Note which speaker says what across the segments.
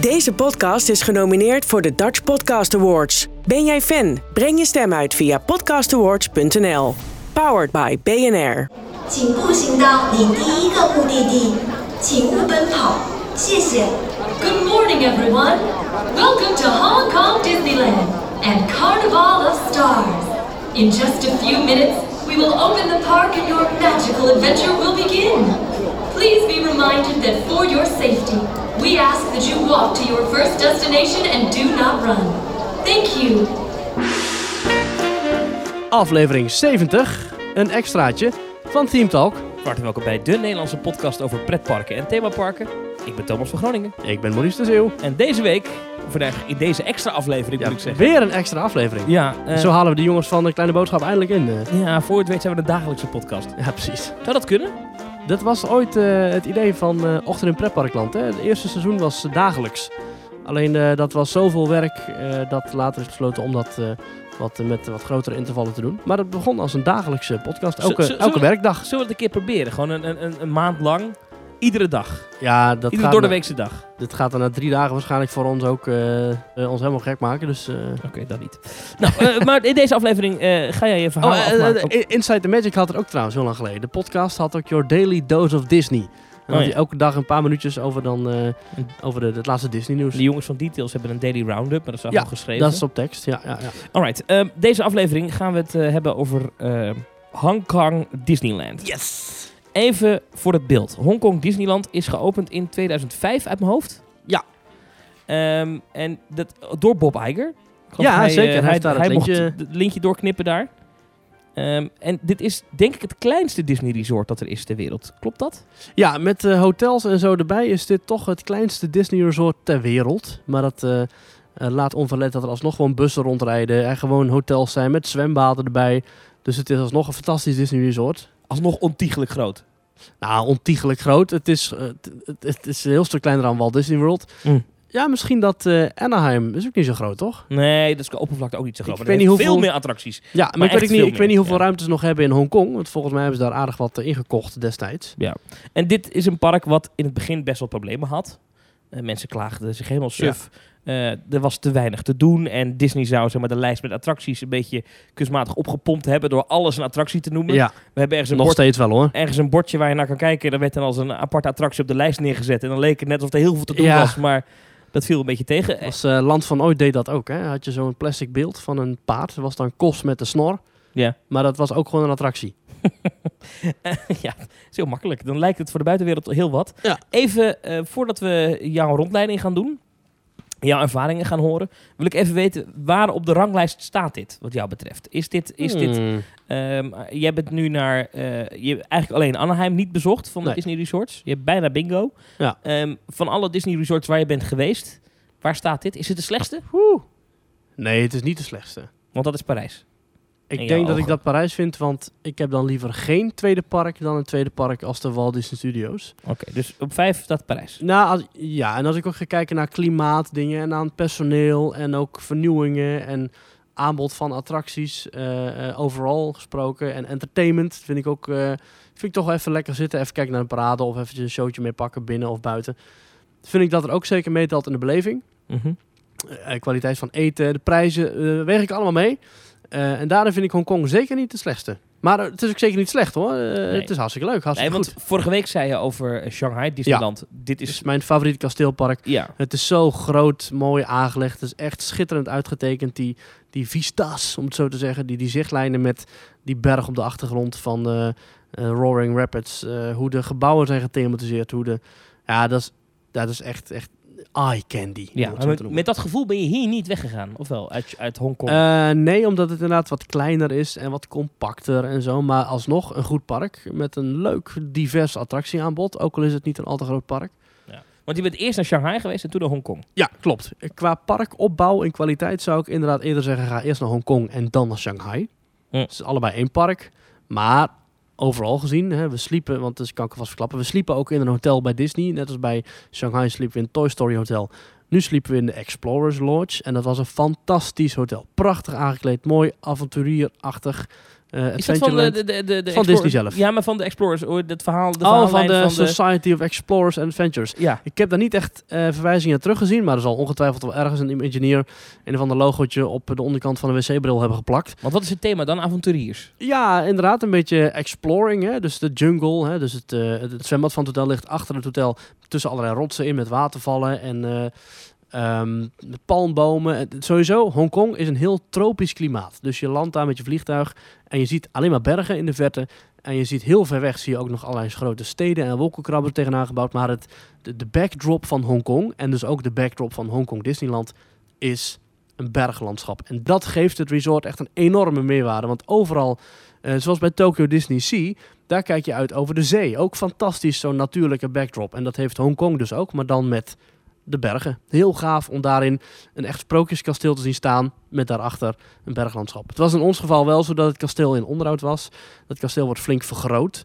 Speaker 1: Deze podcast is genomineerd voor de Dutch Podcast Awards. Ben jij fan? Breng je stem uit via podcastawards.nl. Powered by BNR.
Speaker 2: 请步行到你第一个目的地，请勿奔跑，谢谢。
Speaker 3: Good morning, everyone. Welcome to Hong Kong Disneyland and Carnival of Stars. In just a few minutes, we will open the park and your magical adventure will begin. Please be reminded that for your safety, we ask that you walk to your first destination and do not run. Thank you.
Speaker 4: aflevering 70, een extraatje van Team Talk.
Speaker 5: Hartelijk welkom bij de Nederlandse podcast over pretparken en themaparken. Ik ben Thomas van Groningen.
Speaker 4: Ik ben Maurice de Zeeuw.
Speaker 5: En deze week, of eigenlijk in deze extra aflevering moet ik zeggen.
Speaker 4: weer een extra aflevering.
Speaker 5: Ja, eh,
Speaker 4: Zo halen we de jongens van de Kleine Boodschap eindelijk in. eh.
Speaker 5: ja, voor je het weet zijn we de dagelijkse podcast.
Speaker 4: Ja, precies.
Speaker 5: Zou dat kunnen?
Speaker 4: Dat was ooit eh, het idee van eh, Ochtend in Pretparkland. Hè? Het eerste seizoen was eh, dagelijks. Alleen eh, dat was zoveel werk eh, dat later is besloten om dat eh, wat, eh, met wat grotere intervallen te doen. Maar het begon als een dagelijkse podcast,
Speaker 5: Zo-
Speaker 4: elke,
Speaker 5: zo- zo-
Speaker 4: elke werkdag.
Speaker 5: Zullen we het een keer proberen? Gewoon een, een- een, een maand lang, iedere dag.
Speaker 4: Ja, dat
Speaker 5: Iedere
Speaker 4: gaat,
Speaker 5: door de
Speaker 4: na-
Speaker 5: weekse dag. Oké,
Speaker 4: dit gaat dan na drie dagen waarschijnlijk voor ons ook eh, eh, ons helemaal gek maken. Dus eh,
Speaker 5: dan niet. Nou, eh, maar in deze aflevering eh, ga jij je verhaal
Speaker 4: Oh, eh,
Speaker 5: afmaken.
Speaker 4: eh, eh, Inside the Magic had het ook trouwens heel lang geleden. De podcast had ook Your Daily Dose of Disney. En dan
Speaker 5: Oh,
Speaker 4: had
Speaker 5: ja.
Speaker 4: je elke dag een paar minuutjes over, dan, eh, over de, het laatste Disney nieuws.
Speaker 5: de jongens van Details hebben een daily roundup, maar dat is al
Speaker 4: Ja,
Speaker 5: geschreven.
Speaker 4: Dat is op tekst, ja. ja, ja.
Speaker 5: Alright, ehm, deze aflevering gaan we het eh, hebben over ehm, Hong Kong Disneyland.
Speaker 4: Yes!
Speaker 5: Even voor het beeld. Hongkong Disneyland is geopend in 2005 uit mijn hoofd.
Speaker 4: Ja.
Speaker 5: Ehm, en dat, door Bob Iger. Ik geloof
Speaker 4: Ja, zeker. Hij
Speaker 5: eh,
Speaker 4: heeft daar
Speaker 5: hij
Speaker 4: het
Speaker 5: mocht
Speaker 4: lintje-
Speaker 5: het lintje doorknippen daar. Ehm, en dit is denk ik het kleinste Disney resort dat er is ter wereld. Klopt dat?
Speaker 4: Ja, met eh, hotels en zo erbij is dit toch het kleinste Disney resort ter wereld. Maar dat eh, eh, laat onverlet dat er alsnog gewoon bussen rondrijden. Er gewoon hotels zijn met zwembaden erbij. Dus het is alsnog een fantastisch Disney resort.
Speaker 5: Alsnog ontiegelijk groot.
Speaker 4: Nou, ontiegelijk groot. Het is, eh, het, het- het is een heel stuk kleiner dan Walt Disney World.
Speaker 5: Mm.
Speaker 4: Ja, misschien dat eh, Anaheim is ook niet zo groot, toch?
Speaker 5: Nee, dat is qua oppervlakte ook niet zo groot.
Speaker 4: Ik
Speaker 5: maar
Speaker 4: weet
Speaker 5: dat
Speaker 4: niet
Speaker 5: heeft
Speaker 4: hoeveel-
Speaker 5: Veel meer attracties.
Speaker 4: Ja, maar,
Speaker 5: Maar
Speaker 4: ik, weet
Speaker 5: echt
Speaker 4: niet,
Speaker 5: veel
Speaker 4: ik weet niet
Speaker 5: meer,
Speaker 4: hoeveel
Speaker 5: ja.
Speaker 4: ruimtes ze nog hebben in Hongkong. Want volgens mij hebben ze daar aardig wat eh, ingekocht destijds.
Speaker 5: En dit is een park wat in het begin best wel problemen had. Eh, mensen klaagden zich helemaal suf. Eh, er was te weinig te doen. En Disney zou zeg maar, de lijst met attracties een beetje kunstmatig opgepompt hebben... door alles een attractie te noemen.
Speaker 4: Ja,
Speaker 5: We hebben ergens een,
Speaker 4: nog
Speaker 5: bord,
Speaker 4: steeds wel hoor.
Speaker 5: ergens een bordje waar je naar kan kijken. Daar werd dan als een aparte attractie op de lijst neergezet. En dan leek het net alsof er heel veel te doen
Speaker 4: Ja.
Speaker 5: was. Maar dat viel een beetje tegen. Eh,
Speaker 4: Als eh, Land van Ooit deed dat ook. Hè? Had je zo'n plastic beeld van een paard. Dat was dan Kos met de snor.
Speaker 5: Ja.
Speaker 4: Maar dat was ook gewoon een attractie.
Speaker 5: ja, dat is heel makkelijk. Dan lijkt het voor de buitenwereld heel wat.
Speaker 4: Ja.
Speaker 5: Even eh, voordat we jouw rondleiding gaan doen, jouw ervaringen gaan horen, wil ik even weten waar op de ranglijst staat dit, wat jou betreft. Is dit, is dit
Speaker 4: Hmm.
Speaker 5: ehm, jij bent nu naar, eh, je hebt eigenlijk alleen Anaheim niet bezocht van de
Speaker 4: Nee.
Speaker 5: Disney resorts. Je hebt bijna bingo.
Speaker 4: Ja.
Speaker 5: Ehm, van alle Disney resorts waar je bent geweest, waar staat dit? Is het de slechtste?
Speaker 4: Nee, het is niet de slechtste.
Speaker 5: Want dat is Parijs.
Speaker 4: Ik
Speaker 5: In
Speaker 4: denk
Speaker 5: je
Speaker 4: dat ik
Speaker 5: ogen.
Speaker 4: dat Parijs vind. Want ik heb dan liever geen tweede park dan een tweede park als de Walt Disney Studios.
Speaker 5: Oké, dus op vijf staat Parijs.
Speaker 4: Nou, als- ja, en als ik ook ga kijken naar klimaatdingen en aan personeel en ook vernieuwingen en aanbod van attracties, eh, eh, overal gesproken en entertainment vind ik ook, eh, vind ik toch wel even lekker zitten, even kijken naar een parade of eventjes een showtje mee pakken binnen of buiten. Vind ik dat er ook zeker meetelt in de beleving.
Speaker 5: Mhm.
Speaker 4: Eh, kwaliteit van eten, de prijzen, eh, weeg ik allemaal mee. Eh, en daarin vind ik Hongkong zeker niet de slechtste. Maar eh, het is ook zeker niet slecht hoor. Eh, Het is hartstikke leuk,
Speaker 5: Nee,
Speaker 4: hartstikke
Speaker 5: want
Speaker 4: goed.
Speaker 5: vorige week zei je over eh, Shanghai Disneyland. Dit
Speaker 4: Het
Speaker 5: is
Speaker 4: is mijn favoriete kasteelpark.
Speaker 5: ja.
Speaker 4: Het is zo groot, mooi aangelegd. Het is echt schitterend uitgetekend. Die, die vistas, om het zo te zeggen. Die, die zichtlijnen met die berg op de achtergrond van eh, eh, Roaring Rapids. eh, hoe de gebouwen zijn gethematiseerd. Hoe de, ja, dat is, dat is echt, echt eye candy. om
Speaker 5: Ja,
Speaker 4: het
Speaker 5: maar
Speaker 4: zo te
Speaker 5: met,
Speaker 4: noemen.
Speaker 5: met dat gevoel ben je hier niet weggegaan. Ofwel, uit, uit Hongkong.
Speaker 4: Eh, nee, omdat het inderdaad wat kleiner is en wat compacter en zo. Maar alsnog een goed park met een leuk divers attractieaanbod. Ook al is het niet een al te groot park.
Speaker 5: Want je bent eerst naar Shanghai geweest en toen naar Hongkong.
Speaker 4: Ja, klopt. Qua parkopbouw en kwaliteit zou ik inderdaad eerder zeggen: ga eerst naar Hongkong en dan naar Shanghai.
Speaker 5: Hm.
Speaker 4: Het is allebei één park. Maar overal gezien, hè, we sliepen, want dat kan ik alvast verklappen. We sliepen ook in een hotel bij Disney. Net als bij Shanghai sliepen we in het Toy Story Hotel. Nu sliepen we in de Explorers Lodge. En dat was een fantastisch hotel. Prachtig aangekleed, mooi avonturierachtig. Eh, eh
Speaker 5: Is dat van de,
Speaker 4: Adventureland.
Speaker 5: de, de, de, de
Speaker 4: Van
Speaker 5: Explor-
Speaker 4: Disney zelf.
Speaker 5: Ja, maar van de Explorers. hoor, Dat verhaal, de
Speaker 4: oh, van
Speaker 5: verhaallijn
Speaker 4: de
Speaker 5: van de...
Speaker 4: Society of Explorers and Adventures.
Speaker 5: Ja,
Speaker 4: Ik heb daar niet echt eh, verwijzingen naar teruggezien, maar er zal ongetwijfeld wel ergens een engineer een of ander logootje op de onderkant van een wc-bril hebben geplakt.
Speaker 5: want wat is het thema dan? Avonturiers.
Speaker 4: Ja, inderdaad, een beetje exploring, hè? dus de jungle. Hè? Dus het, eh, het- het zwembad van het hotel ligt achter het hotel tussen allerlei rotsen in met watervallen en eh, ehm, met palmbomen. En Sowieso, Hongkong is een heel tropisch klimaat. Dus je landt daar met je vliegtuig en je ziet alleen maar bergen in de verte. En je ziet heel ver weg zie je ook nog allerlei grote steden en wolkenkrabbers tegenaan gebouwd. Maar het, de, de backdrop van Hongkong en dus ook de backdrop van Hongkong Disneyland is een berglandschap. En dat geeft het resort echt een enorme meerwaarde. Want overal, eh, zoals bij Tokyo Disney Sea, daar kijk je uit over de zee. Ook fantastisch zo'n natuurlijke backdrop. En dat heeft Hongkong dus ook, maar dan met de bergen. Heel gaaf om daarin een echt sprookjeskasteel te zien staan met daarachter een berglandschap. Het was in ons geval wel zo dat het kasteel in onderhoud was. Dat kasteel wordt flink vergroot.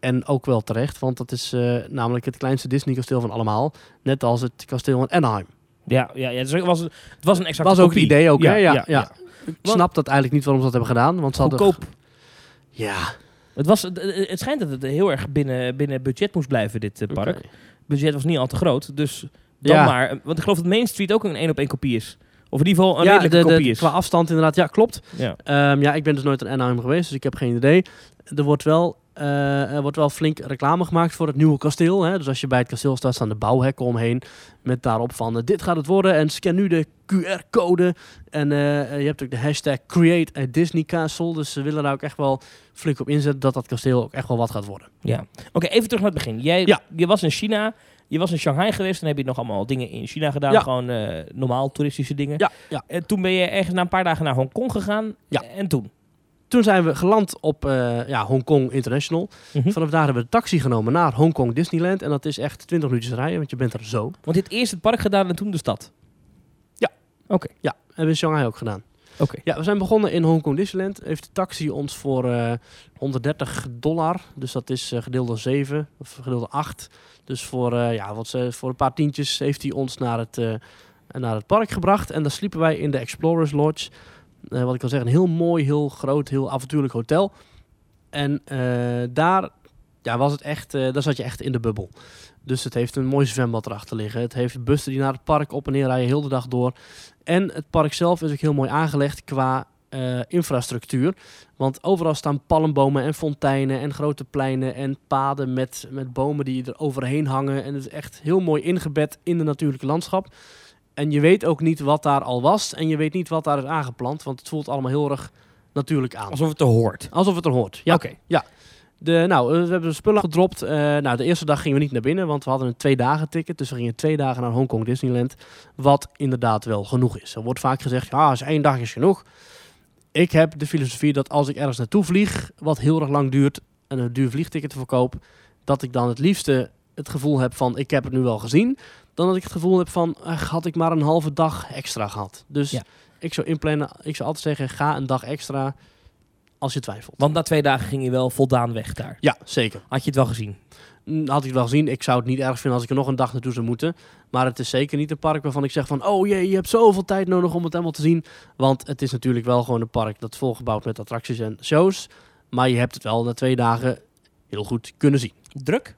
Speaker 4: En ook wel terecht, want dat is eh, namelijk het kleinste Disney-kasteel van allemaal. Net als het kasteel in Anaheim.
Speaker 5: Ja, ja, ja dus het, was, het was een exacte
Speaker 4: Was ook het
Speaker 5: kopie.
Speaker 4: idee ook, hè? Ja, ja. Ik
Speaker 5: Want-
Speaker 4: snap dat eigenlijk niet waarom ze dat hebben gedaan. Want ze hadden...
Speaker 5: Goedkoop.
Speaker 4: Ja,
Speaker 5: Het, was, het- het het schijnt dat het heel erg binnen, binnen budget moest blijven, dit eh, park.
Speaker 4: oké.
Speaker 5: Het budget was niet al te groot, dus dan
Speaker 4: Ja.
Speaker 5: maar. Want ik geloof dat Main Street ook een één op één kopie is. Of in ieder geval een
Speaker 4: ja,
Speaker 5: redelijke
Speaker 4: de- de-
Speaker 5: kopie is.
Speaker 4: Qua afstand inderdaad, ja, klopt.
Speaker 5: Ja.
Speaker 4: Ehm, ja, ik ben dus nooit in Anaheim geweest, dus ik heb geen idee. Er wordt wel, eh, er wordt wel flink reclame gemaakt voor het nieuwe kasteel. Hè? Dus als je bij het kasteel staat, staan de bouwhekken omheen. Met daarop van, eh, dit gaat het worden. En scan nu de QR-code. En eh, je hebt ook de hashtag Create a Disney Castle. Dus ze willen daar ook echt wel flink op inzetten dat dat kasteel ook echt wel wat gaat worden.
Speaker 5: Ja. Oké, even terug naar het begin. Jij,
Speaker 4: Ja.
Speaker 5: Je was in China, je was in Shanghai geweest en heb je nog allemaal dingen in China gedaan.
Speaker 4: Ja.
Speaker 5: Gewoon eh, normaal toeristische dingen.
Speaker 4: Ja, ja.
Speaker 5: En toen ben je ergens na een paar dagen naar Hongkong gegaan.
Speaker 4: Ja.
Speaker 5: En toen?
Speaker 4: Toen zijn we geland op eh, ja, Hong Kong International.
Speaker 5: Mhm.
Speaker 4: Vanaf daar hebben we de taxi genomen naar Hong Kong Disneyland. En dat is echt 20 minuutjes rijden, want je bent er zo.
Speaker 5: Want je hebt eerst het park gedaan en toen de stad.
Speaker 4: Ja, hebben we in Shanghai ook gedaan.
Speaker 5: Oké.
Speaker 4: Ja, we zijn begonnen in Hong Kong Disneyland. Heeft de taxi ons voor eh, 130 dollar, dus dat is eh, gedeeld door 7 of gedeeld door 8. Dus voor, eh, ja, wat, ze- voor een paar tientjes heeft hij ons naar het, eh, naar het park gebracht. En daar sliepen wij in de Explorers Lodge. Eh, wat ik al zeg, een heel mooi, heel groot, heel avontuurlijk hotel. En eh, daar, ja, was het echt, eh, daar zat je echt in de bubbel. Dus het heeft een mooi zwembad erachter liggen. Het heeft bussen die naar het park op en neer rijden, heel de dag door. En het park zelf is ook heel mooi aangelegd qua eh, infrastructuur. Want overal staan palmbomen en fonteinen en grote pleinen en paden met, met bomen die er overheen hangen. En het is echt heel mooi ingebed in de natuurlijke landschap. En je weet ook niet wat daar al was en je weet niet wat daar is aangeplant, want het voelt allemaal heel erg natuurlijk aan.
Speaker 5: Alsof het er hoort.
Speaker 4: Alsof het er hoort. Ja.
Speaker 5: Oké.
Speaker 4: Ja. De, nou, eh, we hebben de spullen gedropt. Eh, nou, de eerste dag gingen we niet naar binnen, want we hadden een twee dagen ticket. Dus we gingen twee dagen naar Hongkong Disneyland. Wat inderdaad wel genoeg is. Er wordt vaak gezegd, ja, is één dag is genoeg. Ik heb de filosofie dat als ik ergens naartoe vlieg, wat heel erg lang duurt, en een duur vliegticket verkoop, dat ik dan het liefste het gevoel heb van, ik heb het nu wel gezien, dan dat ik het gevoel heb van, ach, had ik maar een halve dag extra gehad. Dus
Speaker 5: Ja.
Speaker 4: ik zou inplannen, ik zou altijd zeggen, ga een dag extra als je twijfelt.
Speaker 5: Want na twee dagen ging je wel voldaan weg daar.
Speaker 4: Ja, zeker.
Speaker 5: Had je het wel gezien?
Speaker 4: Mm, Had ik het wel gezien. Ik zou het niet erg vinden als ik er nog een dag naartoe zou moeten. Maar het is zeker niet een park waarvan ik zeg van... Oh jee, je hebt zoveel tijd nodig om het helemaal te zien. Want het is natuurlijk wel gewoon een park dat is volgebouwd met attracties en shows. Maar je hebt het wel na twee dagen heel goed kunnen zien.
Speaker 5: Druk?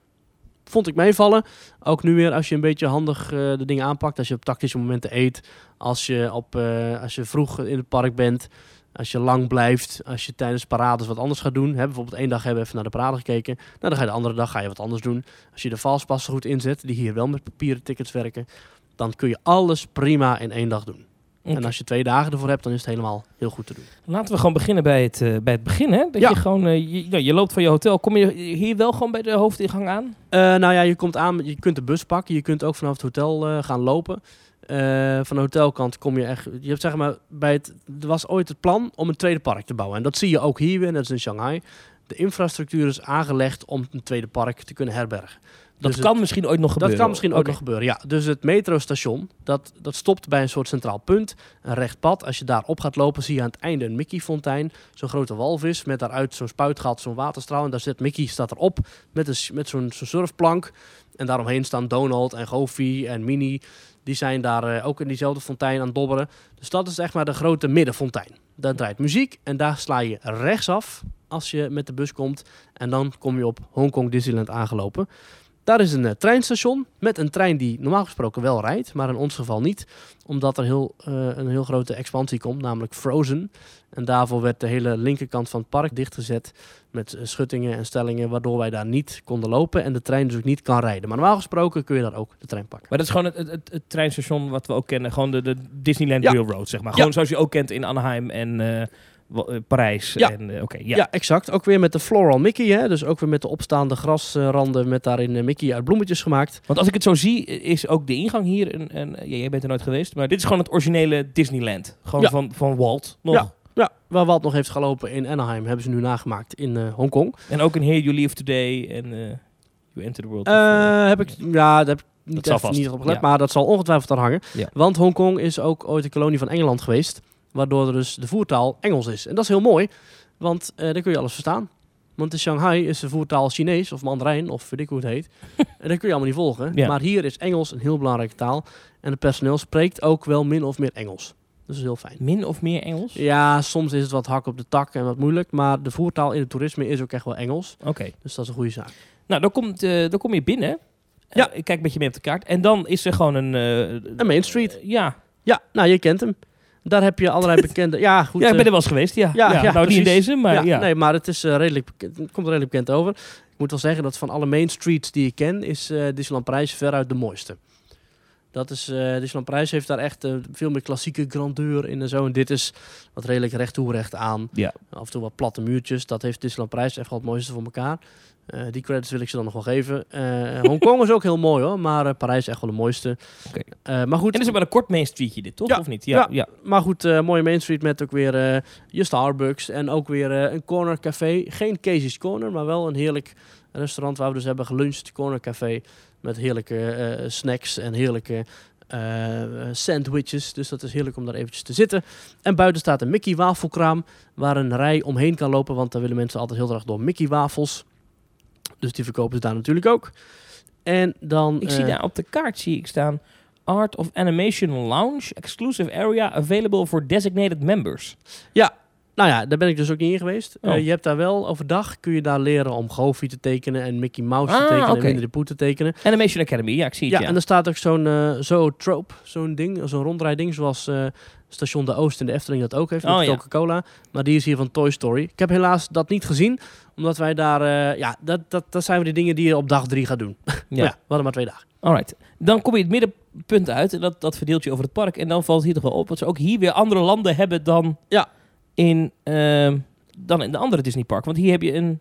Speaker 4: Vond ik meevallen. Ook nu weer als je een beetje handig eh, de dingen aanpakt. Als je op tactische momenten eet. Als je, op, eh, als je vroeg in het park bent. Als je lang blijft. Als je tijdens parades wat anders gaat doen. Hè, bijvoorbeeld één dag hebben we even naar de parade gekeken. Nou, dan ga je de andere dag ga je wat anders doen. Als je de valspassen goed inzet. Die hier wel met papieren tickets werken. Dan kun je alles prima in één dag doen. En
Speaker 5: Oké.
Speaker 4: als je twee dagen ervoor hebt, dan is het helemaal heel goed te doen.
Speaker 5: Laten we gewoon beginnen bij het, eh, bij het begin, hè? Dat
Speaker 4: Ja.
Speaker 5: je gewoon, eh, je, nou, je loopt van je hotel. Kom je hier wel gewoon bij de hoofdingang aan?
Speaker 4: Eh, nou ja, je komt aan, je kunt de bus pakken, je kunt ook vanaf het hotel eh, gaan lopen. Eh, van de hotelkant kom je echt. Je hebt zeg maar bij het. Er was ooit het plan om een tweede park te bouwen. En dat zie je ook hier weer, en dat is in Shanghai. De infrastructuur is aangelegd om een tweede park te kunnen herbergen.
Speaker 5: dat
Speaker 4: Dus
Speaker 5: kan misschien ooit nog
Speaker 4: Dat
Speaker 5: gebeuren.
Speaker 4: kan misschien ook
Speaker 5: Oké.
Speaker 4: nog gebeuren, ja. Dus het metrostation, dat, dat stopt bij een soort centraal punt. Een recht pad. Als je daarop gaat lopen, zie je aan het einde een Mickey-fontein. Zo'n grote walvis met daaruit zo'n spuitgat, zo'n waterstraal. En daar zit Mickey, staat erop met, een, s- met zo'n zo'n surfplank. En daaromheen staan Donald en Goofy en Minnie. Die zijn daar eh, ook in diezelfde fontein aan het dobberen. Dus dat is echt maar de grote middenfontein. Daar draait muziek en daar sla je rechtsaf als je met de bus komt. En dan kom je op Hongkong Disneyland aangelopen. Daar is een eh, treinstation met een trein die normaal gesproken wel rijdt, maar in ons geval niet. Omdat er heel, eh, een heel grote expansie komt, namelijk Frozen. En daarvoor werd de hele linkerkant van het park dichtgezet met eh, schuttingen en stellingen, waardoor wij daar niet konden lopen en de trein dus ook niet kan rijden. Maar normaal gesproken kun je daar ook de trein pakken.
Speaker 5: Maar dat is gewoon het, het, het, het treinstation wat we ook kennen. Gewoon de, de Disneyland
Speaker 4: Ja.
Speaker 5: Railroad, zeg maar.
Speaker 4: Ja.
Speaker 5: Gewoon zoals je ook kent in Anaheim en eh, wa- eh, Parijs.
Speaker 4: Ja.
Speaker 5: En, eh, Oké,
Speaker 4: Ja.
Speaker 5: ja.
Speaker 4: exact. Ook weer met de floral Mickey, hè? dus ook weer met de opstaande grasranden met daarin eh, Mickey uit bloemetjes gemaakt.
Speaker 5: Want als ik het zo zie, eh, is ook de ingang hier... Een, een, ja, jij bent er nooit geweest, maar dit is gewoon het originele Disneyland. Gewoon
Speaker 4: Ja.
Speaker 5: van, van Walt nog.
Speaker 4: Ja. Ja, waar Walt nog heeft gelopen in Anaheim, hebben ze nu nagemaakt in eh, Hongkong.
Speaker 5: En ook in Here You Live Today en eh, You Enter the World. of, eh,
Speaker 4: Eh, heb ik, ja, daar heb ik niet,
Speaker 5: Dat zal
Speaker 4: even
Speaker 5: vast.
Speaker 4: niet op gelet,
Speaker 5: Ja.
Speaker 4: maar dat zal ongetwijfeld aan hangen.
Speaker 5: Ja.
Speaker 4: Want Hongkong is ook ooit een kolonie van Engeland geweest, waardoor er dus de voertaal Engels is. En dat is heel mooi, want eh dan kun je alles verstaan. Want in Shanghai is de voertaal Chinees of Mandarijn, of weet ik hoe het heet. en dat kun je allemaal niet volgen.
Speaker 5: Ja.
Speaker 4: Maar hier is Engels een heel belangrijke taal. En het personeel spreekt ook wel min of meer Engels. Dus dat is heel fijn.
Speaker 5: Min of meer Engels?
Speaker 4: Ja, soms is het wat hak op de tak en wat moeilijk. Maar de voertaal in het toerisme is ook echt wel Engels.
Speaker 5: Oké.
Speaker 4: Dus dat is een goede zaak.
Speaker 5: Nou, dan, komt, eh, dan kom je binnen. Eh,
Speaker 4: Ja.
Speaker 5: ik kijk een beetje mee op de kaart. En dan is er gewoon een... eh,
Speaker 4: En Main Street.
Speaker 5: ja,
Speaker 4: Ja, nou, je kent hem. Daar heb je allerlei bekende... Ja, goed.
Speaker 5: ja, ik
Speaker 4: eh,
Speaker 5: ben er wel eens geweest, ja.
Speaker 4: ja, ja,
Speaker 5: nou, niet in
Speaker 4: precies.
Speaker 5: deze, maar ja.
Speaker 4: Nee, maar het, is, eh, redelijk bekend, het komt er redelijk bekend over. Ik moet wel zeggen dat van alle main streets die ik ken... is eh Disneyland Parijs veruit de mooiste. Dat is, eh Disneyland Parijs heeft daar echt eh, veel meer klassieke grandeur in en zo. En dit is wat redelijk recht toe, recht aan.
Speaker 5: Ja.
Speaker 4: Af en toe wat platte muurtjes. Dat heeft Disneyland Parijs echt wel het mooiste voor elkaar. Eh, die credits wil ik ze dan nog wel geven. Eh, Hongkong is ook heel mooi hoor, maar eh, Parijs is echt wel de mooiste.
Speaker 5: Oké.
Speaker 4: Eh, maar goed,
Speaker 5: En dat is ook maar een kort Main Streetje dit, toch?
Speaker 4: Ja.
Speaker 5: Of niet?
Speaker 4: Ja.
Speaker 5: ja.
Speaker 4: maar goed, eh, mooie Main Street met ook weer eh, je Starbucks en ook weer eh, een corner café. Geen Casey's Corner, maar wel een heerlijk restaurant waar we dus hebben geluncht. Corner café met heerlijke eh, snacks en heerlijke eh, sandwiches. Dus dat is heerlijk om daar eventjes te zitten. En buiten staat een Mickey wafelkraam waar een rij omheen kan lopen. Want daar willen mensen altijd heel graag door Mickey wafels. Dus die verkopen ze daar natuurlijk ook. En dan...
Speaker 5: Ik zie
Speaker 4: eh,
Speaker 5: daar op de kaart zie ik staan Art of Animation Lounge Exclusive Area Available for Designated Members.
Speaker 4: Nou ja, daar ben ik dus ook niet in geweest.
Speaker 5: Oh.
Speaker 4: Eh, je hebt daar wel overdag kun je daar leren om Goofy te tekenen en Mickey Mouse te
Speaker 5: Ah,
Speaker 4: tekenen
Speaker 5: oké.
Speaker 4: en Winnie de Pooh te tekenen.
Speaker 5: Animation Academy, ja, ik zie
Speaker 4: Ja,
Speaker 5: het. Ja,
Speaker 4: en er staat ook zo'n eh zootrope, zo'n ding, zo'n rondrijding, zoals eh, Station de Oost in de Efteling dat ook heeft met
Speaker 5: Oh, ja.
Speaker 4: Coca-Cola. Maar die is hier van Toy Story. Ik heb helaas dat niet gezien, omdat wij daar, eh, ja, dat, dat, dat zijn we die dingen die je op dag drie gaat doen. Ja, ja we hadden maar twee dagen.
Speaker 5: Alright. Dan kom je het middenpunt uit en dat, dat verdeelt je over het park. En dan valt hier toch wel op dat ze ook hier weer andere landen hebben dan,
Speaker 4: Ja.
Speaker 5: in, ehm, dan in de andere Disneypark. Want hier heb je een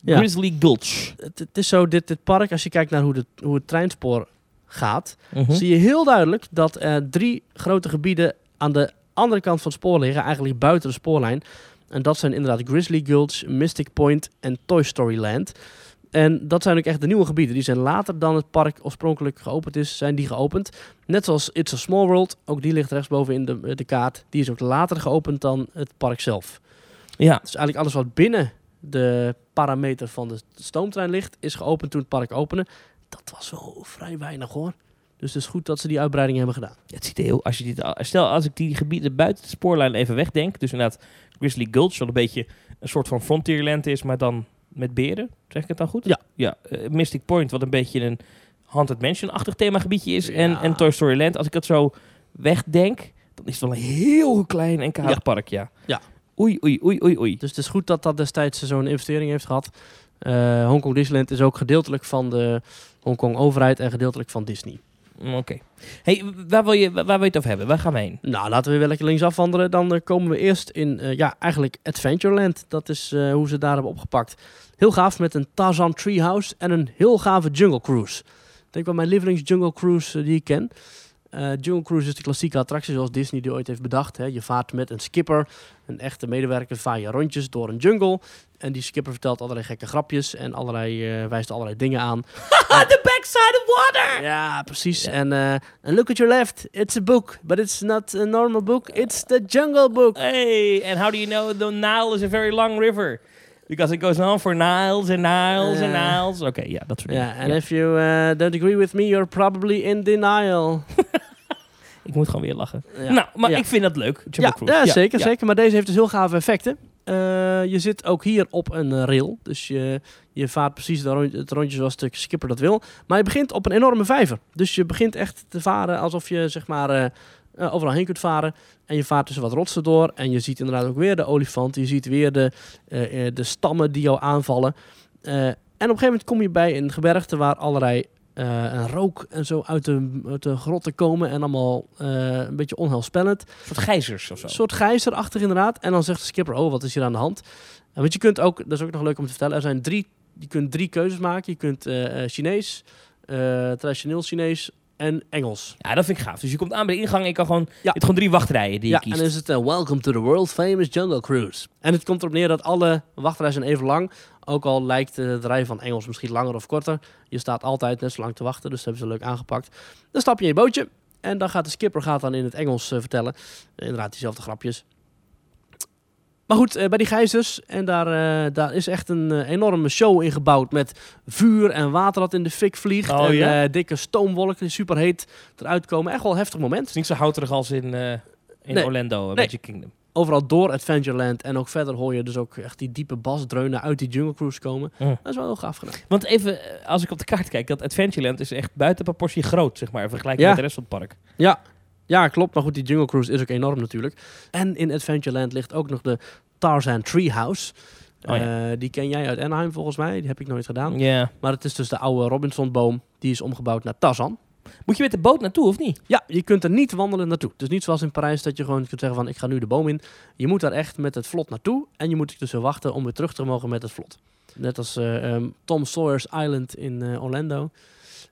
Speaker 4: Ja.
Speaker 5: Grizzly Gulch.
Speaker 4: Dus Het, het is zo, dit, dit park, als je kijkt naar hoe, de, hoe het treinspoor gaat,
Speaker 5: Mhm.
Speaker 4: zie je heel duidelijk dat er drie grote gebieden aan de andere kant van het spoor liggen, eigenlijk buiten de spoorlijn. En dat zijn inderdaad Grizzly Gulch, Mystic Point en Toy Story Land. En dat zijn ook echt de nieuwe gebieden. Die zijn later dan het park oorspronkelijk geopend is, zijn die geopend. Net zoals It's a Small World, ook die ligt rechtsboven in de, de kaart. Die is ook later geopend dan het park zelf.
Speaker 5: Ja,
Speaker 4: Dus eigenlijk alles wat binnen de parameter van de stoomtrein ligt, is geopend toen het park opende. Dat was wel vrij weinig hoor. Dus het is goed dat ze die uitbreiding hebben gedaan.
Speaker 5: het ziet er heel... Als je dit, al- stel, als ik die gebieden buiten de spoorlijn even wegdenk. Dus inderdaad, Grizzly Gulch, wat een beetje een soort van frontierland is, maar dan met beren. Zeg ik het dan goed?
Speaker 4: Ja.
Speaker 5: ja eh, Mystic Point, wat een beetje een Haunted Mansion-achtig themagebiedje is. En,
Speaker 4: Ja.
Speaker 5: en Toy Story Land. Als ik dat zo wegdenk, dan is het wel een heel klein en kaal
Speaker 4: Ja.
Speaker 5: park, ja.
Speaker 4: Ja.
Speaker 5: Oei, oei, oei, oei, oei.
Speaker 4: Dus het is goed dat dat destijds zo'n investering heeft gehad. Eh Hongkong Disneyland is ook gedeeltelijk van de Hongkong overheid en gedeeltelijk van Disney.
Speaker 5: Mm, Oké. Hey, waar wil, je, waar wil je het over hebben? Waar gaan we heen?
Speaker 4: Nou, laten we weer lekker links afwandelen. Dan eh, komen we eerst in, eh, ja, eigenlijk Adventureland. Dat is eh, hoe ze daar hebben opgepakt. Heel gaaf met een Tarzan Treehouse en een heel gave Jungle Cruise. Ik denk wel mijn lievelings Jungle Cruise eh, die ik ken. Eh, Jungle Cruise is de klassieke attractie zoals Disney die ooit heeft bedacht. Hè. Je vaart met een skipper, een echte medewerker, vaar je rondjes door een jungle. En die skipper vertelt allerlei gekke grapjes en allerlei, eh, wijst allerlei dingen aan.
Speaker 5: The backside of water!
Speaker 4: Ja, precies. En eh, and look at your left, it's a book, but it's not a normal book, it's the jungle book.
Speaker 5: Hey, and how do you know the Nile is a very long river? Because it goes on for Niles and Niles and
Speaker 4: Ja.
Speaker 5: Niles. Oké, ja, dat soort
Speaker 4: Ja,
Speaker 5: dingen.
Speaker 4: and
Speaker 5: Ja.
Speaker 4: if you eh, don't agree with me, you're probably in denial.
Speaker 5: Ik moet gewoon weer lachen.
Speaker 4: Ja.
Speaker 5: Nou, maar
Speaker 4: Ja.
Speaker 5: ik vind dat leuk. Jungle
Speaker 4: Ja,
Speaker 5: Cruise.
Speaker 4: ja, zeker,
Speaker 5: ja.
Speaker 4: zeker. Maar deze heeft dus heel gave effecten. Eh, je zit ook hier op een eh, rail. Dus je, je vaart precies de rond- het rondje zoals de skipper dat wil. Maar je begint op een enorme vijver. Dus je begint echt te varen alsof je zeg maar, eh, eh, overal heen kunt varen. En je vaart tussen wat rotsen door. En je ziet inderdaad ook weer de olifant. Je ziet weer de, eh, eh, de stammen die jou aanvallen. Eh, en op een gegeven moment kom je bij een gebergte waar allerlei eh, rook en zo uit de, uit de grotten komen. En allemaal eh, een beetje onheilspellend.
Speaker 5: Een soort gijzers of zo.
Speaker 4: Een soort gijzerachtig inderdaad. En dan zegt de skipper, oh, wat is hier aan de hand? En want je kunt ook, dat is ook nog leuk om te vertellen, er zijn drie, je kunt drie keuzes maken. Je kunt eh, eh, Chinees, eh, traditioneel Chinees en Engels.
Speaker 5: Ja, dat vind ik gaaf. Dus je komt aan bij de ingang en je kan gewoon... Je
Speaker 4: Ja.
Speaker 5: hebt gewoon drie wachtrijen die
Speaker 4: ja,
Speaker 5: je kiest.
Speaker 4: en dan is het eh, Welcome to the World Famous Jungle Cruise. En het komt erop neer dat alle wachtrijen zijn even lang. Ook al lijkt eh, de rij van Engels misschien langer of korter. Je staat altijd net zo lang te wachten, dus dat hebben ze leuk aangepakt. Dan stap je in je bootje en dan gaat de skipper gaat dan in het Engels eh, vertellen. Eh, inderdaad, diezelfde grapjes. Maar goed, eh, bij die gijzers. En daar, eh, daar is echt een eh, enorme show in gebouwd. Met vuur en water dat in de fik vliegt.
Speaker 5: Oh,
Speaker 4: en
Speaker 5: ja?
Speaker 4: eh, dikke stoomwolken die superheet eruit komen. Echt wel een heftig moment.
Speaker 5: Het is niet zo houterig als in, eh, in
Speaker 4: Nee.
Speaker 5: Orlando, eh,
Speaker 4: Nee.
Speaker 5: Magic Kingdom.
Speaker 4: overal door Adventureland. En ook verder hoor je dus ook echt die diepe basdreunen uit die Jungle Cruise komen.
Speaker 5: Ja.
Speaker 4: Dat is wel heel gaaf gedaan.
Speaker 5: Want even, eh, als ik op de kaart kijk, dat Adventureland is echt buiten proportie groot, zeg maar, in vergelijking
Speaker 4: Ja.
Speaker 5: met de rest van het park.
Speaker 4: Ja. ja, klopt. Maar goed, die Jungle Cruise is ook enorm natuurlijk. En in Adventureland ligt ook nog de Tarzan Treehouse.
Speaker 5: Oh ja.
Speaker 4: Eh, die ken jij uit Anaheim volgens mij. Die heb ik nooit gedaan.
Speaker 5: Ja.
Speaker 4: Maar het is dus de oude Robinsonboom. Die is omgebouwd naar Tarzan.
Speaker 5: Moet je met de boot naartoe of niet?
Speaker 4: Ja, je kunt er niet wandelen naartoe. Dus niet zoals in Parijs dat je gewoon kunt zeggen van ik ga nu de boom in. Je moet daar echt met het vlot naartoe. En je moet dus wachten om weer terug te mogen met het vlot. Net als eh, ehm, Tom Sawyer's Island in eh, Orlando.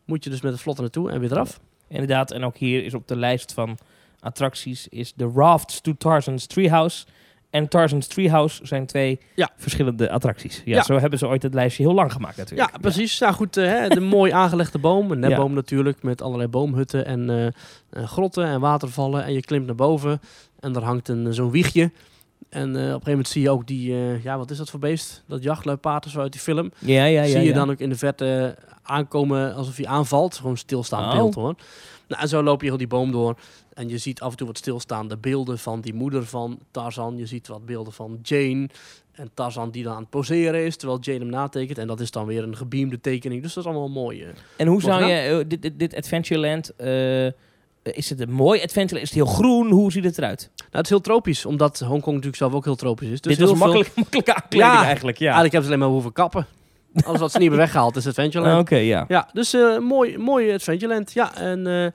Speaker 4: Moet je dus met het vlot er naartoe en weer eraf.
Speaker 5: Inderdaad, en ook hier is op de lijst van attracties is de Rafts to Tarzan's Treehouse. En Tarzan's Treehouse zijn twee
Speaker 4: Ja.
Speaker 5: verschillende attracties. Ja,
Speaker 4: Ja.
Speaker 5: Zo hebben ze ooit het lijstje heel lang gemaakt natuurlijk.
Speaker 4: Ja, precies. Nou goed, eh, hè, de mooi aangelegde boom. Een netboom natuurlijk, met allerlei boomhutten en eh, eh, grotten en watervallen. En je klimt naar boven en er hangt een, zo'n wiegje. En eh, op een gegeven moment zie je ook die, eh, ja wat is dat voor beest? Dat jachtluipaard of zo uit die film.
Speaker 5: Ja, ja, ja.
Speaker 4: zie je
Speaker 5: ja.
Speaker 4: dan ook in de verte aankomen alsof hij aanvalt. Gewoon stilstaand
Speaker 5: Oh.
Speaker 4: beeld hoor. Nou, en zo loop je heel die boom door. En je ziet af en toe wat stilstaande beelden van die moeder van Tarzan. Je ziet wat beelden van Jane. En Tarzan die dan aan het poseren is, terwijl Jane hem natekent. En dat is dan weer een gebeamde tekening. Dus dat is allemaal mooi. eh.
Speaker 5: En hoe
Speaker 4: Mooi
Speaker 5: zou je
Speaker 4: gedaan.
Speaker 5: eh, dit, dit, dit Adventureland... eh, is het een mooi Adventureland? Is het heel groen? Hoe ziet het eruit?
Speaker 4: Nou, het is heel tropisch, omdat Hongkong natuurlijk zelf ook heel tropisch is. Dus
Speaker 5: dit was een
Speaker 4: heel veel-
Speaker 5: makkelijk, makkelijke aankleding
Speaker 4: Ja.
Speaker 5: eigenlijk. Ja.
Speaker 4: Eigenlijk hebben ze alleen maar hoeven kappen. Alles wat ze niet hebben weggehaald is Adventureland.
Speaker 5: Ah, Oké, ja.
Speaker 4: Ja, dus eh mooi, mooi Adventureland. Ja, en, eh,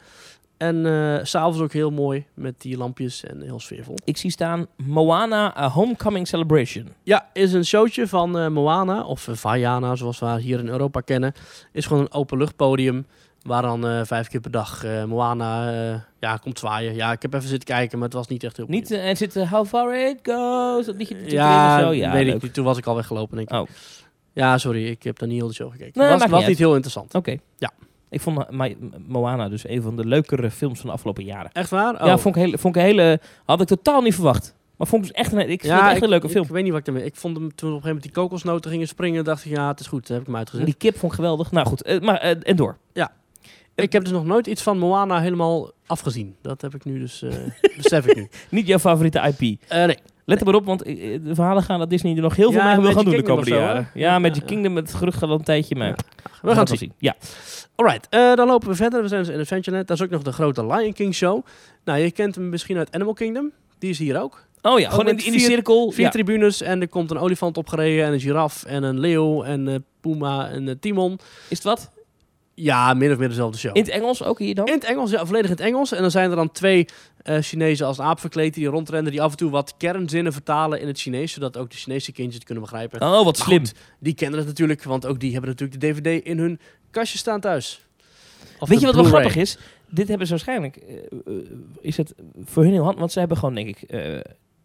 Speaker 4: en eh, s s'avonds ook heel mooi met die lampjes en heel sfeervol.
Speaker 5: Ik zie staan Moana A Homecoming Celebration.
Speaker 4: Ja, is een showtje van eh, Moana, of eh, Vaiana zoals we haar hier in Europa kennen. Is gewoon een openluchtpodium waar dan eh, vijf keer per dag eh, Moana eh, ja, komt zwaaien. Ja, ik heb even zitten kijken, maar het was niet echt heel
Speaker 5: Niet,
Speaker 4: boeiend.
Speaker 5: eh, en zit eh, How Far It Goes, dat liedje natuurlijk
Speaker 4: ja,
Speaker 5: erin en zo. Ja,
Speaker 4: weet
Speaker 5: leuk.
Speaker 4: ik niet. Toen was ik al weggelopen, denk ik.
Speaker 5: Oh.
Speaker 4: Ja, sorry, ik heb daar niet heel de show gekeken.
Speaker 5: Nee,
Speaker 4: was
Speaker 5: maakt
Speaker 4: was
Speaker 5: niet
Speaker 4: niet
Speaker 5: uit. Oh.
Speaker 4: heel interessant.
Speaker 5: Oké.
Speaker 4: Ja.
Speaker 5: Ik vond Ma- Moana dus een van de leukere films van de afgelopen jaren.
Speaker 4: Echt waar?
Speaker 5: Ja,
Speaker 4: Oh.
Speaker 5: vond ik, heel, vond ik een hele... Had ik totaal niet verwacht. Maar vond ik dus echt een, ik vond het echt een leuke film.
Speaker 4: Ik weet niet wat ik ermee... Ik vond hem toen op een gegeven moment die kokosnoten gingen springen... dacht ik, ja, het is goed. Heb ik hem uitgezet.
Speaker 5: die kip vond ik geweldig. Nou goed, eh, maar, eh, en door.
Speaker 4: Ik heb dus nog nooit iets van Moana helemaal afgezien. Dat heb ik nu dus... eh besef ik nu.
Speaker 5: Niet jouw favoriete IP.
Speaker 4: Eh, nee.
Speaker 5: Let er maar op, want eh, eh, de verhalen gaan dat Disney er nog heel veel
Speaker 4: Ja,
Speaker 5: mee wil
Speaker 4: Magic
Speaker 5: gaan doen de
Speaker 4: Kingdom
Speaker 5: komende
Speaker 4: of zo,
Speaker 5: jaren.
Speaker 4: hè?
Speaker 5: Ja,
Speaker 4: Ja,
Speaker 5: met
Speaker 4: ja.
Speaker 5: Kingdom, het gerucht gaat al een tijdje, maar... we
Speaker 4: We gaan het
Speaker 5: wel
Speaker 4: zien.
Speaker 5: Ja.
Speaker 4: Alright, eh, dan lopen we verder. We zijn dus in Adventureland. Daar is ook nog de grote Lion King show. Nou, je kent hem misschien uit Animal Kingdom. Die is hier ook.
Speaker 5: Oh ja, gewoon in,
Speaker 4: met
Speaker 5: die- in die
Speaker 4: vier-
Speaker 5: cirkel.
Speaker 4: Vier
Speaker 5: ja.
Speaker 4: tribunes en er komt een olifant opgereden en een giraf en een leeuw en eh puma en een timon.
Speaker 5: Is het wat?
Speaker 4: Ja, min of meer dezelfde show.
Speaker 5: In het Engels ook hier dan?
Speaker 4: In het Engels, ja, volledig in het Engels. En dan zijn er dan twee eh, Chinezen als een aap verkleed die rondrennen, die af en toe wat kernzinnen vertalen in het Chinees, zodat ook de Chinese kindjes het kunnen begrijpen.
Speaker 5: Oh, wat
Speaker 4: Maar
Speaker 5: slim.
Speaker 4: goed, die kennen het natuurlijk, want ook die hebben natuurlijk de DVD in hun kastje staan thuis. Of
Speaker 5: Weet
Speaker 4: de
Speaker 5: je wat wel
Speaker 4: Blu-ray.
Speaker 5: grappig is? dit hebben ze waarschijnlijk... eh, eh, is het voor hun heel handig? Want ze hebben gewoon, denk ik, eh,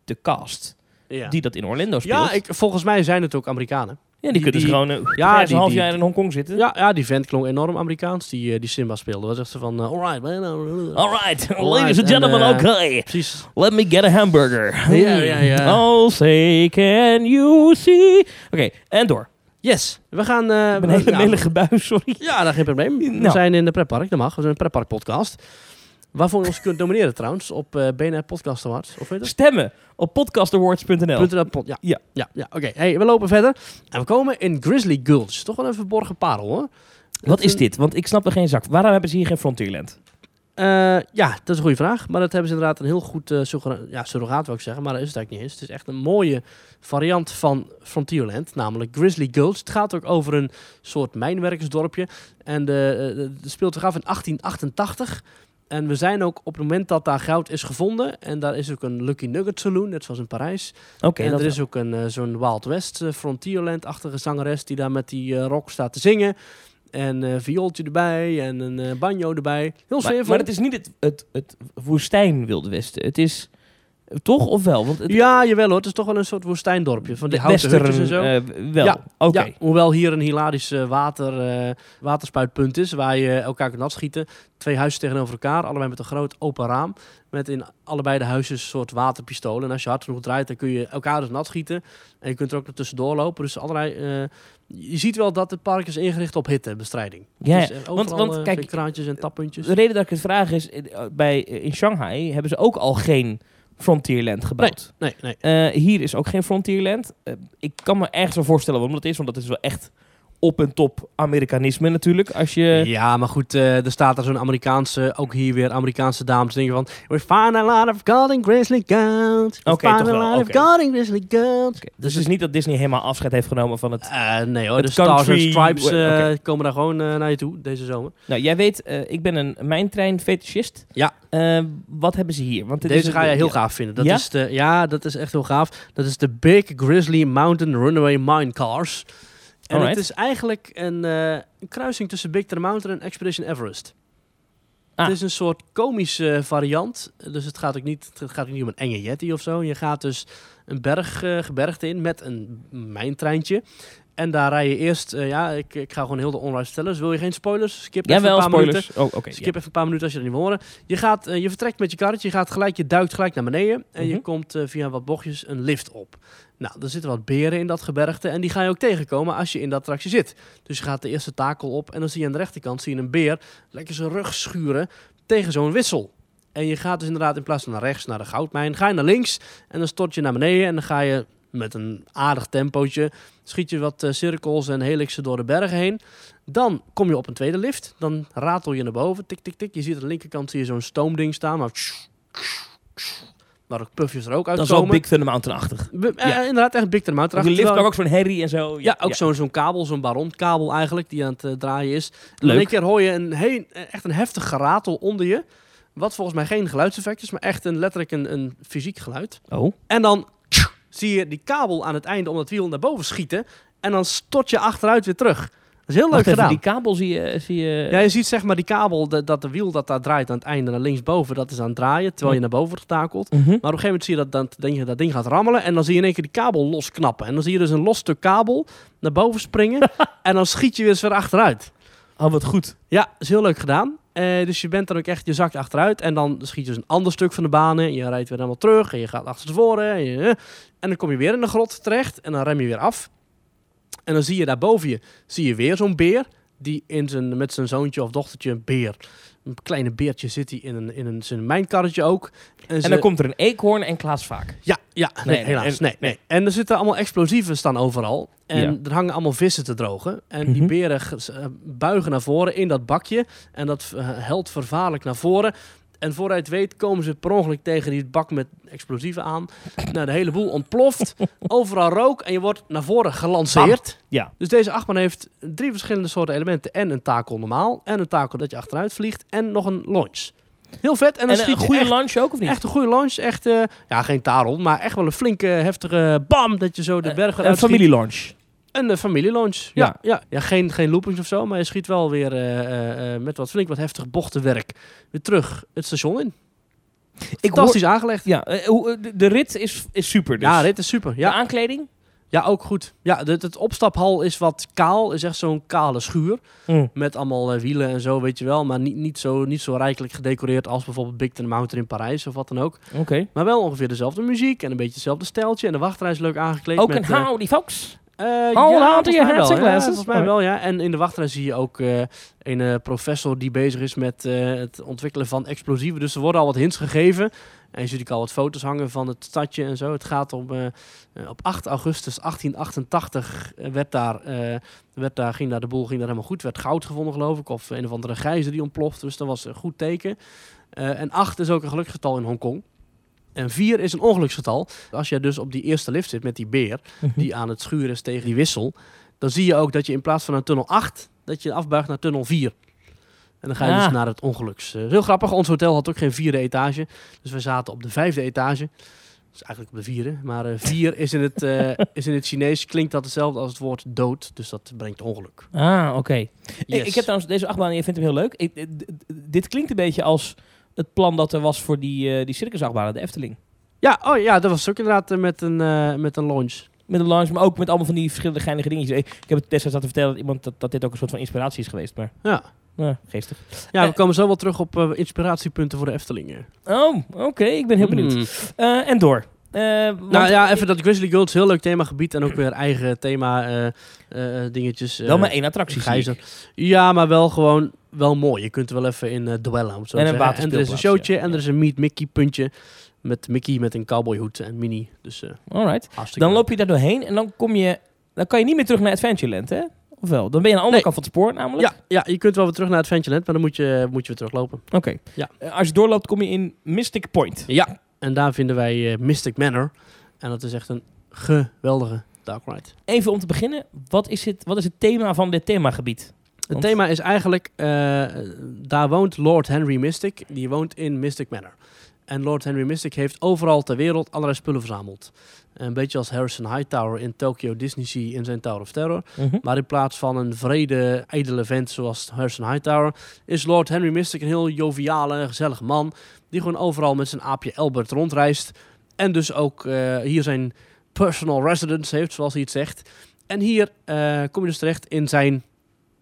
Speaker 5: de cast
Speaker 4: Ja.
Speaker 5: die dat in Orlando speelt.
Speaker 4: Ja, ik, volgens mij zijn het ook Amerikanen.
Speaker 5: ja,
Speaker 4: die-
Speaker 5: die kunnen dus
Speaker 4: die-
Speaker 5: gewoon eh,
Speaker 4: ja,
Speaker 5: een
Speaker 4: die-
Speaker 5: half
Speaker 4: die-
Speaker 5: jaar in Hongkong zitten.
Speaker 4: Ja, ja, die vent klonk enorm Amerikaans, die, eh, die Simba speelde. Wat zegt ze van, eh, alright, man. eh,
Speaker 5: All right, ladies and
Speaker 4: en,
Speaker 5: gentlemen,
Speaker 4: eh,
Speaker 5: okay.
Speaker 4: Precies.
Speaker 5: Let me get a hamburger.
Speaker 4: Ja, ja, ja.
Speaker 5: Oh, say, can you see? Oké, en door.
Speaker 4: Yes, we gaan... eh,
Speaker 5: Ik heb
Speaker 4: we-
Speaker 5: een hele
Speaker 4: ja,
Speaker 5: melige buis, sorry.
Speaker 4: Ja, daar geen probleem. We
Speaker 5: Nou.
Speaker 4: zijn in de pretpark, dat mag. We zijn een pretpark podcast. Waarvoor je ons kunt nomineren trouwens, op eh BNR Podcast Awards. Of weet je
Speaker 5: Stemmen op podcastawards.nl.
Speaker 4: dat? .nl pod- ja,
Speaker 5: Ja.
Speaker 4: ja, ja. Oké, hey, we lopen verder. En we komen in Grizzly Gulch. Toch wel een verborgen parel, hoor.
Speaker 5: Wat is dit? Want ik snap er geen zak. van. Waarom hebben ze hier geen Frontierland?
Speaker 4: Eh, ja, dat is een goede vraag. Maar dat hebben ze inderdaad een heel goed eh, surroga- ja, surrogaat, wil ik zeggen. Maar dat is het eigenlijk niet eens. Het is echt een mooie variant van Frontierland, namelijk Grizzly Gulch. Het gaat ook over een soort mijnwerkersdorpje. En de, eh, de- het speelt zich af in 1888. En we zijn ook op het moment dat daar goud is gevonden. En daar is ook een Lucky Nugget Saloon, net zoals in Parijs.
Speaker 5: Oké,
Speaker 4: en
Speaker 5: dat
Speaker 4: er is ook een eh, zo'n Wild West eh, Frontierland-achtige zangeres die daar met die eh, rock staat te zingen. En eh viooltje erbij en een eh, banjo erbij. Heel
Speaker 5: maar,
Speaker 4: sfeervol.
Speaker 5: maar het is niet het, het, het woestijn Wilde Westen. Het is toch of wel? Want het
Speaker 4: Ja, jawel hoor. Het is toch wel een soort woestijndorpje. Van die houten
Speaker 5: western,
Speaker 4: hutjes en zo.
Speaker 5: eh, wel.
Speaker 4: Ja,
Speaker 5: Oké.
Speaker 4: Ja, hoewel hier een hilarisch eh, water, eh, waterspuitpunt is, waar je eh, elkaar kunt afschieten. Twee huizen tegenover elkaar, allebei met een groot open raam. Met in allebei de huizen een soort waterpistolen. En als je hard genoeg draait, dan kun je elkaar dus nat schieten. En je kunt er ook nog tussendoor lopen. Dus allerlei... eh, je ziet wel dat het park is ingericht op hittebestrijding.
Speaker 5: Ja,
Speaker 4: dus, eh, dus- overal,
Speaker 5: want- want
Speaker 4: eh,
Speaker 5: kijk,
Speaker 4: zijn kraantjes en tappuntjes.
Speaker 5: De reden dat ik het vraag is, eh, bij, in Shanghai hebben ze ook al geen Frontierland gebouwd.
Speaker 4: Nee, nee.
Speaker 5: Eh, hier is ook geen Frontierland. Eh, ik kan me ergens wel voorstellen waarom dat is, want dat is wel echt op en top Amerikanisme natuurlijk. Als je.
Speaker 4: Ja, maar goed, eh, er staat er zo'n Amerikaanse, ook hier weer Amerikaanse dames dingen van... We find a lot of gold in Grizzly Gulch. We
Speaker 5: Oké,
Speaker 4: find
Speaker 5: toch
Speaker 4: a
Speaker 5: wel,
Speaker 4: lot
Speaker 5: oké.
Speaker 4: of gold in Grizzly Gulch.
Speaker 5: Oké, Dus het is niet dat Disney helemaal afscheid heeft genomen van het.
Speaker 4: Eh, nee hoor,
Speaker 5: Het
Speaker 4: de Stars and
Speaker 5: country-
Speaker 4: Stripes eh,
Speaker 5: Oké.
Speaker 4: komen daar gewoon eh, naar je toe deze zomer.
Speaker 5: Nou, jij weet, eh, ik ben een mijntrein-fetischist.
Speaker 4: Ja.
Speaker 5: Eh, wat hebben ze hier? Want dit is
Speaker 4: Deze
Speaker 5: een-
Speaker 4: ga je heel gaaf vinden. Dat
Speaker 5: Ja?
Speaker 4: Is de, ja, dat is echt heel gaaf. Dat is de Big Grizzly Mountain Runaway Mine Cars. En
Speaker 5: Alright.
Speaker 4: het is eigenlijk een, eh, een kruising tussen Big Ten Mountain en Expedition Everest.
Speaker 5: Ah.
Speaker 4: Het is een soort komische eh, variant. Dus het gaat ook niet, het gaat ook niet om een enge yeti of zo. Je gaat dus een berg, eh, gebergte in met een mijntreintje. En daar rij je eerst... eh, ja, ik, ik ga gewoon heel de onride stellen. Dus wil je geen spoilers? Skip even een
Speaker 5: Jawel,
Speaker 4: paar minuten.
Speaker 5: spoilers. Oh, oké.
Speaker 4: Skip even een paar minuten als je dat niet wil horen. Je, gaat, eh, je vertrekt met je karretje, je, gaat gelijk, je duikt gelijk naar beneden. En je
Speaker 5: Mhm.
Speaker 4: komt eh, via wat bochtjes een lift op. Nou, er zitten wat beren in dat gebergte. En die ga je ook tegenkomen als je in dat attractie zit. Dus je gaat de eerste takel op. En dan zie je aan de rechterkant zie je een beer lekker zijn rug schuren tegen zo'n wissel. En je gaat dus inderdaad in plaats van naar rechts naar de goudmijn, ga je naar links. En dan stort je naar beneden en dan ga je met een aardig tempootje... schiet je wat eh, cirkels en helixen door de bergen heen. Dan kom je op een tweede lift. Dan ratel je naar boven. Tik, tik, tik. Je ziet aan de linkerkant zie je zo'n stoomding staan. Waar, waar ook puffjes er ook
Speaker 5: Dat
Speaker 4: uitkomen.
Speaker 5: is wel Big Thunder Mountain-achtig.
Speaker 4: We- eh,
Speaker 5: Ja.
Speaker 4: Inderdaad, echt Big Ten Mountain.
Speaker 5: Die lift
Speaker 4: Terwijl-
Speaker 5: maar ook zo'n herrie en zo.
Speaker 4: ja, ook zo'n zo'n kabel, zo'n baronkabel eigenlijk, die aan het eh, draaien is. En
Speaker 5: Leuk.
Speaker 4: in één keer hoor je een heen, eh, echt een heftig geratel onder je. Wat volgens mij geen geluidseffect is, maar echt een, letterlijk een, een fysiek geluid.
Speaker 5: Oh.
Speaker 4: En dan zie je die kabel aan het einde om het wiel naar boven schieten. En dan stort je achteruit weer terug. Dat is heel leuk
Speaker 5: Wacht even,
Speaker 4: gedaan.
Speaker 5: die kabel zie je... Zie je...
Speaker 4: Ja, je ziet zeg maar die kabel, dat, dat de wiel dat daar draait aan het einde naar linksboven, dat is aan het draaien, terwijl je naar boven wordt getakeld.
Speaker 5: Mhm.
Speaker 4: Maar op een gegeven moment zie je dat, dat, denk je, dat ding gaat rammelen. En dan zie je in één keer die kabel losknappen. En dan zie je dus een los stuk kabel naar boven springen. en dan schiet je weer eens weer achteruit.
Speaker 5: Oh, wat goed.
Speaker 4: Ja, is heel leuk gedaan. Eh, dus je bent dan ook echt, je zakt achteruit. En dan schiet je dus een ander stuk van de baan in. Je rijdt weer helemaal terug. En je gaat achter tevoren. En, je- eh. en dan kom je weer in de grot terecht. En dan rem je weer af. En dan zie je daarboven je, zie je weer zo'n beer. Die in zijn, met zijn zoontje of dochtertje, een beer. Een kleine beertje zit hij in, een, in een, zijn mijnkarretje ook.
Speaker 5: En dan komt er een eekhoorn en Klaas Vaak.
Speaker 4: Ja, ja nee,
Speaker 5: nee,
Speaker 4: helaas.
Speaker 5: en-
Speaker 4: Nee, nee. En er zitten allemaal explosieven staan overal. En
Speaker 5: Ja.
Speaker 4: er hangen allemaal vissen te drogen. En die
Speaker 5: Mhm.
Speaker 4: beren g- eh, buigen naar voren in dat bakje. En dat eh, helt vervaarlijk naar voren. En vooruit weet komen ze per ongeluk tegen die bak met explosieven aan. Nou, de hele boel ontploft. Overal rook en je wordt naar voren gelanceerd.
Speaker 5: Ja.
Speaker 4: Dus deze achtbaan heeft drie verschillende soorten elementen. En een takel normaal. En een takel dat je achteruit vliegt. En nog een launch. Heel vet. En,
Speaker 5: En,
Speaker 4: dan
Speaker 5: een
Speaker 4: schiet je
Speaker 5: goede
Speaker 4: echt-
Speaker 5: lunch ook, of niet?
Speaker 4: Echt een goede launch. Echt, eh, ja, geen tarel, maar echt wel Eh, een flinke, heftige bam dat je zo de berg
Speaker 5: een
Speaker 4: eruit schiet.
Speaker 5: familielunch.
Speaker 4: Een eh, familielunch. Ja,
Speaker 5: Ja.
Speaker 4: ja. ja. geen, geen loopings of zo, maar je schiet wel weer eh, eh, eh, met wat flink wat heftig bochtenwerk weer terug het station in. Fantastisch aangelegd.
Speaker 5: Ja, eh, hoe- eh, de- de rit is, is super. Dus.
Speaker 4: Ja, dit is super.
Speaker 5: De
Speaker 4: Ja,
Speaker 5: aankleding?
Speaker 4: ja ook goed. Ja, het, het opstaphal is wat kaal. Is echt zo'n kale schuur.
Speaker 5: Mm,
Speaker 4: Met allemaal eh, wielen en zo, weet je wel. Maar niet, niet, zo, niet zo rijkelijk gedecoreerd als bijvoorbeeld Big Ten Mountain in Parijs of wat dan ook.
Speaker 5: Oké.
Speaker 4: Maar wel ongeveer dezelfde muziek en een beetje hetzelfde stijltje. En de wachtrij is leuk aangekleed.
Speaker 5: Ook
Speaker 4: met,
Speaker 5: een
Speaker 4: eh,
Speaker 5: howdy folks.
Speaker 4: Eh,
Speaker 5: Hold on to
Speaker 4: volgens
Speaker 5: your
Speaker 4: mij
Speaker 5: hats
Speaker 4: wel,
Speaker 5: and
Speaker 4: ja,
Speaker 5: glasses.
Speaker 4: volgens mij wel, ja. En in de wachtrij zie je ook eh, een eh, professor die bezig is met eh, het ontwikkelen van explosieven. Dus er worden al wat hints gegeven. En je ziet ook al wat foto's hangen van het stadje en zo. Het gaat om, eh, eh, op 8 augustus 1888 werd daar, eh, werd daar, ging daar de boel ging daar helemaal goed. Werd goud gevonden geloof ik, of een of andere gijzer die ontplofte. Dus dat was een goed teken. Eh, en 8 is ook een geluksgetal in Hongkong. En 4 is een ongeluksgetal. Als jij dus op die eerste lift zit met die beer, die aan het schuren is tegen die wissel, dan zie je ook dat je in plaats van naar tunnel 8, dat je afbuigt naar tunnel 4. En dan ga je
Speaker 5: Ah.
Speaker 4: dus naar het ongeluks. Eh, heel grappig, ons hotel had ook geen vierde etage. Dus we zaten op de vijfde etage. Dat is eigenlijk op de vierde. Maar eh, vier is in, het, eh, is in het Chinees klinkt dat hetzelfde als het woord dood. Dus dat brengt ongeluk.
Speaker 5: Ah, oké. Ik,
Speaker 4: Yes.
Speaker 5: ik heb trouwens deze achtbaan, je vindt hem heel leuk. Ik, eh, d- d- dit klinkt een beetje als het plan dat er was voor die, eh die circusachtbaan, de Efteling.
Speaker 4: Ja, oh ja, dat was ook inderdaad eh, met een, eh met een launch.
Speaker 5: Met een lounge, maar ook met allemaal van die verschillende geinige dingetjes. Ik, ik heb het destijds laten vertellen dat, iemand, dat, dat dit ook een soort van inspiratie is geweest. Maar
Speaker 4: Ja.
Speaker 5: ja, geestig.
Speaker 4: Ja,
Speaker 5: Eh,
Speaker 4: we komen zo wel terug op eh, inspiratiepunten voor de Eftelingen.
Speaker 5: Oh, oké. ik ben heel benieuwd. Eh, en door. Eh, want-
Speaker 4: Hmm. Nou ja, even dat Grizzly Girls, heel leuk themagebied en ook weer eigen thema eh, eh, dingetjes. eh,
Speaker 5: Wel maar één attractie. zie
Speaker 4: gijzer.
Speaker 5: ik.
Speaker 4: Ja, maar wel gewoon wel mooi. Je kunt er wel even in eh dwellen. om het zo
Speaker 5: En
Speaker 4: te
Speaker 5: een
Speaker 4: zeggen. en er is een
Speaker 5: waterspeelplaats,
Speaker 4: showtje
Speaker 5: ja.
Speaker 4: en er is een Meet Mickey puntje. Met Mickey met een cowboyhoed en Minnie. Dus eh
Speaker 5: Alright.
Speaker 4: hartstikke
Speaker 5: Dan
Speaker 4: leuk.
Speaker 5: loop je daar doorheen en dan kom je... Dan kan je niet meer terug naar Adventureland, hè? Of wel? Dan ben je aan de andere
Speaker 4: Nee.
Speaker 5: kant van het spoor namelijk.
Speaker 4: Ja, ja, je kunt wel weer terug naar Adventureland, maar dan moet je, moet je weer teruglopen.
Speaker 5: Oké.
Speaker 4: Ja.
Speaker 5: Eh, als je doorloopt, kom je in Mystic Point.
Speaker 4: Ja. En daar vinden wij eh, Mystic Manor. En dat is echt een geweldige dark ride.
Speaker 5: Even om te beginnen, wat is het, wat is het thema van dit themagebied?
Speaker 4: Het
Speaker 5: Want-
Speaker 4: thema is eigenlijk, eh, daar woont Lord Henry Mystic. Die woont in Mystic Manor. En Lord Henry Mystic heeft overal ter wereld allerlei spullen verzameld. Een beetje als Harrison Hightower in Tokyo Disney Sea in zijn Tower of Terror.
Speaker 5: Mhm.
Speaker 4: Maar in plaats van een vrede, ijdele vent zoals Harrison Hightower... is Lord Henry Mystic een heel joviale, gezellig man... die gewoon overal met zijn aapje Albert rondreist. En dus ook eh, hier zijn personal residence heeft, zoals hij het zegt. En hier eh, kom je dus terecht in zijn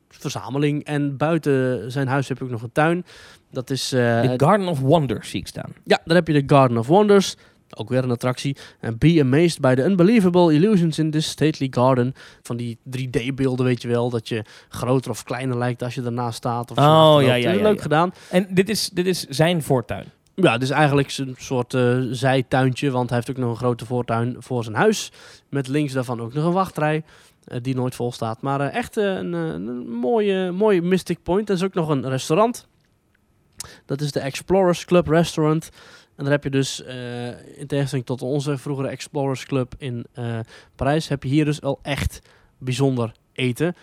Speaker 4: verzameling. En buiten zijn huis heb ik nog een tuin. Dat is... eh,
Speaker 5: The Garden of Wonder zie ik staan.
Speaker 4: ja, daar heb je de Garden of Wonders. Ook weer een attractie. En be amazed by the unbelievable illusions in this stately garden. Van die 3D-beelden, weet je wel. Dat je groter of kleiner lijkt als je ernaast staat. Of zo
Speaker 5: Oh,
Speaker 4: achterloopt.
Speaker 5: ja,
Speaker 4: Dat is
Speaker 5: ja, ja,
Speaker 4: Leuk
Speaker 5: ja.
Speaker 4: gedaan.
Speaker 5: En dit is, dit is zijn voortuin.
Speaker 4: Ja, het is eigenlijk een soort eh, zijtuintje. Want hij heeft ook nog een grote voortuin voor zijn huis. Met links daarvan ook nog een wachtrij. eh, die nooit vol staat. Maar eh, echt eh, een, eh, een mooie, mooie Mystic Point. Er is ook nog een restaurant. Dat is de Explorers Club Restaurant. En daar heb je dus, eh, in tegenstelling tot onze vroegere Explorers Club in eh, Parijs, heb je hier dus al echt bijzonder eten.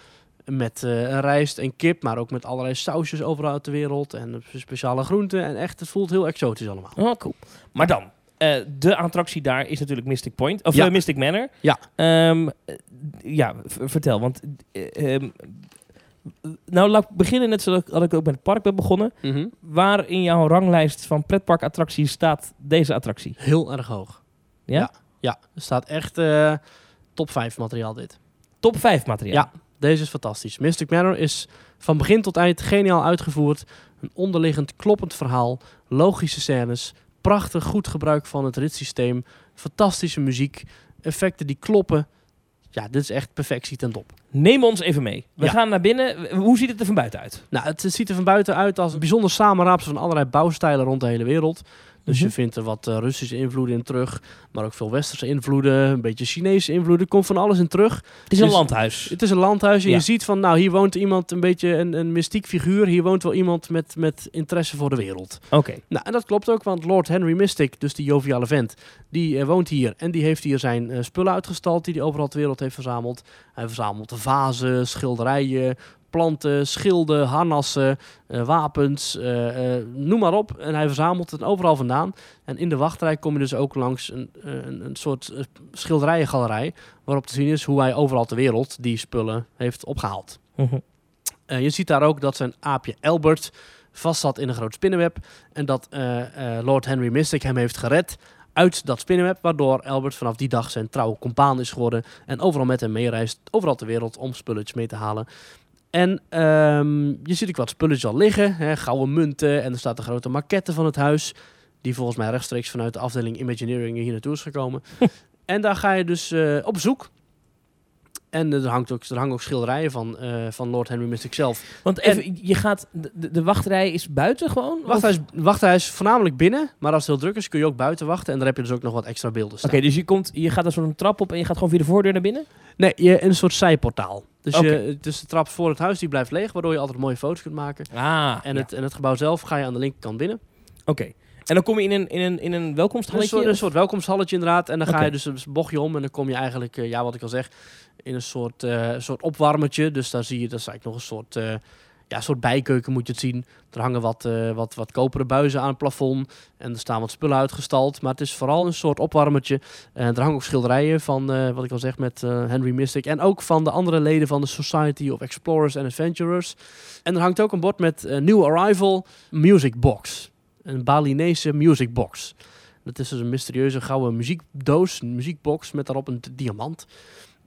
Speaker 4: Met eh, rijst en kip, maar ook met allerlei sausjes overal uit de wereld. En speciale groenten. En echt, het voelt heel exotisch allemaal.
Speaker 5: Oh, cool. Maar dan, eh, de attractie daar is natuurlijk Mystic Point. Of
Speaker 4: Ja.
Speaker 5: eh, Mystic Manor.
Speaker 4: Ja.
Speaker 5: Ehm, eh, ja, v- vertel. Want, eh, ehm, nou, laat ik beginnen net zoals dat ik ook met het park ben begonnen. Waar in jouw ranglijst van pretparkattracties staat deze attractie?
Speaker 4: Heel erg hoog.
Speaker 5: Ja?
Speaker 4: Ja. Ja, er staat echt eh, top 5 materiaal dit.
Speaker 5: Top 5 materiaal.
Speaker 4: Ja. Deze is fantastisch. Mystic Manor is van begin tot eind geniaal uitgevoerd. Een onderliggend kloppend verhaal, logische scènes, prachtig goed gebruik van het ritssysteem, fantastische muziek, effecten die kloppen. Ja, dit is echt perfectie ten top.
Speaker 5: Neem ons even mee. We
Speaker 4: Ja.
Speaker 5: gaan naar binnen. W- Hoe ziet het er van buiten uit?
Speaker 4: Nou, het ziet er van buiten uit als een bijzonder samenraapsel van allerlei bouwstijlen rond de hele wereld. Dus je
Speaker 5: Mhm.
Speaker 4: vindt er wat eh, Russische invloeden in terug, maar ook veel Westerse invloeden, een beetje Chinese invloeden. Komt van alles in terug.
Speaker 5: Het is een
Speaker 4: Dus-
Speaker 5: landhuis.
Speaker 4: Het is een landhuis en
Speaker 5: Ja.
Speaker 4: je ziet van, nou, hier woont iemand een beetje een, een mystiek figuur. Hier woont wel iemand met, met interesse voor de wereld.
Speaker 5: Oké.
Speaker 4: Nou, en dat klopt ook, want Lord Henry Mystic, dus die joviale vent, die eh, woont hier. En die heeft hier zijn eh, spullen uitgestald die hij overal ter wereld heeft verzameld. Hij verzamelt vazen, schilderijen, planten, schilden, harnassen, eh, wapens, eh, eh, noem maar op. En hij verzamelt het overal vandaan. En in de wachtrij kom je dus ook langs een, eh, een, een soort eh, schilderijengalerij, waarop te zien is hoe hij overal ter wereld die spullen heeft opgehaald.
Speaker 5: Mhm.
Speaker 4: Eh, je ziet daar ook dat zijn aapje Albert vast zat in een groot spinnenweb. En dat eh, eh, Lord Henry Mystic hem heeft gered uit dat spinnenweb. Waardoor Albert vanaf die dag zijn trouwe compaan is geworden. En overal met hem meereist, overal ter wereld, om spulletjes mee te halen. En ehm, je ziet ook wat spulletjes al liggen. Hè, gouden munten en er staat een grote maquette van het huis. Die volgens mij rechtstreeks vanuit de afdeling Imagineering hier naartoe is gekomen. en daar ga je dus eh, op zoek. En eh, er, hangt ook, er hangen ook schilderijen van, eh, van Lord Henry Mystic zelf.
Speaker 5: Want even, je gaat, de, de- de wachtrij is buiten gewoon? Of-
Speaker 4: Wachthuis, wachthuis voornamelijk binnen, maar als het heel druk is kun je ook buiten wachten. En daar heb je dus ook nog wat extra beelden
Speaker 5: Oké,
Speaker 4: staan.
Speaker 5: dus je, komt, je gaat een soort trap op en je gaat gewoon via de voordeur naar binnen?
Speaker 4: Nee, je, een soort zijportaal. Dus,
Speaker 5: Oké.
Speaker 4: je, dus de trap voor het huis die blijft leeg, waardoor je altijd mooie foto's kunt maken.
Speaker 5: Ah,
Speaker 4: En,
Speaker 5: ja.
Speaker 4: het, en het gebouw zelf ga je aan de linkerkant binnen. Dus
Speaker 5: oké. En dan kom je in een, in een, in een
Speaker 4: Een
Speaker 5: welkomsthalletje?
Speaker 4: soort, een soort welkomsthalletje inderdaad. En dan ga
Speaker 5: Oké.
Speaker 4: je dus een bochtje om en dan kom je eigenlijk, eh, ja wat ik al zeg, in een soort, eh, soort opwarmertje. Dus daar zie je, dat is eigenlijk nog een soort, eh, ja, een soort bijkeuken moet je het zien. Er hangen wat, eh, wat, wat koperen buizen aan het plafond en er staan wat spullen uitgestald. Maar het is vooral een soort opwarmertje. En Eh, er hangen ook schilderijen van, eh, wat ik al zeg, met eh, Henry Mystic. En ook van de andere leden van de Society of Explorers and Adventurers. En er hangt ook een bord met eh, New Arrival Music Box. Een Balinese music box. Dat is dus een mysterieuze gouden muziekdoos, een muziekbox met daarop een d- diamant.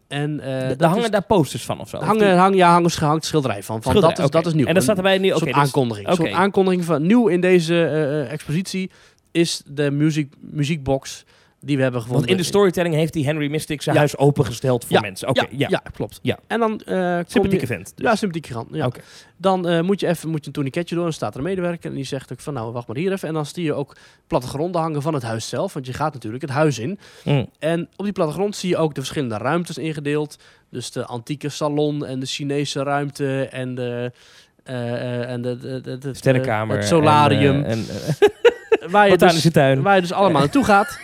Speaker 4: En eh,
Speaker 5: D-
Speaker 4: dat
Speaker 5: daar hangen
Speaker 4: is-
Speaker 5: daar posters van of zo? Of die-
Speaker 4: hangen, hang, ja, hangen, hangt schilderij van. van
Speaker 5: Schilderij,
Speaker 4: dat, is,
Speaker 5: oké.
Speaker 4: dat is nieuw.
Speaker 5: En dan staat erbij nu...
Speaker 4: een
Speaker 5: Oké,
Speaker 4: soort
Speaker 5: dus-
Speaker 4: aankondiging. Een
Speaker 5: oké.
Speaker 4: soort aankondiging van nieuw in deze eh, eh, expositie is de music, muziekbox die we hebben gevonden.
Speaker 5: want in de storytelling heeft die Henry Mystic zijn
Speaker 4: Ja.
Speaker 5: huis opengesteld voor
Speaker 4: Ja.
Speaker 5: mensen. Oké,
Speaker 4: ja,
Speaker 5: ja.
Speaker 4: ja, klopt.
Speaker 5: Ja.
Speaker 4: En dan eh kom je,
Speaker 5: Sympathieke vent. dus.
Speaker 4: Ja, sympathieke gigant. Ja.
Speaker 5: Oké.
Speaker 4: Dan eh, moet je even moet je een tourniquetje door. Dan staat er een medewerker en die zegt ook van nou, wacht maar hier even. En dan zie je ook plattegronden hangen van het huis zelf. Want je gaat natuurlijk het huis in.
Speaker 5: Mm.
Speaker 4: En op die Eh, plattegrond zie je ook de verschillende ruimtes ingedeeld. Dus de antieke salon en de Chinese ruimte en de... eh, eh, en de, de, de, de-
Speaker 5: Sterrenkamer.
Speaker 4: Het solarium.
Speaker 5: En, eh, en, eh,
Speaker 4: waar, je dus,
Speaker 5: botanische tuin.
Speaker 4: waar je dus allemaal naartoe gaat.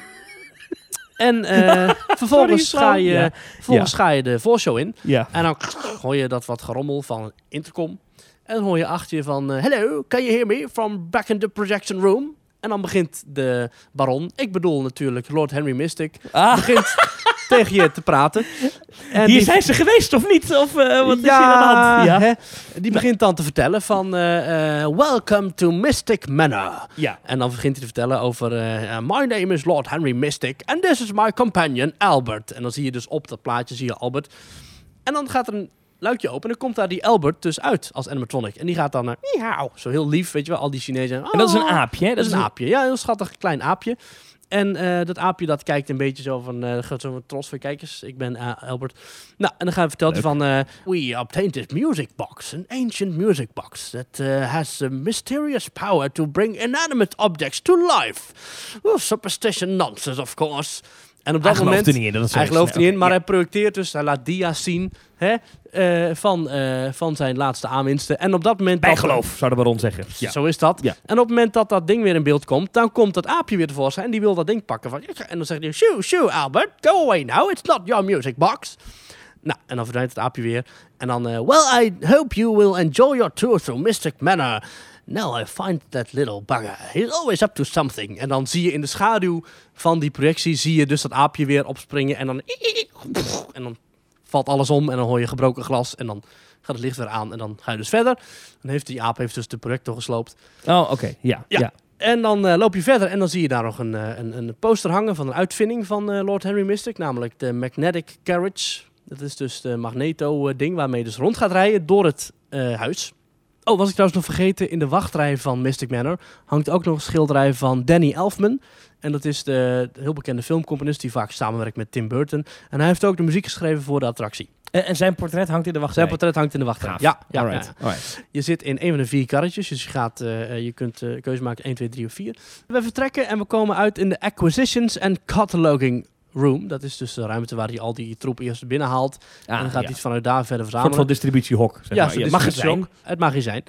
Speaker 4: En eh, vervolgens,
Speaker 5: Sorry,
Speaker 4: ga je,
Speaker 5: ja.
Speaker 4: vervolgens ga je de voorshow in.
Speaker 5: Ja.
Speaker 4: En dan hoor je dat wat gerommel van een intercom. En dan hoor je achter je van... eh, Hello, can you hear me from back in the projection room? En dan begint de baron, ik bedoel natuurlijk Lord Henry Mystic...
Speaker 5: Ah,
Speaker 4: begint tegen je te praten. En
Speaker 5: hier
Speaker 4: die-
Speaker 5: zijn ze geweest of niet? Of eh, wat is hier
Speaker 4: dus- Ja,
Speaker 5: aan de hand?
Speaker 4: hè? Die begint dan te vertellen van... eh, eh, Welcome to Mystic Manor.
Speaker 5: ja.
Speaker 4: En dan begint hij te vertellen over... eh, eh, My name is Lord Henry Mystic and this is my companion Albert. En dan zie je dus op dat plaatje zie je Albert. En dan gaat er een luikje open en dan komt daar die Albert dus uit als animatronic. En die gaat dan naar... Miauw. Zo heel lief, weet je wel. Al die Chinezen. Oh,
Speaker 5: En dat is een aapje, hè?
Speaker 4: Dat is een aapje. Ja, een heel schattig klein aapje. En eh, dat aapje dat kijkt een beetje zo van, eh gaat zo van trots van kijkers. Ik ben eh, Albert. Nou, en dan gaan we vertellen van, eh, we obtained this music box, an ancient music box that eh, has a mysterious power to bring inanimate objects to life. Well, superstition nonsense, of course. En op dat
Speaker 5: Hij gelooft
Speaker 4: moment,
Speaker 5: er niet in, dat is zo
Speaker 4: hij
Speaker 5: is.
Speaker 4: gelooft er
Speaker 5: Nee,
Speaker 4: niet in, maar
Speaker 5: oké,
Speaker 4: hij projecteert dus, hij laat dia's zien hè, eh, van, eh, van zijn laatste aanwinsten. En op dat moment... dat-
Speaker 5: Bijgeloof, zou de baron zeggen. Ja.
Speaker 4: zo is dat.
Speaker 5: Ja.
Speaker 4: En op het moment dat dat ding weer in beeld komt, dan komt dat aapje weer tevoorschijn. En die wil dat ding pakken. Van, en dan zegt hij, shoo, shoo, Albert, go away now. It's not your music box. Nou, en dan verdwijnt het aapje weer. En dan, eh, well, I hope you will enjoy your tour through Mystic Manor. Now I find that little bugger. He's always up to something. En dan zie je in de schaduw van die projectie, zie je dus dat aapje weer opspringen. En dan, en dan valt alles om en dan hoor je gebroken glas. En dan gaat het licht weer aan en dan ga je dus verder. Dan heeft die aap heeft dus de projector gesloopt.
Speaker 5: Oh, oké. Ja.
Speaker 4: Ja.
Speaker 5: ja.
Speaker 4: En dan eh, loop je verder en dan zie je daar nog een, eh, een, een poster hangen van een uitvinding van eh, Lord Henry Mystic, namelijk de Magnetic Carriage. Dat is dus de magneto-ding waarmee je dus rond gaat rijden door het eh, huis. Oh, was ik trouwens nog vergeten, in de wachtrij van Mystic Manor hangt ook nog een schilderij van Danny Elfman. En dat is de, de heel bekende filmcomponist die vaak samenwerkt met Tim Burton. En hij heeft ook de muziek geschreven voor de attractie.
Speaker 5: En, en zijn portret hangt in de wachtrij.
Speaker 4: Zijn portret hangt in de wachtrij.
Speaker 5: Gaaf.
Speaker 4: Ja, ja,
Speaker 5: Alright.
Speaker 4: ja.
Speaker 5: Alright.
Speaker 4: Je zit in een van de vier karretjes, dus je, gaat, eh, eh, je kunt eh, keuze maken 1, 2, 3 of 4. We vertrekken en we komen uit in de Acquisitions and Cataloging Room. Dat is dus de ruimte waar hij al die troep eerst binnenhaalt. en dan gaat
Speaker 5: Ah, ja.
Speaker 4: hij het vanuit daar verder
Speaker 5: Een soort
Speaker 4: verzamelen.
Speaker 5: van distributiehok. Zeg
Speaker 4: ja,
Speaker 5: maar.
Speaker 4: het mag het zijn. Het mag hier zijn.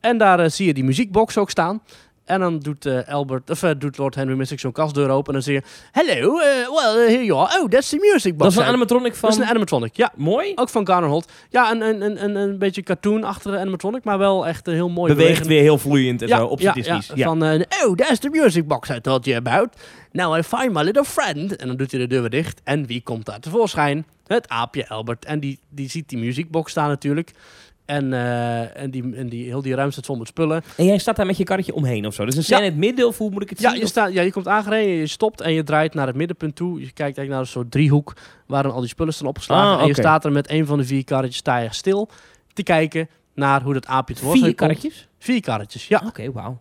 Speaker 4: En daar eh, zie je die muziekbox ook staan. En dan doet, eh, Albert, of, eh, doet Lord Henry Mystic zo'n kastdeur open en dan zie je... Hello, eh, well, here you are. Oh, that's the music box.
Speaker 5: Dat is een animatronic van...
Speaker 4: Dat is een animatronic, Oh, ja.
Speaker 5: Mooi.
Speaker 4: Ook van Garner Holt. Ja, een, een, een, een, een beetje cartoon-achtige animatronic, maar wel echt een heel mooi
Speaker 5: Beweegt weer heel vloeiend en
Speaker 4: ja,
Speaker 5: zo op
Speaker 4: ja,
Speaker 5: zijn Disney's.
Speaker 4: ja.
Speaker 5: Ja.
Speaker 4: Van, eh, oh, that's the music box I told you about. Now I find my little friend. En dan doet hij de deur weer dicht. En wie komt daar tevoorschijn? Het aapje Albert. En die, die ziet die muziekbox staan natuurlijk. En, eh, en, die, en die, heel die ruimte staat vol met spullen.
Speaker 5: En jij staat daar met je karretje omheen of zo. Dus een scène
Speaker 4: Ja.
Speaker 5: in het midden of hoe moet ik het
Speaker 4: Ja,
Speaker 5: zien?
Speaker 4: je, staat, ja, je komt aangereden, je stopt en je draait naar het middenpunt toe. Je kijkt eigenlijk naar een soort driehoek waarin al die spullen staan opgeslagen.
Speaker 5: Ah,
Speaker 4: En je
Speaker 5: oké.
Speaker 4: staat er met een van de vier karretjes sta je stil te kijken naar hoe dat aapje
Speaker 5: Of
Speaker 4: tevoorschijn
Speaker 5: vier
Speaker 4: komt.
Speaker 5: karretjes?
Speaker 4: Vier karretjes, ja.
Speaker 5: Oké, wauw.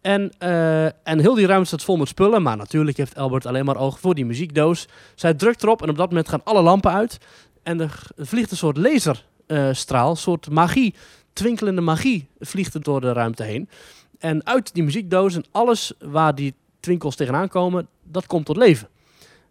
Speaker 4: En, eh, en heel die ruimte staat vol met spullen. Maar natuurlijk heeft Albert alleen maar oog voor die muziekdoos. Zij drukt erop en op dat moment gaan alle lampen uit. En er g- vliegt een soort laserstraal, eh, een soort magie, twinkelende magie, vliegt er door de ruimte heen. En uit die muziekdoos en alles waar die twinkels tegenaan komen, dat komt tot leven.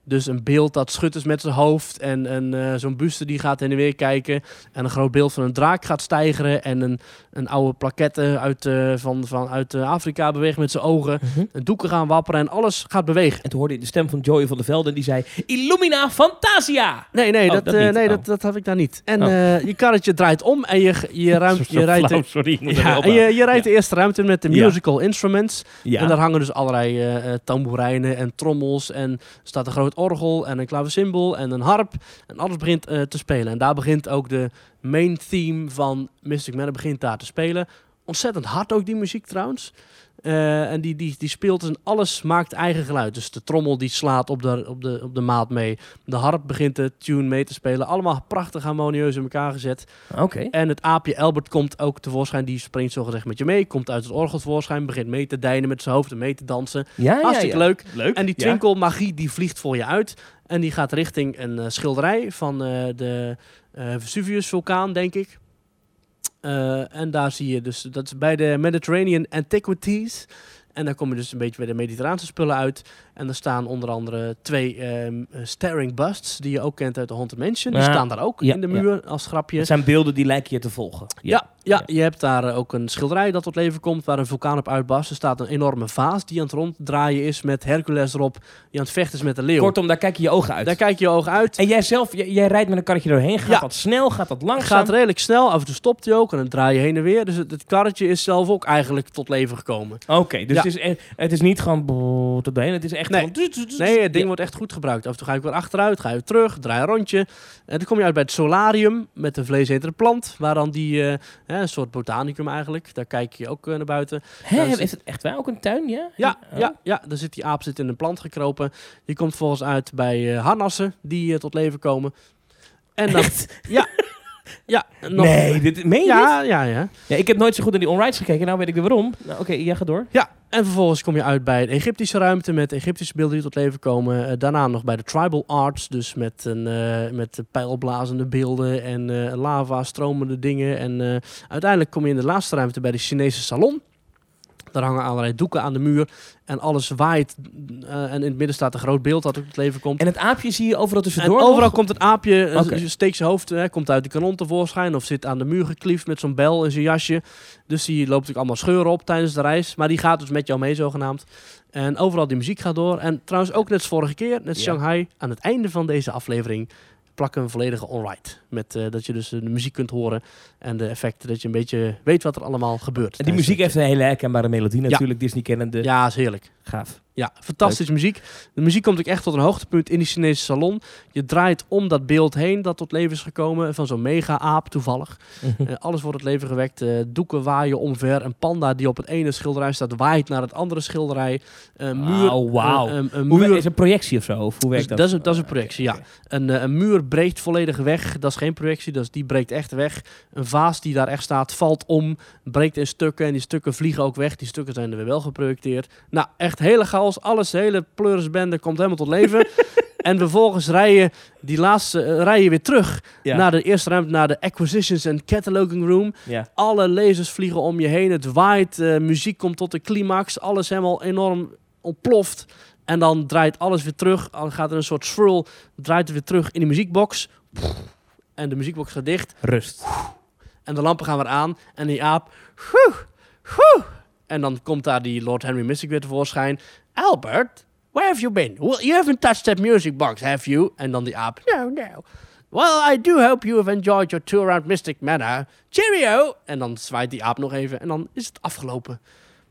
Speaker 4: Dus een beeld dat schudt is met zijn hoofd en, en eh, zo'n buste die gaat heen en weer kijken. En een groot beeld van een draak gaat stijgeren en een een oude plaketten uit, eh, van, van, uit eh, Afrika beweegt met zijn ogen.
Speaker 5: Mhm.
Speaker 4: En doeken gaan wapperen en alles gaat bewegen.
Speaker 5: En toen hoorde je de stem van Joey van der Velde en die zei... Illumina Fantasia!
Speaker 4: Nee, nee,
Speaker 5: Oh,
Speaker 4: dat,
Speaker 5: dat
Speaker 4: eh,
Speaker 5: niet.
Speaker 4: nee
Speaker 5: Oh.
Speaker 4: dat, dat heb ik daar niet. En
Speaker 5: Oh.
Speaker 4: eh, je karretje draait om en je, je, ruimt, je, rijdt,
Speaker 5: Flauw, sorry, ik moet er weer
Speaker 4: ja,
Speaker 5: op
Speaker 4: en je, je rijdt
Speaker 5: Ja.
Speaker 4: de eerste ruimte in met de
Speaker 5: Ja.
Speaker 4: musical instruments.
Speaker 5: Ja.
Speaker 4: En daar hangen dus allerlei eh eh, tamboerijnen en trommels. En er staat een groot orgel en een klavecimbal en een harp. En alles begint eh, te spelen. En daar begint ook de main theme van Mystic Manor begint daar te spelen. Ontzettend hard ook die muziek trouwens. Eh, en die, die, die speelt dus en alles maakt eigen geluid. Dus de trommel die slaat op de, op de, op de maat mee. De harp begint de tune mee te spelen. Allemaal prachtig harmonieus in elkaar gezet.
Speaker 5: Oké.
Speaker 4: En het aapje Albert komt ook tevoorschijn. Die springt zogezegd met je mee. Komt uit het orgel tevoorschijn. Begint mee te deinen met zijn hoofd en mee te dansen.
Speaker 5: Ah, Ja, ja,
Speaker 4: Hartstikke
Speaker 5: ja.
Speaker 4: leuk.
Speaker 5: Leuk.
Speaker 4: En die
Speaker 5: ja.
Speaker 4: twinkel magie die vliegt voor je uit. En die gaat richting een eh, schilderij van eh, de eh Vesuvius vulkaan, denk ik. Eh, en daar zie je dus, dat is bij de Mediterranean Antiquities. En daar kom je dus een beetje bij de Mediterraanse spullen uit. En daar staan onder andere twee ehm, staring busts, die je ook kent uit de Haunted Mansion. Die
Speaker 5: Ja.
Speaker 4: staan daar ook
Speaker 5: Ja,
Speaker 4: in de
Speaker 5: ja.
Speaker 4: muur als grapje.
Speaker 5: Het zijn beelden die lijken je te volgen.
Speaker 4: Ja, ja, je hebt daar eh, ook een schilderij dat tot leven komt waar een vulkaan op uitbarst. Er staat een enorme vaas die aan het ronddraaien is met Hercules erop, die aan het vechten is met de leeuw.
Speaker 5: Kortom, daar kijk je je ogen uit.
Speaker 4: Daar kijk je oog uit.
Speaker 5: En jij zelf, jij, jij rijdt met een karretje doorheen. Gaat
Speaker 4: Ja.
Speaker 5: dat snel? Gaat dat langzaam?
Speaker 4: gaat redelijk snel, af en toe stopt hij ook en dan draai je heen en weer. Dus het, het karretje is zelf ook eigenlijk tot leven gekomen.
Speaker 5: Oké, dus
Speaker 4: Ja.
Speaker 5: het, is, e- het is niet gewoon brrr tot doorheen. Het is echt
Speaker 4: Nee.
Speaker 5: gewoon...
Speaker 4: Nee, het ding
Speaker 5: Ja.
Speaker 4: wordt echt goed gebruikt. Af en toe ga ik weer achteruit, ga je terug, draai een rondje. En dan kom je uit bij het solarium met een vleesetende plant, waar dan die, eh, hè, een soort botanicum eigenlijk, daar kijk je ook eh, naar buiten.
Speaker 5: Hè,
Speaker 4: Nou, dus-
Speaker 5: heeft het echt waar? Ook een tuin, ja?
Speaker 4: Ja,
Speaker 5: Oh.
Speaker 4: ja, ja. Daar zit die aap zit in een plant gekropen. Je komt volgens uit bij eh, harnassen die eh, tot leven komen. En dan,
Speaker 5: Echt?
Speaker 4: ja, nog-
Speaker 5: Oh. Nee, dit, meen je dit?
Speaker 4: ja, ja, ja,
Speaker 5: Ja, ik heb nooit zo goed naar die onrides gekeken. Nou weet ik weer waarom. Nou, Oké, jij gaat door.
Speaker 4: ja. En vervolgens kom je uit bij een Egyptische ruimte met Egyptische beelden die tot leven komen. Eh, daarna nog bij de tribal arts, dus met, een, eh, met pijlblazende beelden en eh, lava, stromende dingen. En eh, uiteindelijk kom je in de laatste ruimte bij de Chinese salon. Daar hangen allerlei doeken aan de muur en alles waait. eh, en in het midden staat een groot beeld dat ook tot leven komt.
Speaker 5: En het aapje zie je
Speaker 4: En
Speaker 5: overal tussendoor.
Speaker 4: overal
Speaker 5: nog.
Speaker 4: komt het aapje, eh,
Speaker 5: Oké.
Speaker 4: z- steekt zijn hoofd, hè, komt uit de kanon tevoorschijn. Of zit aan de muur gekliefd met zo'n bel in zijn jasje. Dus die loopt natuurlijk allemaal scheuren op tijdens de reis. Maar die gaat dus met jou mee zogenaamd. En overal die muziek gaat door. En trouwens ook net als vorige keer, net als
Speaker 5: Ja.
Speaker 4: Shanghai. Aan het einde van deze aflevering plakken we een volledige onride. Met eh, dat je dus eh, de muziek kunt horen. En de effecten, dat je een beetje weet wat er allemaal gebeurt.
Speaker 5: En die muziek heeft een hele herkenbare melodie natuurlijk. Disney kennende.
Speaker 4: Ja, is heerlijk.
Speaker 5: Gaaf.
Speaker 4: Ja, fantastische muziek. De muziek komt ook echt tot een hoogtepunt in die Chinese salon. Je draait om dat beeld heen dat tot leven is gekomen van zo'n mega-aap toevallig.
Speaker 5: Mhm.
Speaker 4: Eh, alles wordt het leven gewekt. eh, doeken waaien omver. Een panda die op het ene schilderij staat waait naar het andere schilderij. Een muur,
Speaker 5: Wauw, wauw.
Speaker 4: een- een- een
Speaker 5: Hoe,
Speaker 4: muur-
Speaker 5: wer- is een projectie of zo? Of hoe
Speaker 4: dus
Speaker 5: werkt dat?
Speaker 4: dat, is, een- dat is een projectie, ja.
Speaker 5: Oh, Oké.
Speaker 4: Een, eh, een muur breekt volledig weg. Dat is geen projectie, dat is, die breekt echt weg. Een vaas die daar echt staat, valt om, breekt in stukken. En die stukken vliegen ook weg. Die stukken zijn er weer wel geprojecteerd. Nou, echt hele chaos. Alles, de hele pleurisbende komt helemaal tot leven. en vervolgens rij je die laatste eh, rij je weer terug
Speaker 5: Ja.
Speaker 4: naar de eerste ruimte, naar de Acquisitions and Cataloging Room.
Speaker 5: Ja.
Speaker 4: Alle lasers vliegen om je heen. Het waait. eh, muziek komt tot de climax. Alles helemaal enorm ontploft. En dan draait alles weer terug. Dan gaat er een soort swirl. Draait het weer terug in de muziekbox. En de muziekbox gaat dicht.
Speaker 5: Rust.
Speaker 4: En de lampen gaan weer aan. En die aap. En dan komt daar die Lord Henry Mystic weer tevoorschijn. Albert, where have you been? Well, you haven't touched that music box, have you? En dan die aap. No, no. Well, I do hope you have enjoyed your tour around Mystic Manor. Cheerio! En dan zwaait die aap nog even en dan is het afgelopen.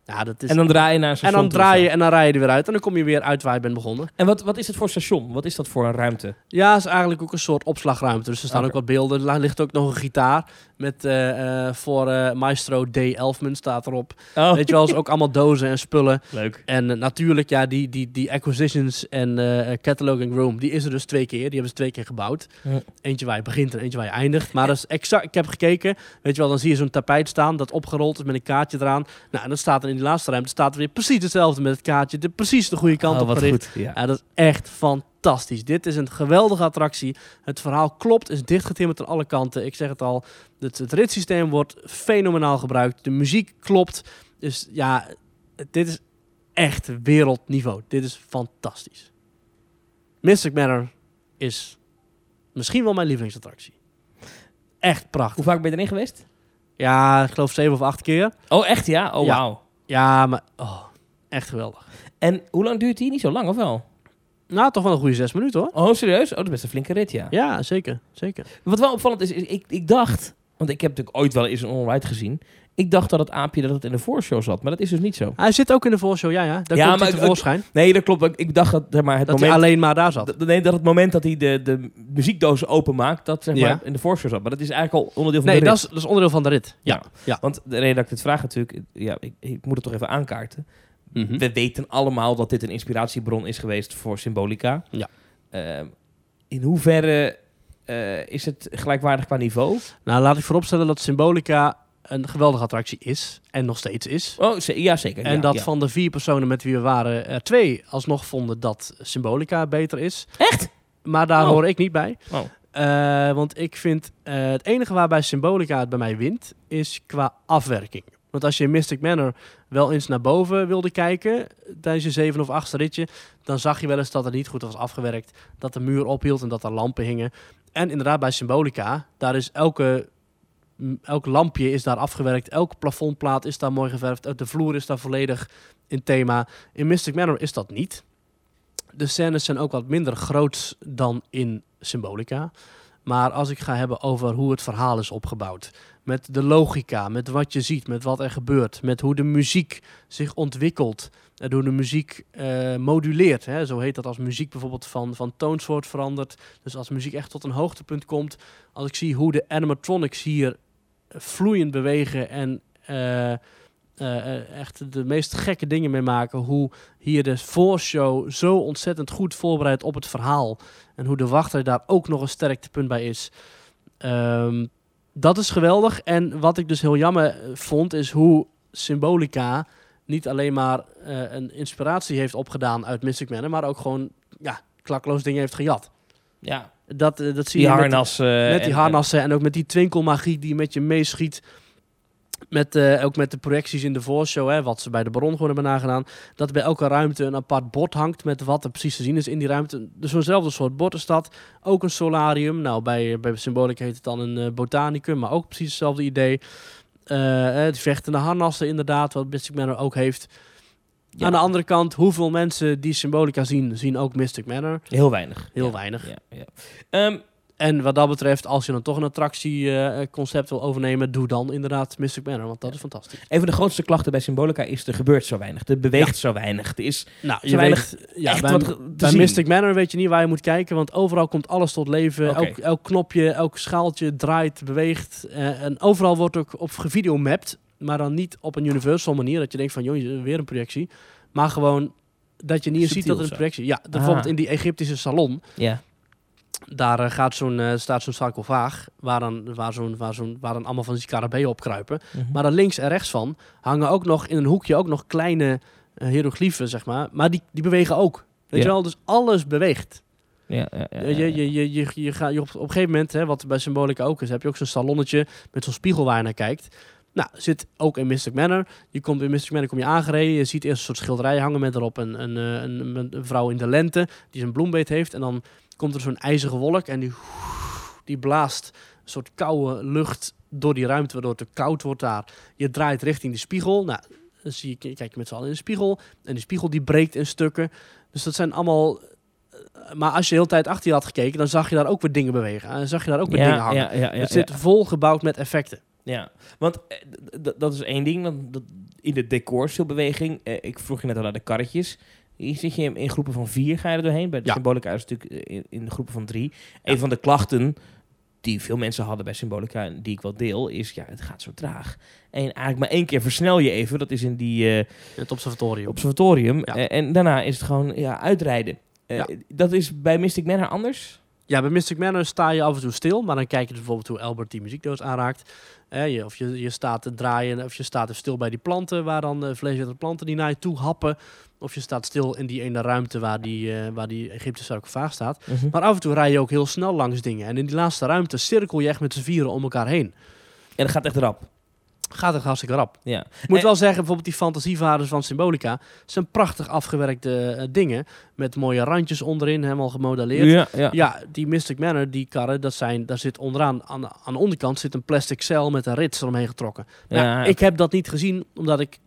Speaker 4: Ja, dat is...
Speaker 5: En dan draai je naar een
Speaker 4: en
Speaker 5: station
Speaker 4: dan
Speaker 5: toe
Speaker 4: draai
Speaker 5: of
Speaker 4: je
Speaker 5: zo.
Speaker 4: en dan rij je er weer uit. En dan kom je weer uit waar je bent begonnen.
Speaker 5: En wat, wat is het voor station? Wat is dat voor een ruimte?
Speaker 4: Ja, is eigenlijk ook een soort opslagruimte. Dus er staan
Speaker 5: Oké.
Speaker 4: ook wat beelden. Er la- ligt ook nog een gitaar met eh, eh, voor eh, Maestro D. Elfman staat erop.
Speaker 5: Oh,
Speaker 4: Weet je wel, is ook allemaal dozen en spullen.
Speaker 5: leuk.
Speaker 4: En eh, natuurlijk, ja, die, die, die acquisitions en eh cataloging room, die is er dus twee keer. Die hebben ze twee keer gebouwd.
Speaker 5: Ja.
Speaker 4: Eentje waar je begint en eentje waar je eindigt. Maar dat is exact, ik heb gekeken, weet je wel, dan zie je zo'n tapijt staan dat opgerold is met een kaartje eraan. Nou, en dat staat er in die laatste ruimte, staat er weer precies hetzelfde met het kaartje. De, precies de goede kant
Speaker 5: Oh,
Speaker 4: op
Speaker 5: wat
Speaker 4: gericht. Eh,
Speaker 5: goed. Ja.
Speaker 4: Ja, dat is echt fantastisch. Dit is een geweldige attractie. Het verhaal klopt, is dichtgetimmerd aan alle kanten. Ik zeg het al, het, het ritssysteem wordt fenomenaal gebruikt. De muziek klopt. Dus ja, dit is echt wereldniveau. Dit is fantastisch. Mystic Manor is misschien wel mijn lievelingsattractie. Echt prachtig.
Speaker 5: Hoe vaak ben je erin geweest?
Speaker 4: Ja, ik geloof zeven of acht keer.
Speaker 5: Oh, echt ja? Oh,
Speaker 4: Ja.
Speaker 5: wauw.
Speaker 4: Ja, maar oh, echt geweldig.
Speaker 5: En hoe lang duurt die? Niet zo lang, of wel?
Speaker 4: Nou, toch wel een goede zes minuten hoor.
Speaker 5: Oh, serieus? Oh, dat is best een flinke rit, ja.
Speaker 4: Ja, zeker. zeker.
Speaker 5: Wat wel opvallend is, is ik, ik dacht... Want ik heb natuurlijk ooit wel eens een onride gezien. Ik dacht dat het aapje dat het in de voorshow zat. Maar dat is dus niet zo.
Speaker 4: Hij zit ook in de voorshow, ja, ja. Daar
Speaker 5: Ja,
Speaker 4: komt
Speaker 5: maar
Speaker 4: hij
Speaker 5: ik-
Speaker 4: tevoorschijn.
Speaker 5: Nee, dat klopt. Ik- Ik dacht dat zeg maar, het
Speaker 4: dat
Speaker 5: moment...
Speaker 4: hij alleen maar daar zat.
Speaker 5: dat- Nee, dat het moment dat hij de, de muziekdoos openmaakt, dat zeg maar
Speaker 4: Ja.
Speaker 5: in de voorshow zat. Maar dat is eigenlijk al onderdeel van
Speaker 4: nee,
Speaker 5: de rit.
Speaker 4: dat is, dat is onderdeel van de rit.
Speaker 5: Ja.
Speaker 4: ja.
Speaker 5: Want de reden dat ik dit vraag natuurlijk... Ja, ik, ik moet het toch even aankaarten.
Speaker 4: Hm?
Speaker 5: We weten allemaal dat dit een inspiratiebron is geweest voor Symbolica.
Speaker 4: Ja.
Speaker 5: Ehm, in hoeverre eh, is het gelijkwaardig qua niveau?
Speaker 4: Nou, laat ik vooropstellen dat Symbolica een geweldige attractie is. En nog steeds is.
Speaker 5: Oh, ze- ja, zeker.
Speaker 4: En
Speaker 5: ja,
Speaker 4: dat
Speaker 5: ja.
Speaker 4: van de vier personen met wie we waren, er twee alsnog vonden dat Symbolica beter is.
Speaker 5: Echt?
Speaker 4: Maar daar
Speaker 5: Oh.
Speaker 4: hoor ik niet bij.
Speaker 5: Oh.
Speaker 4: Eh, want ik vind eh, het enige waarbij Symbolica het bij mij wint, is qua afwerking. Want als je in Mystic Manor wel eens naar boven wilde kijken tijdens je zeven of achtste ritje, dan zag je wel eens dat het niet goed was afgewerkt, dat de muur ophield en dat er lampen hingen. En inderdaad bij Symbolica, daar is elke, m, elk lampje is daar afgewerkt, elke plafondplaat is daar mooi geverfd, eh, de vloer is daar volledig in thema. In Mystic Manor is dat niet. De scènes zijn ook wat minder groots dan in Symbolica. Maar als ik ga hebben over hoe het verhaal is opgebouwd, met de logica, met wat je ziet, met wat er gebeurt, met hoe de muziek zich ontwikkelt en hoe de muziek eh, moduleert. Hè? Zo heet dat als muziek bijvoorbeeld van, van toonsoort verandert. Dus als muziek echt tot een hoogtepunt komt. Als ik zie hoe de animatronics hier vloeiend bewegen en eh, eh, eh, echt de meest gekke dingen mee maken. Hoe hier de voorshow zo ontzettend goed voorbereidt op het verhaal. En hoe de wachter daar ook nog een sterktepunt bij is. Ehm, dat is geweldig. En wat ik dus heel jammer eh, vond, is hoe Symbolica niet alleen maar eh, een inspiratie heeft opgedaan uit Mystic Manor, maar ook gewoon ja, klakloos dingen heeft gejat.
Speaker 5: Ja,
Speaker 4: Dat, eh, dat zie
Speaker 5: die
Speaker 4: je met-
Speaker 5: harnas. eh,
Speaker 4: met die
Speaker 5: en-
Speaker 4: harnassen en ook met die twinkelmagie die met je meeschiet. Met, eh, ook met de projecties in de voorshow, hè, wat ze bij de Baron gewoon hebben nagedaan. Dat bij elke ruimte een apart bord hangt met wat er precies te zien is in die ruimte. Dus zo'nzelfde soort bord is dat. Ook een solarium. Nou, bij, bij Symbolica heet het dan een eh, botanicum, maar ook precies hetzelfde idee. Eh, eh, die vechtende harnassen inderdaad, wat Mystic Manor ook heeft.
Speaker 5: Ja.
Speaker 4: Aan de andere kant, hoeveel mensen die Symbolica zien, zien ook Mystic Manor?
Speaker 5: Heel weinig.
Speaker 4: Heel
Speaker 5: Ja,
Speaker 4: weinig.
Speaker 5: Ja, ja. Ehm,
Speaker 4: En wat dat betreft, als je dan toch een attractieconcept wil overnemen, doe dan inderdaad Mystic Manor, want dat is fantastisch.
Speaker 5: een van de grootste klachten bij Symbolica is: er gebeurt zo weinig. Er beweegt zo weinig. Er is
Speaker 4: Nou,
Speaker 5: Zo weinig
Speaker 4: weet- ja,
Speaker 5: echt
Speaker 4: bij,
Speaker 5: wat ge- te
Speaker 4: bij
Speaker 5: zien.
Speaker 4: Mystic Manor weet je niet waar je moet kijken, want overal komt alles tot leven.
Speaker 5: Oké.
Speaker 4: Elk, elk knopje, elk schaaltje draait, beweegt. eh, en overal wordt ook op gevideomapt, maar dan niet op een universal manier, dat je denkt van, joh, weer een projectie. Maar gewoon dat je niet eens ziet
Speaker 5: Subtiel
Speaker 4: dat het
Speaker 5: zo.
Speaker 4: een projectie Ja, bijvoorbeeld in die Egyptische salon,
Speaker 5: ja.
Speaker 4: daar eh, gaat zo'n, eh, staat zo'n sarcofaag waar dan, waar zo'n, waar zo'n, waar dan allemaal van die scarabeeën op kruipen. Maar dan links en rechts van hangen ook nog in een hoekje ook nog kleine eh hieroglyphen, zeg maar. Maar die, die bewegen ook. Weet
Speaker 5: Ja.
Speaker 4: je wel, dus alles beweegt.
Speaker 5: Ja, ja, ja,
Speaker 4: je, je, je, je, je gaat je op, op een gegeven moment, hè, wat bij Symbolica ook is, heb je ook zo'n salonnetje met zo'n spiegel waar je naar kijkt. Nou, zit ook in Mystic Manor. Je komt in Mystic Manor kom je aangereden. Je ziet eerst een soort schilderij hangen met erop een, een, eh, een, een- een vrouw in de lente die zijn bloembeet heeft. En dan komt er zo'n ijzige wolk en die, die blaast een soort koude lucht door die ruimte, waardoor het te koud wordt daar. Je draait richting de spiegel. Nou, dan zie je, kijk je met z'n allen in de spiegel. En die spiegel die breekt in stukken. Dus dat zijn allemaal... eh, Maar als je de hele tijd achter je had gekeken, dan zag je daar ook weer dingen bewegen. En dan zag je daar ook weer dingen
Speaker 5: ja,
Speaker 4: hangen.
Speaker 5: ja, ja, ja,
Speaker 4: het zit vol gebouwd met effecten.
Speaker 5: Ja, want eh, d- d- dat is één ding. Want dat- in de decors veel beweging. Eh, ik vroeg je net al naar de karretjes. Hier zit je in, in groepen van vier, ga je er doorheen. Bij de
Speaker 4: Ja.
Speaker 5: Symbolica is het natuurlijk eh, in, in de groepen van drie. Een van de klachten die veel mensen hadden bij Symbolica, en die ik wel deel, is ja, het gaat zo traag. En eigenlijk maar één keer versnel je even. Dat is in die eh,
Speaker 4: In het observatorium.
Speaker 5: observatorium.
Speaker 4: Ja.
Speaker 5: Eh, en daarna is het gewoon ja, uitrijden. Eh,
Speaker 4: Ja.
Speaker 5: Dat is bij Mystic Manor anders.
Speaker 4: Ja, bij Mystic Manor sta je af en toe stil, maar dan kijk je dus bijvoorbeeld hoe Albert die muziekdoos aanraakt. Eh, je, of je, je staat te draaien, of je staat er stil bij die planten, waar dan eh, de vleesetende planten die naar je toe happen. Of je staat stil in die ene ruimte waar die, eh, waar die Egyptische sarcofaag staat. Maar af en toe rij je ook heel snel langs dingen. En in die laatste ruimte cirkel je echt met z'n vieren om elkaar heen.
Speaker 5: En dat gaat echt rap.
Speaker 4: Gaat echt hartstikke rap.
Speaker 5: Ja. Eh,
Speaker 4: Ik moet
Speaker 5: En-
Speaker 4: wel zeggen, bijvoorbeeld die fantasievaders van Symbolica zijn prachtig afgewerkte eh, dingen. Met mooie randjes onderin, helemaal gemodelleerd.
Speaker 5: ja, ja.
Speaker 4: Ja, die Mystic Manor, die karren, dat zijn, daar zit onderaan, aan, aan de onderkant zit een plastic cel met een rits eromheen getrokken. Nou,
Speaker 5: Ja, ja.
Speaker 4: ik heb dat niet gezien, omdat ik,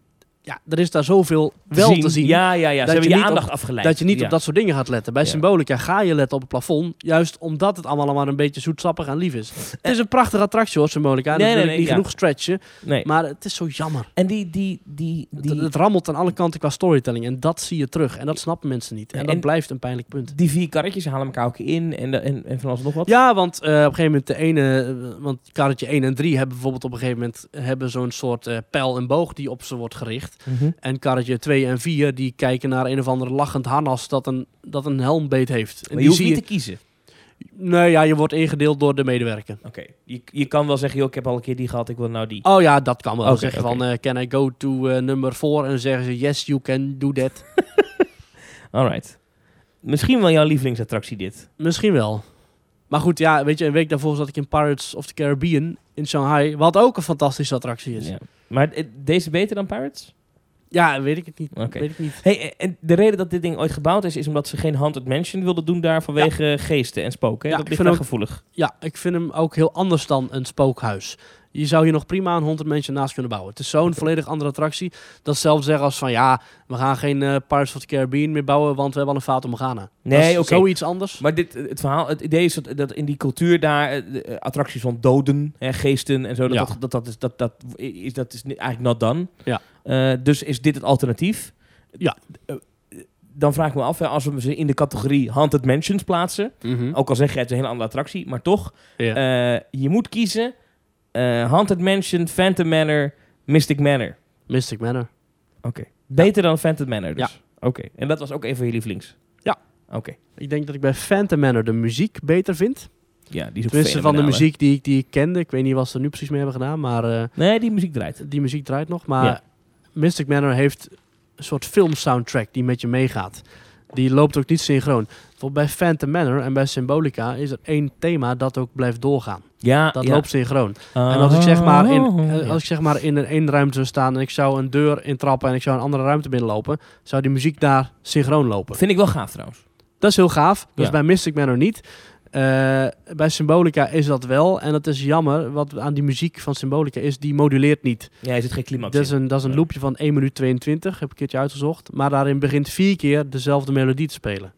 Speaker 4: ja, er is daar zoveel
Speaker 5: Te
Speaker 4: wel te zien.
Speaker 5: Ja,
Speaker 4: Dat
Speaker 5: ja, ja. Ze
Speaker 4: je
Speaker 5: hebben je
Speaker 4: niet op-
Speaker 5: aandacht afgeleid.
Speaker 4: Dat je niet
Speaker 5: Ja.
Speaker 4: op dat soort dingen gaat letten. Bij
Speaker 5: Ja.
Speaker 4: Symbolica ga je letten op het plafond. Juist omdat het allemaal maar een beetje zoetsappig en lief is. Het is een prachtige attractie hoor, Symbolica. en
Speaker 5: Nee,
Speaker 4: dat wil
Speaker 5: nee,
Speaker 4: ik
Speaker 5: nee,
Speaker 4: niet
Speaker 5: ja.
Speaker 4: genoeg stretchen.
Speaker 5: Nee.
Speaker 4: Maar het is zo jammer.
Speaker 5: En die, die, die,
Speaker 4: Het-
Speaker 5: die,
Speaker 4: Het, rammelt aan alle kanten qua storytelling. En dat zie je terug. En dat snappen mensen niet. En, dat
Speaker 5: En-
Speaker 4: blijft een pijnlijk punt.
Speaker 5: die vier karretjes halen elkaar ook in en, da- en, en van alles en nog wat.
Speaker 4: Ja, want eh, op een gegeven moment de ene, eh, want karretje 1 en 3 hebben bijvoorbeeld op een gegeven moment hebben zo'n soort eh, pijl en boog die op ze wordt gericht.
Speaker 5: Mhm.
Speaker 4: En karretje 2 en 4 die kijken naar een of ander lachend harnas dat een, dat een helmbeet heeft. En
Speaker 5: Maar je
Speaker 4: die
Speaker 5: hoeft
Speaker 4: zie
Speaker 5: niet
Speaker 4: je,
Speaker 5: te kiezen.
Speaker 4: nee, ja, je wordt ingedeeld door de medewerker.
Speaker 5: Oké. Je, je kan wel zeggen, joh, ik heb al een keer die gehad, ik wil nou die.
Speaker 4: Oh ja, dat kan wel.
Speaker 5: Oké,
Speaker 4: zeggen
Speaker 5: oké.
Speaker 4: van, eh, can I go to eh, number 4? En dan zeggen ze, yes, you can do that.
Speaker 5: Alright. Misschien wel jouw lievelingsattractie dit.
Speaker 4: Misschien wel. Maar goed, ja, weet je, een week daarvoor zat ik in Pirates of the Caribbean in Shanghai, wat ook een fantastische attractie is. Ja,
Speaker 5: Ja. Maar eh, deze beter dan Pirates?
Speaker 4: weet ik het niet.
Speaker 5: Oké.
Speaker 4: Weet ik niet.
Speaker 5: Hey, eh, en de reden dat dit ding ooit gebouwd is, is omdat ze geen Haunted Mansion wilden doen daar vanwege geesten en spoken. hè?
Speaker 4: Ja,
Speaker 5: dat
Speaker 4: ik
Speaker 5: ligt
Speaker 4: vind
Speaker 5: daar
Speaker 4: ook-
Speaker 5: gevoelig.
Speaker 4: Ja, ik vind hem ook heel anders dan een spookhuis. Je zou hier nog prima een 100 mensen naast kunnen bouwen. Het is zo'n volledig andere attractie. Dat is zelfs zeggen als van ja, we gaan geen eh Pirates of the Caribbean meer bouwen, want we hebben al een Fata Morgana.
Speaker 5: Nee,
Speaker 4: Dat is
Speaker 5: oké.
Speaker 4: Zoiets anders.
Speaker 5: Maar dit, het verhaal, het idee is dat, dat in die cultuur daar eh, de, eh, attracties van doden en geesten en zo, dat,
Speaker 4: Ja.
Speaker 5: dat, dat, dat is, dat, dat, is, dat is ni- eigenlijk not done.
Speaker 4: Ja.
Speaker 5: Eh, dus is dit het alternatief?
Speaker 4: Ja.
Speaker 5: Eh, eh, Dan vraag ik me af, hè, als we ze in de categorie Haunted Mansions plaatsen, ook al zeg je het is een hele andere attractie, maar toch,
Speaker 4: Hm? Ja.
Speaker 5: eh, je moet kiezen eh, Haunted Mansion, Phantom Manor, Mystic Manor.
Speaker 4: Mystic Manor.
Speaker 5: Oké. Beter dan Phantom Manor dus?
Speaker 4: Ja.
Speaker 5: Oké. En dat was ook een van je lievelings?
Speaker 4: Ja.
Speaker 5: Oké.
Speaker 4: Ik denk dat ik bij Phantom Manor de muziek beter vind.
Speaker 5: Ja, die is ook
Speaker 4: Tenminste van de
Speaker 5: fenomenaal, hè?
Speaker 4: muziek die ik, die ik kende. Ik weet niet wat ze er nu precies mee hebben gedaan, maar eh,
Speaker 5: Nee, die muziek draait.
Speaker 4: die muziek draait nog. Maar
Speaker 5: Ja.
Speaker 4: Mystic Manor heeft een soort filmsoundtrack die met je meegaat. Die loopt ook niet synchroon. Bijvoorbeeld bij Phantom Manor en bij Symbolica is er één thema dat ook blijft doorgaan.
Speaker 5: Ja,
Speaker 4: Dat
Speaker 5: ja. Oh,
Speaker 4: loopt synchroon. En als ik zeg maar in, eh,
Speaker 5: Ja.
Speaker 4: als ik zeg maar in een één ruimte zou staan en ik zou een deur intrappen en ik zou een andere ruimte binnenlopen, zou die muziek daar synchroon lopen.
Speaker 5: Vind ik wel gaaf trouwens.
Speaker 4: Dat is heel gaaf. Dat is
Speaker 5: Ja.
Speaker 4: bij Mystic Manor niet. Eh, bij Symbolica is dat wel. En dat is jammer. Wat aan die muziek van Symbolica is, die moduleert niet.
Speaker 5: Ja, is het geen climax
Speaker 4: Dat is,
Speaker 5: in.
Speaker 4: een, dat is een
Speaker 5: Nee.
Speaker 4: loopje van 1 minuut 22, heb ik een keertje uitgezocht. Maar daarin begint vier keer dezelfde melodie te spelen.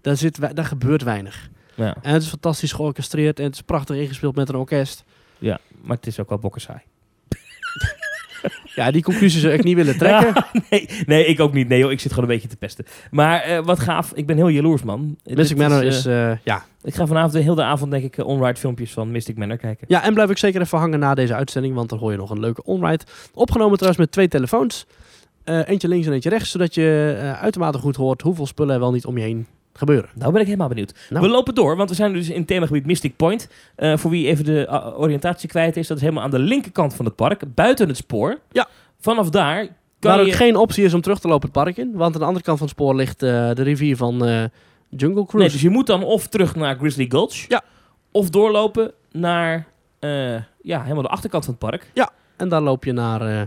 Speaker 4: Daar, zit, we- daar gebeurt weinig.
Speaker 5: Ja,
Speaker 4: En het is fantastisch georchestreerd en het is prachtig ingespeeld met een orkest.
Speaker 5: ja, maar het is ook wel bokkersaai.
Speaker 4: Ja, die conclusie zou ik niet willen trekken.
Speaker 5: nee, nee, ik ook niet. Nee joh, ik zit gewoon een beetje te pesten. Maar eh, wat gaaf. Ik ben heel jaloers, man.
Speaker 4: Mystic
Speaker 5: Dit
Speaker 4: Manor
Speaker 5: eh,
Speaker 4: is, eh, ja.
Speaker 5: ik ga vanavond de hele avond, denk ik, eh, onride filmpjes van Mystic Manor kijken.
Speaker 4: ja, en blijf ik zeker even hangen na deze uitzending, want dan hoor je nog een leuke onride. Opgenomen trouwens met twee telefoons. Eh, eentje links en eentje rechts, zodat je eh, uitermate goed hoort hoeveel spullen er wel niet om je heen gebeuren.
Speaker 5: Nou ben ik helemaal benieuwd.
Speaker 4: Nou.
Speaker 5: We lopen door, want we zijn dus in het themagebied Mystic Point. Eh, voor wie even de eh, oriëntatie kwijt is, dat is helemaal aan de linkerkant van het park, buiten het spoor.
Speaker 4: Ja.
Speaker 5: Vanaf daar
Speaker 4: Waar
Speaker 5: kan
Speaker 4: ook
Speaker 5: je...
Speaker 4: geen optie is om terug te lopen het park in. Want aan de andere kant van het spoor ligt eh, de rivier van eh, Jungle Cruise.
Speaker 5: Nee, dus je moet dan of terug naar Grizzly Gulch.
Speaker 4: Ja.
Speaker 5: Of doorlopen naar eh, ja, helemaal de achterkant van het park.
Speaker 4: En daar loop je naar eh,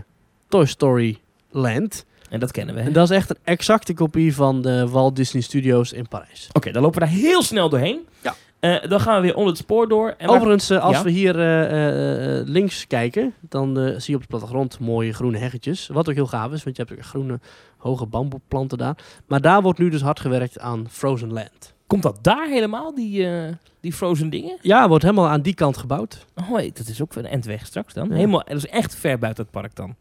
Speaker 4: Toy Story Land.
Speaker 5: En dat kennen we. hè?
Speaker 4: En dat is echt een exacte kopie van de Walt Disney Studios in Parijs.
Speaker 5: Oké, dan lopen we daar heel snel doorheen.
Speaker 4: Ja.
Speaker 5: Eh, dan gaan we weer onder het spoor door. En waar-
Speaker 4: Overigens, eh, als
Speaker 5: Ja?
Speaker 4: we hier eh, eh, eh, links kijken, dan eh, zie je op de plattegrond mooie groene heggetjes. Wat ook heel gaaf is, want je hebt ook groene, hoge bamboeplanten daar. Maar daar wordt nu dus hard gewerkt aan Frozen Land.
Speaker 5: komt dat daar helemaal, die, eh, die frozen dingen?
Speaker 4: Ja, wordt helemaal aan die kant gebouwd.
Speaker 5: Oh, hey, dat is ook weer een endweg straks dan.
Speaker 4: Ja.
Speaker 5: Helemaal, dat is echt ver buiten het park dan.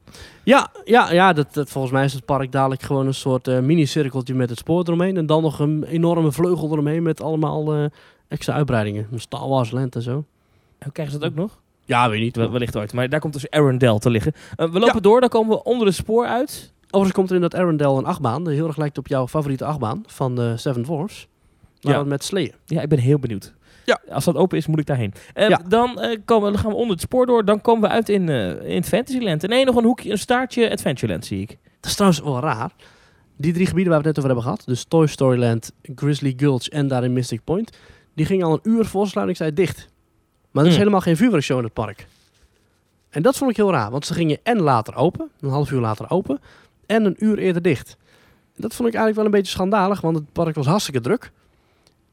Speaker 4: Ja, ja, ja dat, dat- volgens mij is het park dadelijk gewoon een soort eh, mini-cirkeltje met het spoor eromheen. En dan nog een enorme vleugel eromheen met allemaal eh, extra uitbreidingen. Een Star Wars Land en zo. Oh,
Speaker 5: En Krijgen ze dat ook nog?
Speaker 4: Ja, weet je niet.
Speaker 5: Wel- Wellicht ooit. Maar daar komt dus Arendelle te liggen. Eh, we lopen door, dan komen we onder het spoor uit.
Speaker 4: Overigens komt er in dat Arendelle een achtbaan. Die heel erg lijkt op jouw favoriete achtbaan van eh, Seven Dwarfs. Maar
Speaker 5: Ja.
Speaker 4: dan met sleeën.
Speaker 5: Ja, ik ben heel benieuwd.
Speaker 4: Ja.
Speaker 5: Als dat open is, moet ik daarheen. Eh,
Speaker 4: Ja.
Speaker 5: Dan eh, komen, we- gaan we onder het spoor door. Dan komen we uit in, eh in Fantasyland. En nee, nog een hoekje, een staartje Adventureland zie ik.
Speaker 4: Dat is trouwens wel raar. Die drie gebieden waar we het net over hebben gehad, dus Toy Story Land, Grizzly Gulch en daarin Mystic Point, die gingen al een uur voor sluitingstijd dicht. Maar er is
Speaker 5: Hmm.
Speaker 4: helemaal geen vuurwerkshow in het park. En dat vond ik heel raar, want ze gingen en later open, een half uur later open, en een uur eerder dicht. Dat vond ik eigenlijk wel een beetje schandalig, want het park was hartstikke druk.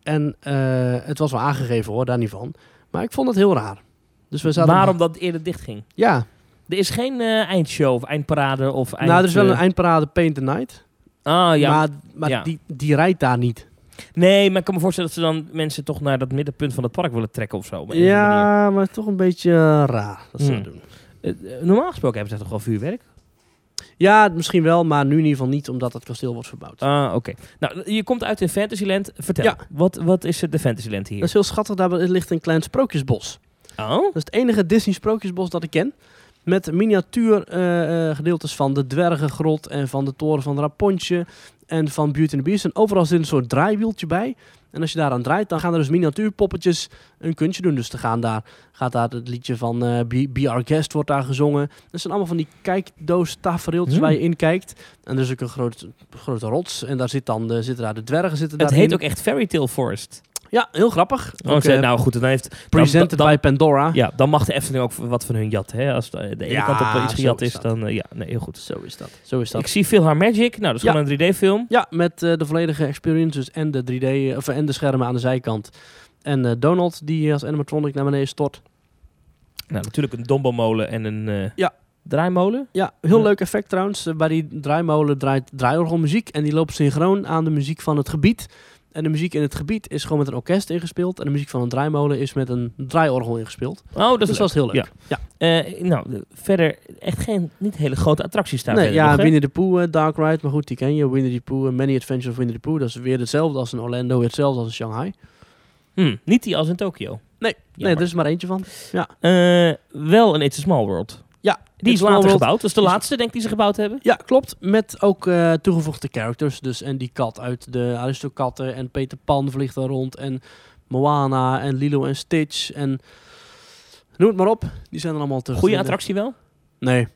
Speaker 4: En eh, het was wel aangegeven hoor, daar niet van. Maar ik vond het heel raar. Dus we zaten
Speaker 5: Waarom dat eerder dicht ging.
Speaker 4: Ja,
Speaker 5: Er is geen eh, eindshow of eindparade of eind...
Speaker 4: nou er is wel een
Speaker 5: eh,
Speaker 4: eindparade Paint the Night,
Speaker 5: Ah, ja.
Speaker 4: maar, maar
Speaker 5: ja.
Speaker 4: Die, die rijdt daar niet.
Speaker 5: Nee, maar ik kan me voorstellen dat ze dan mensen toch naar dat middenpunt van het park willen trekken of zo. op een andere
Speaker 4: Ja, maar toch een beetje eh, raar dat ze
Speaker 5: Hmm.
Speaker 4: dat doen.
Speaker 5: manier. Eh, eh, normaal gesproken hebben ze toch wel vuurwerk?
Speaker 4: Ja, misschien wel, maar nu in ieder geval niet, omdat het kasteel wordt verbouwd.
Speaker 5: Ah, oké. Nou, je komt uit in Fantasyland. Vertel,
Speaker 4: Ja. Dus-
Speaker 5: wat, wat is het de Fantasyland
Speaker 4: dat is
Speaker 5: hier?
Speaker 4: heel schattig, daar ligt een klein sprookjesbos.
Speaker 5: Oh?
Speaker 4: Dat is het enige Disney sprookjesbos dat ik ken. Met miniatuur eh, eh, gedeeltes van de Dwergengrot en van de Toren van Rapunzel en van Beauty and the Beast. En overal zit een soort draaiwieltje bij. En als je daaraan draait, dan gaan er dus miniatuurpoppetjes een kuntje doen. Dus er gaan daar, gaat daar het liedje van eh, Be, Be Our Guest wordt daar gezongen. Dat zijn allemaal van die kijkdoos tafereeltjes
Speaker 5: Hmm.
Speaker 4: waar je in kijkt. En er is ook een groot, grote rots en daar zit dan, de, zitten daar de dwergen zitten
Speaker 5: Het
Speaker 4: daarin.
Speaker 5: heet ook echt Fairy Tale Forest.
Speaker 4: Ja, heel grappig.
Speaker 5: Oh,
Speaker 4: Ook,
Speaker 5: ze-
Speaker 4: eh,
Speaker 5: nou goed, dan heeft. dan-
Speaker 4: presented
Speaker 5: dan-
Speaker 4: by Pandora.
Speaker 5: ja, dan mag de Efteling ook wat van hun jat. Hè? Als de de ene
Speaker 4: Ja,
Speaker 5: kant op
Speaker 4: zo
Speaker 5: iets gejat
Speaker 4: is
Speaker 5: is,
Speaker 4: dat.
Speaker 5: dan eh, ja, nee, heel goed.
Speaker 4: Zo is dat. Zo is dat.
Speaker 5: Ik zie veel haar Magic. Nou, dat is
Speaker 4: Ja.
Speaker 5: gewoon een 3D-film.
Speaker 4: Ja, met eh, de volledige experience dus en de 3D eh, of, en de schermen aan de zijkant. En eh, Donald die als animatronic naar beneden stort.
Speaker 5: Nou, natuurlijk een dombomolen en een eh,
Speaker 4: Ja.
Speaker 5: draaimolen.
Speaker 4: Ja, heel
Speaker 5: Ja.
Speaker 4: leuk effect trouwens. Eh, bij die draaimolen draait draaiorgelmuziek en die loopt synchroon aan de muziek van het gebied. En de muziek in het gebied is gewoon met een orkest ingespeeld. En de muziek van een draaimolen is met een draaiorgel ingespeeld.
Speaker 5: Oh, dat is
Speaker 4: dus dat is heel leuk.
Speaker 5: Ja. Eh, nou, de- verder echt geen, niet hele grote attracties staan.
Speaker 4: Nee,
Speaker 5: verder
Speaker 4: ja,
Speaker 5: nog, hè?
Speaker 4: Winnie the Pooh, eh, Dark Ride, maar goed, die ken je. Winnie the Pooh, eh, Many Adventures of Winnie the Pooh. Dat is weer hetzelfde als in Orlando, weer hetzelfde als in Shanghai.
Speaker 5: Hm, niet die als in Tokio.
Speaker 4: Nee, nee,
Speaker 5: Jammer.
Speaker 4: er is maar eentje van.
Speaker 5: Eh, wel een It's a Small World.
Speaker 4: Ja,
Speaker 5: Die
Speaker 4: It's
Speaker 5: is later
Speaker 4: Small World.
Speaker 5: gebouwd. Dat is de
Speaker 4: Is-
Speaker 5: laatste, denk ik, die ze gebouwd hebben.
Speaker 4: Ja, klopt. Met ook eh, toegevoegde characters. Dus en die kat uit de Aristokatten en Peter Pan vliegt daar rond en Moana en Lilo en Stitch en noem het maar op. Die zijn er allemaal terug.
Speaker 5: Goede
Speaker 4: te vinden.
Speaker 5: attractie wel.
Speaker 4: Nee.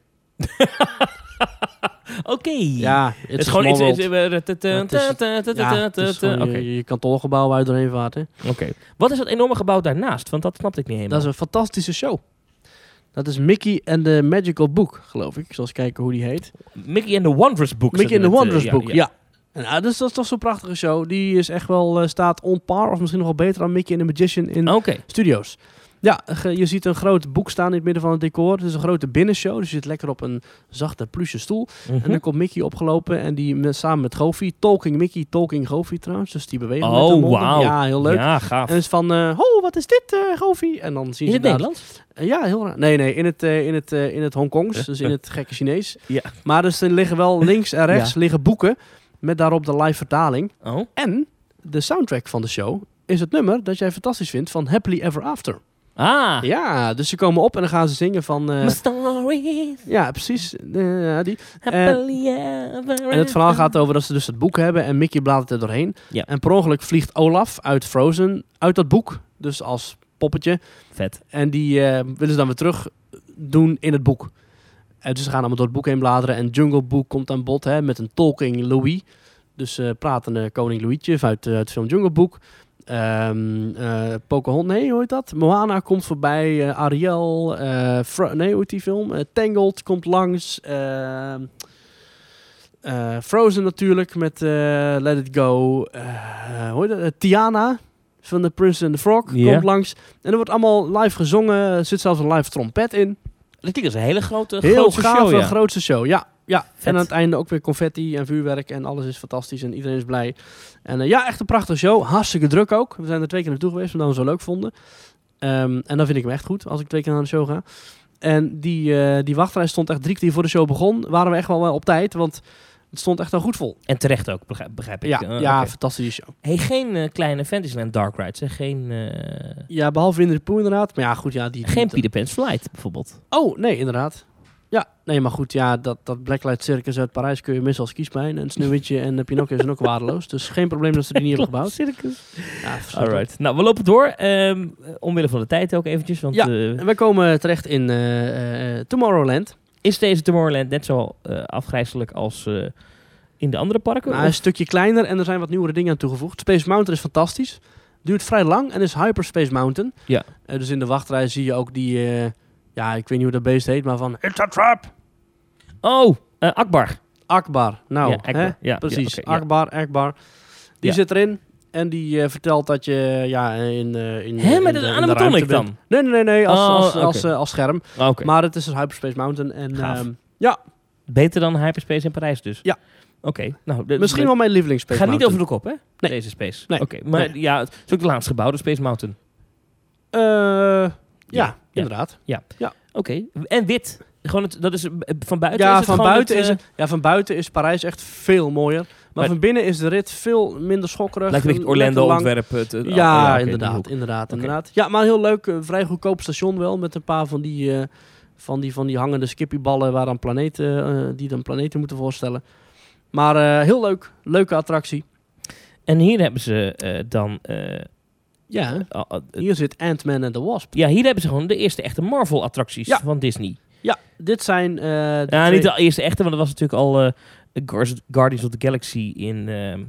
Speaker 5: Oké.
Speaker 4: Ja,
Speaker 5: Het is gewoon iets.
Speaker 4: World. Ja, het is gewoon
Speaker 5: Oké,
Speaker 4: je- je, kantoorgebouw waar je doorheen vaart. Hè.
Speaker 5: oké. Wat is dat enorme gebouw daarnaast? Want dat snapte ik niet helemaal.
Speaker 4: Dat is een fantastische show. Dat is Mickey and the Magical Book, geloof ik. Ik zal eens kijken hoe die heet.
Speaker 5: Mickey and the Wondrous Book.
Speaker 4: Mickey
Speaker 5: in
Speaker 4: and the Wondrous Book, eh, ja. En, ah, dus dat is toch zo'n prachtige show. Die is echt wel, eh, staat on par, of misschien nog wel beter dan Mickey and the Magician in
Speaker 5: Oké.
Speaker 4: studio's. Ja, ge- je ziet een groot boek staan in het midden van het decor. Het is een grote binnenshow, dus je zit lekker op een zachte pluche stoel.
Speaker 5: Mhm.
Speaker 4: En dan komt Mickey opgelopen en die met- samen met Goofy, Talking Mickey, Talking Goofy trouwens. Dus die bewegen met hun
Speaker 5: Oh,
Speaker 4: monden.
Speaker 5: wauw.
Speaker 4: Ja, heel leuk.
Speaker 5: Ja, gaaf.
Speaker 4: En het is van, eh oh, wat is dit, eh Goofy? En dan zien
Speaker 5: Is
Speaker 4: ze
Speaker 5: het
Speaker 4: daar-
Speaker 5: Nederlands?
Speaker 4: Eh, Ja, heel raar. Nee, nee, in het, eh, in het, eh, in het Hongkongs, dus in het gekke Chinees.
Speaker 5: Ja.
Speaker 4: Maar dus er liggen wel links en rechts liggen boeken met daarop de live vertaling.
Speaker 5: Oh.
Speaker 4: En de soundtrack van de show is het nummer dat jij fantastisch vindt van Happily Ever After.
Speaker 5: Ah.
Speaker 4: Ja, dus ze komen op en dan gaan ze zingen van... eh,
Speaker 5: My stories
Speaker 4: ja, precies. eh, ja, die.
Speaker 5: happily ever
Speaker 4: En het verhaal gaat over dat ze dus het boek hebben en Mickey bladert er doorheen.
Speaker 5: Ja.
Speaker 4: En per ongeluk vliegt Olaf uit Frozen uit dat boek. Dus als poppetje.
Speaker 5: after. Vet.
Speaker 4: En die eh, willen ze dan weer terug doen in het boek. En dus ze gaan allemaal door het boek heen bladeren. En Jungle Book komt aan bod hè, met een tolking Louis. Dus eh, pratende koning Louietje uit eh, het film Jungle Book. Ehm eh, Pocahontas, nee, hoe heet dat? Moana komt voorbij. eh, Ariel. eh, Fro- nee, hoe heet die film? Eh, Tangled komt langs. ehm, eh, Frozen natuurlijk met eh, Let It Go. eh, hoe heet dat? Eh, Tiana van The Prince and the Frog
Speaker 5: Ja.
Speaker 4: komt langs. En er wordt allemaal live gezongen. Er zit zelfs een live trompet in.
Speaker 5: Dat klinkt als een hele grote,
Speaker 4: Heel
Speaker 5: grote
Speaker 4: gaaf,
Speaker 5: show,
Speaker 4: een
Speaker 5: ja.
Speaker 4: grootste show. Ja, ja. en aan
Speaker 5: Vet.
Speaker 4: het einde ook weer confetti en vuurwerk en alles is fantastisch en iedereen is blij. En eh, ja, echt een prachtige show. Hartstikke druk ook. We zijn er twee keer naartoe geweest omdat we hem zo leuk vonden. Ehm, en dan vind ik hem echt goed als ik twee keer naar de show ga. En die, eh, die wachtrij stond echt drie kwartier voor de show begon. Waren we echt wel eh, op tijd, want het stond echt al goed vol.
Speaker 5: En terecht ook, begrijp, begrijp ik.
Speaker 4: Ja,
Speaker 5: Eh,
Speaker 4: ja
Speaker 5: oké.
Speaker 4: fantastische show.
Speaker 5: Hey, geen eh, kleine Fantasyland Dark Rides. Hè? Geen, eh,
Speaker 4: Ja, behalve in de poe inderdaad. Maar ja, goed, ja, die... die-
Speaker 5: geen Peter Pan's Flight bijvoorbeeld.
Speaker 4: Oh, nee, inderdaad. Ja, nee, maar goed, ja, dat, dat Blacklight Circus uit Parijs kun je missen als kiespijn. En Sneeuwwitje en eh, Pinocchio zijn ook waardeloos. Dus geen probleem dat ze die niet hebben gebouwd.
Speaker 5: Circus.
Speaker 4: Ja, verschrikkelijk.
Speaker 5: Alright. Nou, we lopen door. ehm, omwille van de tijd ook eventjes. Want
Speaker 4: Ja.
Speaker 5: eh,
Speaker 4: En wij komen terecht in eh, eh, Tomorrowland.
Speaker 5: is deze Tomorrowland net zo eh, afgrijzelijk als eh, in de andere parken?
Speaker 4: Maar een
Speaker 5: Of-
Speaker 4: stukje kleiner en er zijn wat nieuwere dingen aan toegevoegd. Space Mountain is fantastisch. Duurt vrij lang en is Hyperspace Mountain.
Speaker 5: Ja.
Speaker 4: Eh, dus in de wachtrij zie je ook die, eh, ja, ik weet niet hoe dat beest heet, maar van
Speaker 5: Oh, eh, Akbar.
Speaker 4: Akbar. Nou,
Speaker 5: ja,
Speaker 4: hè?
Speaker 5: Akbar. Ja,
Speaker 4: Precies,
Speaker 5: ja, oké, ja.
Speaker 4: Akbar, Akbar. Die
Speaker 5: Ja.
Speaker 4: zit erin en die eh, vertelt dat je ja, in, eh in,
Speaker 5: Hè,
Speaker 4: in
Speaker 5: met
Speaker 4: de-
Speaker 5: een
Speaker 4: in de
Speaker 5: animatronic
Speaker 4: ruimte bent.
Speaker 5: dan?
Speaker 4: Nee, nee, nee, nee als,
Speaker 5: Oh,
Speaker 4: als,
Speaker 5: oké.
Speaker 4: als, eh, als scherm.
Speaker 5: Oh, oké.
Speaker 4: Maar het is dus Hyperspace Mountain. En,
Speaker 5: Gaaf.
Speaker 4: ehm,
Speaker 5: Beter dan Hyperspace in Parijs dus?
Speaker 4: Ja.
Speaker 5: Oké. Nou, de-
Speaker 4: misschien
Speaker 5: de-
Speaker 4: wel mijn lievelingsspace
Speaker 5: Ga niet over
Speaker 4: Mountain.
Speaker 5: de kop, hè?
Speaker 4: Nee.
Speaker 5: Deze Space.
Speaker 4: Nee.
Speaker 5: Oké, maar
Speaker 4: Nee.
Speaker 5: ja, het is ook het laatste gebouw, de Space Mountain.
Speaker 4: Eh, ja,
Speaker 5: Ja.
Speaker 4: inderdaad.
Speaker 5: Oké. En wit. Gewoon het, dat is eh, van buiten is
Speaker 4: Ja
Speaker 5: het
Speaker 4: van
Speaker 5: gewoon
Speaker 4: buiten,
Speaker 5: het,
Speaker 4: is
Speaker 5: eh,
Speaker 4: het, ja, van buiten is Parijs echt veel mooier. Maar,
Speaker 5: Maar-
Speaker 4: van binnen is de rit veel minder schokkerig.
Speaker 5: Lijkt een beetje het
Speaker 4: lekker lang.
Speaker 5: Orlando-ontwerp. het- het-
Speaker 4: Ja,
Speaker 5: oh, oké, die hoek.
Speaker 4: inderdaad, inderdaad,
Speaker 5: Oké.
Speaker 4: inderdaad. Ja, maar een heel leuk, eh, vrij goedkoop station wel, met een paar van die, eh, van die, van die hangende skippyballen waar dan planeten, eh, die dan planeten moeten voorstellen. Maar eh, heel leuk, leuke attractie.
Speaker 5: En hier hebben ze eh, dan... eh,
Speaker 4: Ja,
Speaker 5: ah, ah, eh,
Speaker 4: hier zit Ant-Man en de Wasp.
Speaker 5: ja, hier hebben ze gewoon de eerste echte Marvel-attracties
Speaker 4: Ja.
Speaker 5: van Disney.
Speaker 4: Ja, dit zijn... eh, de
Speaker 5: Ja,
Speaker 4: twee-
Speaker 5: niet de eerste echte, want dat was natuurlijk al eh, Guards- Guardians of the Galaxy in ehm,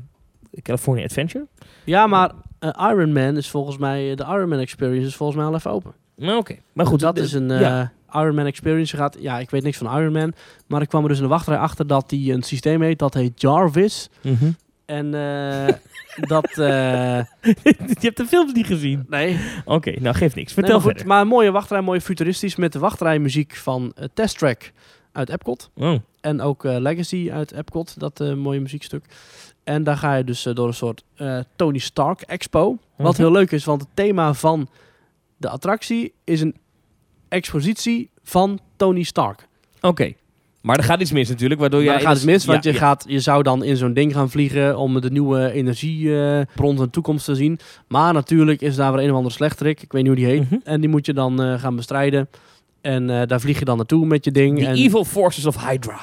Speaker 5: California Adventure.
Speaker 4: ja maar eh, Iron Man is volgens mij, eh, de Iron Man Experience is volgens mij al even open.
Speaker 5: Nou, oké. Maar goed,
Speaker 4: dat
Speaker 5: de-
Speaker 4: is een eh,
Speaker 5: ja.
Speaker 4: Iron Man Experience. Je gaat, ja, ik weet niks van Iron Man, maar ik kwam er dus in de wachtrij achter dat die een systeem heet, dat heet Jarvis.
Speaker 5: Mhm.
Speaker 4: En eh, dat... eh,
Speaker 5: Je hebt de films niet gezien.
Speaker 4: nee,
Speaker 5: Oké, nou geeft niks.
Speaker 4: nee,
Speaker 5: Vertel
Speaker 4: maar goed,
Speaker 5: verder.
Speaker 4: maar een mooie wachtrij, mooi futuristisch met de wachtrijmuziek van eh, Test Track uit Epcot.
Speaker 5: Oh.
Speaker 4: En ook eh, Legacy uit Epcot, dat eh, mooie muziekstuk. En daar ga je dus eh, door een soort eh, Tony Stark Expo. Wat
Speaker 5: Mhm.
Speaker 4: heel leuk is, want het thema van de attractie is een expositie van Tony Stark.
Speaker 5: Oké. Maar er gaat iets mis natuurlijk, waardoor
Speaker 4: Maar
Speaker 5: jij...
Speaker 4: dan gaat het mis, want
Speaker 5: Ja,
Speaker 4: je,
Speaker 5: ja.
Speaker 4: gaat, je zou dan in zo'n ding gaan vliegen om de nieuwe energiebron van de toekomst te zien. Maar natuurlijk is daar weer een of ander slechterik, ik weet niet hoe die heet.
Speaker 5: Mhm.
Speaker 4: En die moet je dan eh, gaan bestrijden. En eh, daar vlieg je dan naartoe met je ding.
Speaker 5: The
Speaker 4: en,
Speaker 5: Evil Forces of Hydra.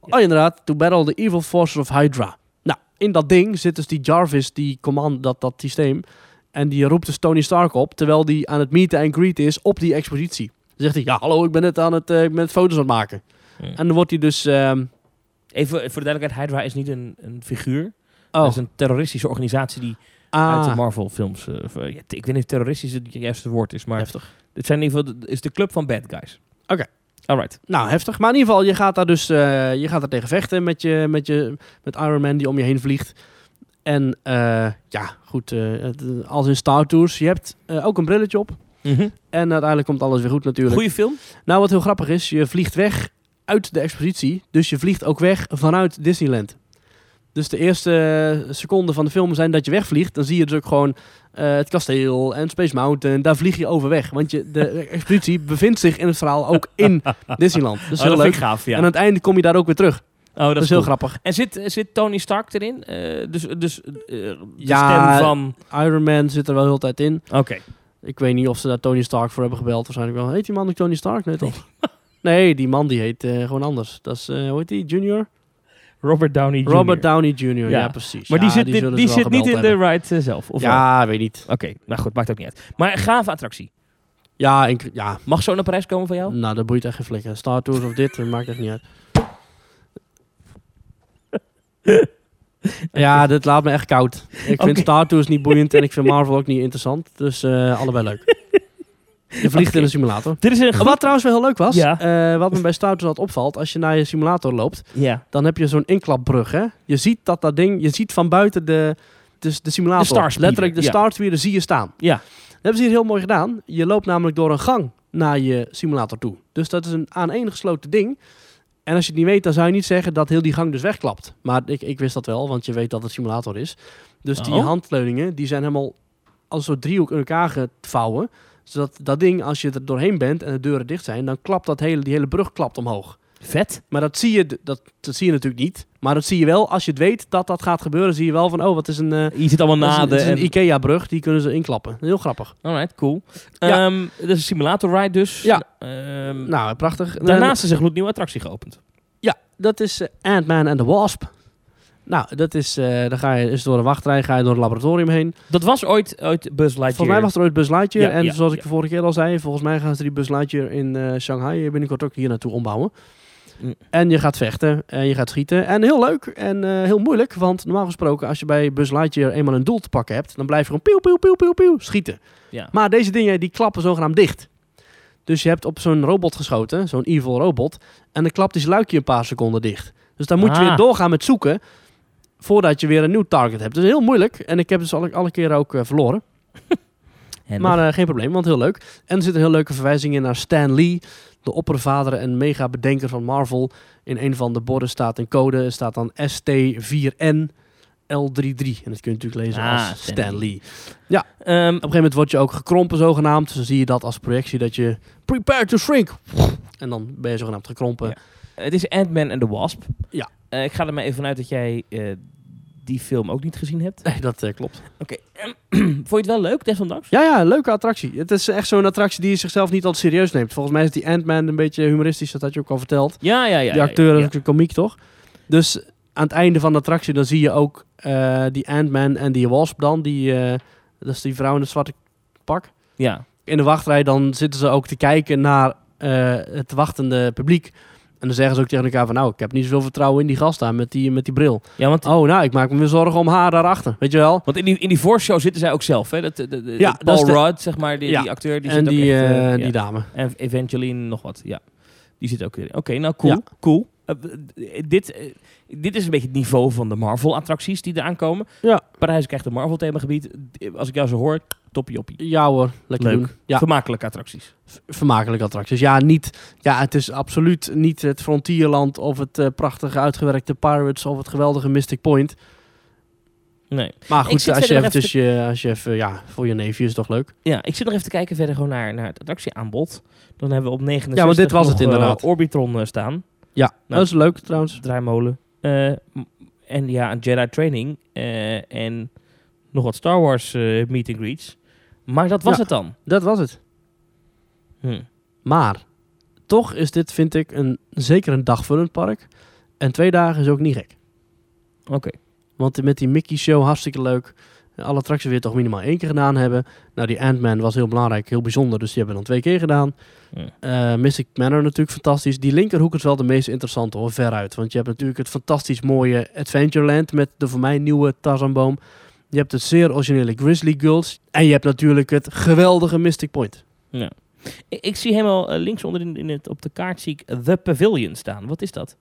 Speaker 4: Oh, inderdaad. To battle the evil forces of Hydra. Nou, in dat ding zit dus die Jarvis, die command, dat, dat systeem. En die roept dus Tony Stark op, terwijl die aan het meeten en greet is op die expositie. Dan zegt hij, ja hallo, ik ben net aan het, eh, ik ben net foto's aan het maken.
Speaker 5: Ja.
Speaker 4: En dan wordt hij dus... ehm,
Speaker 5: Mm. Even voor de duidelijkheid, Hydra is niet een, een figuur.
Speaker 4: oh,
Speaker 5: Dat is een terroristische organisatie die uit de
Speaker 4: ah,
Speaker 5: Marvel-films... eh, of, eh, ja, ik weet niet of terroristisch het juiste woord is, maar...
Speaker 4: heftig.
Speaker 5: Het zijn in ieder geval... Het is de club van bad guys.
Speaker 4: Oké.
Speaker 5: Alright.
Speaker 4: Nou, heftig. Maar in ieder geval, je gaat daar dus eh, je gaat daar tegen vechten met, je, met, je, met Iron Man die om je heen vliegt. En eh, ja, goed, eh, het- als in Star Tours. Je hebt eh, ook een brilletje op. En uiteindelijk komt alles weer goed natuurlijk.
Speaker 5: Mhm. Goeie film.
Speaker 4: Nou, wat heel grappig is, je vliegt weg uit de expositie. Dus je vliegt ook weg vanuit Disneyland. Dus de eerste eh, seconden van de film zijn dat je wegvliegt. Dan zie je dus ook gewoon eh, het kasteel en Space Mountain. Daar vlieg je over weg. Want je, de expositie bevindt zich in het verhaal ook in Disneyland. Dat is
Speaker 5: Oh,
Speaker 4: heel
Speaker 5: dat
Speaker 4: leuk.
Speaker 5: vind ik gaaf, ja.
Speaker 4: En aan het einde kom je daar ook weer terug. Dat,
Speaker 5: oh, dat,
Speaker 4: is, heel
Speaker 5: cool.
Speaker 4: grappig.
Speaker 5: En zit, zit Tony Stark erin? Eh, dus dus eh, de
Speaker 4: Ja.
Speaker 5: stem van...
Speaker 4: Iron Man zit er wel heel de tijd in.
Speaker 5: Oké.
Speaker 4: Ik weet niet of ze daar Tony Stark voor hebben gebeld. Waarschijnlijk wel. Heet die man ook Tony Stark? Nee, toch? Nee, die man die heet eh, gewoon anders. Dat is, eh hoe heet die? Junior?
Speaker 5: Robert Downey Jr.
Speaker 4: Robert Downey Jr. Ja,
Speaker 5: Ja.
Speaker 4: precies.
Speaker 5: Maar die
Speaker 4: Ja,
Speaker 5: zit, die,
Speaker 4: zullen
Speaker 5: die
Speaker 4: ze wel
Speaker 5: zit niet in
Speaker 4: gebeld hebben.
Speaker 5: de ride eh, zelf, of wel?
Speaker 4: Ja, weet niet.
Speaker 5: Oké, nou goed, maakt ook niet uit. Maar een gave attractie.
Speaker 4: Ja, en, ja,
Speaker 5: Mag zo naar Parijs komen van jou?
Speaker 4: nou dat boeit echt geen flikker. Star Tours of dit, dat maakt echt niet uit. Ja, dit laat me echt koud. Ik vind
Speaker 5: Oké.
Speaker 4: Star Tours niet boeiend en ik vind Marvel ook niet interessant. Dus eh, allebei leuk. Je vliegt in
Speaker 5: Oké.
Speaker 4: een simulator.
Speaker 5: Dit is een
Speaker 4: Wat trouwens wel heel leuk was,
Speaker 5: Ja.
Speaker 4: eh, wat me bij Star Tours altijd opvalt, als je naar je simulator loopt,
Speaker 5: Ja.
Speaker 4: dan heb je zo'n inklapbrug. Hè? Je ziet dat dat ding, je ziet van buiten de, de, de simulator.
Speaker 5: De Star Speeder,
Speaker 4: Letterlijk de
Speaker 5: ja.
Speaker 4: Star Speeder zie je staan.
Speaker 5: Ja.
Speaker 4: Dat hebben ze hier heel mooi gedaan. Je loopt namelijk door een gang naar je simulator toe. Dus dat is een aaneengesloten ding. En als je het niet weet, dan zou je niet zeggen dat heel die gang dus wegklapt. Maar ik, ik wist dat wel, want je weet dat het simulator is. Dus die
Speaker 5: Oh.
Speaker 4: handleuningen, die zijn helemaal als een soort driehoek in elkaar gevouwen. Zodat dat ding, als je er doorheen bent en de deuren dicht zijn, dan klapt dat hele, die hele brug klapt omhoog.
Speaker 5: Vet.
Speaker 4: Maar dat zie, je, d- dat, dat zie je natuurlijk niet. Maar dat zie je wel, als je het weet dat dat gaat gebeuren, zie je wel van, oh, wat is een, eh,
Speaker 5: Hier zit allemaal
Speaker 4: wat is een-
Speaker 5: naden.
Speaker 4: het is een
Speaker 5: en-
Speaker 4: Ikea-brug, die kunnen ze inklappen. Heel grappig.
Speaker 5: Alright, cool.
Speaker 4: Ja.
Speaker 5: Ehm, dat is een simulator ride dus.
Speaker 4: Ja.
Speaker 5: Ehm,
Speaker 4: Nou, prachtig.
Speaker 5: daarnaast is een gloednieuwe attractie geopend.
Speaker 4: Dat is eh, Ant-Man and the Wasp. Nou, dat is, eh dan ga je eens door een wachtrij, ga je door het laboratorium heen.
Speaker 5: Dat was ooit, ooit Buzz Lightyear.
Speaker 4: Volgens mij was er ooit Buzz Lightyear.
Speaker 5: Ja,
Speaker 4: en
Speaker 5: ja,
Speaker 4: zoals ik
Speaker 5: ja.
Speaker 4: de vorige keer al zei, volgens mij gaan ze die Buzz Lightyear in eh, Shanghai binnenkort ook hier naartoe ombouwen.
Speaker 5: Mm.
Speaker 4: En je gaat vechten en je gaat schieten. En heel leuk en eh, heel moeilijk. Want normaal gesproken, als je bij Buzz Lightyear eenmaal een doel te pakken hebt, dan blijf je gewoon pieuw, pieuw, pieuw, pieuw, pieuw schieten.
Speaker 5: Ja.
Speaker 4: Maar deze dingen, die klappen zogenaamd dicht. Dus je hebt op zo'n robot geschoten, zo'n evil robot. En dan klapt die zijn luikje een paar seconden dicht. Dus dan moet je
Speaker 5: Ah.
Speaker 4: weer doorgaan met zoeken, voordat je weer een nieuw target hebt. Dus heel moeilijk. En ik heb dus alle, alle keren ook eh, verloren.
Speaker 5: Handig.
Speaker 4: Maar eh, geen probleem, want heel leuk. En er zit een heel leuke verwijzing in naar Stan Lee, de oppervader en mega bedenker van Marvel. In een van de borden staat een code, staat dan ST4N. L33. En dat kun je natuurlijk lezen
Speaker 5: Ah,
Speaker 4: als
Speaker 5: Stan
Speaker 4: Stan,
Speaker 5: Lee.
Speaker 4: Lee. Op een
Speaker 5: Ehm,
Speaker 4: gegeven moment word je ook gekrompen zogenaamd. Dus dan zie je dat als projectie dat je prepare to shrink. En dan ben je zogenaamd gekrompen.
Speaker 5: Ja. het is Ant-Man and the Wasp.
Speaker 4: Ja.
Speaker 5: Eh, ik ga er maar even vanuit dat jij eh, die film ook niet gezien hebt.
Speaker 4: Nee, dat eh, klopt.
Speaker 5: Oké. ehm, Vond je het wel leuk, desondanks?
Speaker 4: Ja, ja, een leuke attractie. Het is echt zo'n attractie die zichzelf niet altijd serieus neemt. Volgens mij is die Ant-Man een beetje humoristisch, dat had je ook al verteld.
Speaker 5: Ja, ja, ja.
Speaker 4: die
Speaker 5: ja,
Speaker 4: acteur
Speaker 5: ja,
Speaker 4: is
Speaker 5: ja.
Speaker 4: ook een komiek, toch? Dus aan het einde van de attractie, dan zie je ook eh, die Ant-Man en die Wasp dan. Die, eh, dat is die vrouw in het zwarte pak.
Speaker 5: Ja.
Speaker 4: In de wachtrij dan zitten ze ook te kijken naar eh, het wachtende publiek. En dan zeggen ze ook tegen elkaar van... nou, ik heb niet zoveel vertrouwen in die gast daar met die, met die bril.
Speaker 5: ja, want,
Speaker 4: Oh, nou, ik maak me weer zorgen om haar daarachter. Weet je wel?
Speaker 5: want in die, in die voorshow zitten zij ook zelf, hè? Dat, de, de, de-
Speaker 4: Ja,
Speaker 5: Paul
Speaker 4: dat is de-
Speaker 5: Rudd, zeg maar, die,
Speaker 4: Ja.
Speaker 5: die acteur. Die
Speaker 4: en
Speaker 5: zit ook
Speaker 4: die,
Speaker 5: echt, eh,
Speaker 4: eh,
Speaker 5: ja.
Speaker 4: die dame.
Speaker 5: En Evangeline nog wat, ja. Die zit ook weer in. Oké, nou cool,
Speaker 4: Ja.
Speaker 5: cool. Eh, eh, dit, eh, dit is een beetje het niveau van de Marvel-attracties die eraan komen.
Speaker 4: Ja.
Speaker 5: Parijs krijgt een Marvel-themagebied. Eh, Als ik jou zo hoor, toppie joppie.
Speaker 4: Ja hoor, lekker
Speaker 5: Leuk.
Speaker 4: doen. Ja,
Speaker 5: Vermakelijke attracties.
Speaker 4: v- vermakelijke attracties. Ja, niet, ja, het is absoluut niet het Frontierland of het eh, prachtige uitgewerkte Pirates of het geweldige Mystic Point.
Speaker 5: Nee.
Speaker 4: Maar
Speaker 5: Ik
Speaker 4: goed,
Speaker 5: zit
Speaker 4: als je,
Speaker 5: verder nog
Speaker 4: eventjes je, als je even, ja, voor je neefje is toch leuk.
Speaker 5: Ja, ik zit nog even te kijken verder gewoon naar, naar het attractieaanbod. Dan hebben we op 69
Speaker 4: Ja, want dit was
Speaker 5: nog,
Speaker 4: het inderdaad.
Speaker 5: eh, Orbitron eh, staan.
Speaker 4: Ja,
Speaker 5: Nou.
Speaker 4: dat is leuk trouwens.
Speaker 5: Draaimolen. Eh, m- en ja, een Jedi training. eh, en nog wat Star Wars eh, meet and greets. Maar dat was
Speaker 4: Ja.
Speaker 5: het dan.
Speaker 4: Dat was het.
Speaker 5: Hm.
Speaker 4: Maar toch is dit, vind ik, een, zeker een dagvullend park. En twee dagen is ook niet gek.
Speaker 5: Oké.
Speaker 4: Want met die Mickey Show, hartstikke leuk. Alle attracties weer toch minimaal één keer gedaan hebben. Nou, die Ant-Man was heel belangrijk, heel bijzonder. Dus die hebben we dan twee keer gedaan.
Speaker 5: Ja.
Speaker 4: Eh, Mystic Manor natuurlijk fantastisch. Die linkerhoek is wel de meest interessante hoor, veruit. Want je hebt natuurlijk het fantastisch mooie Adventureland... met de voor mij nieuwe Tarzanboom. Je hebt het zeer originele Grizzly Girls. En je hebt natuurlijk het geweldige Mystic Point.
Speaker 5: Ik, ik zie helemaal eh, links onder in, in het, op de kaart zie ik The Pavilion staan. Wat is dat?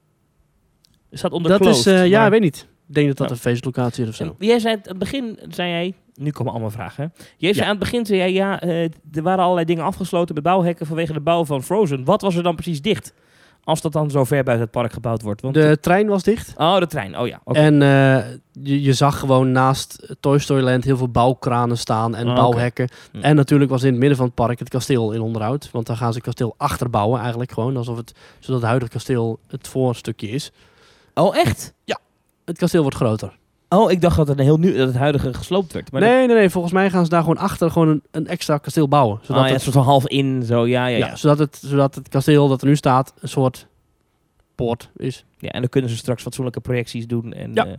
Speaker 5: Het staat onder
Speaker 4: dat
Speaker 5: closed.
Speaker 4: is, eh, ja,
Speaker 5: maar-
Speaker 4: weet niet. Ik denk dat dat
Speaker 5: Ja.
Speaker 4: een feestlocatie is of zo.
Speaker 5: En Jij zei het aan het begin, zei jij... Nu komen allemaal vragen. hè? Jij zei
Speaker 4: Ja.
Speaker 5: aan het begin, zei jij, ja, eh, er waren allerlei dingen afgesloten met bouwhekken vanwege de bouw van Frozen. Wat was er dan precies dicht? Als dat dan zo ver buiten het park gebouwd wordt. Want
Speaker 4: De trein was dicht.
Speaker 5: Oh, de trein. Oh ja. oké.
Speaker 4: En eh, je, je zag gewoon naast Toy Story Land heel veel bouwkranen staan en
Speaker 5: Ah, oké.
Speaker 4: bouwhekken.
Speaker 5: Hm.
Speaker 4: En natuurlijk was in het midden van het park het kasteel in onderhoud. Want daar gaan ze het kasteel achterbouwen eigenlijk gewoon. Alsof het, zodat het huidige kasteel het voorstukje is. Eh,
Speaker 5: Oh, echt?
Speaker 4: Het kasteel wordt groter.
Speaker 5: Oh, ik dacht dat het, een heel nieuw, dat het huidige gesloopt werd. Maar
Speaker 4: nee, nee, nee. Volgens mij gaan ze daar gewoon achter gewoon een, een extra kasteel bouwen.
Speaker 5: dat,
Speaker 4: Zodat,
Speaker 5: ah, ja, een
Speaker 4: het,
Speaker 5: soort van half in, zo. Ja, ja,
Speaker 4: ja,
Speaker 5: ja.
Speaker 4: zodat, het, zodat het kasteel dat er nu staat een soort poort is.
Speaker 5: Ja, en dan kunnen ze straks fatsoenlijke projecties doen. En,
Speaker 4: Ja.
Speaker 5: eh,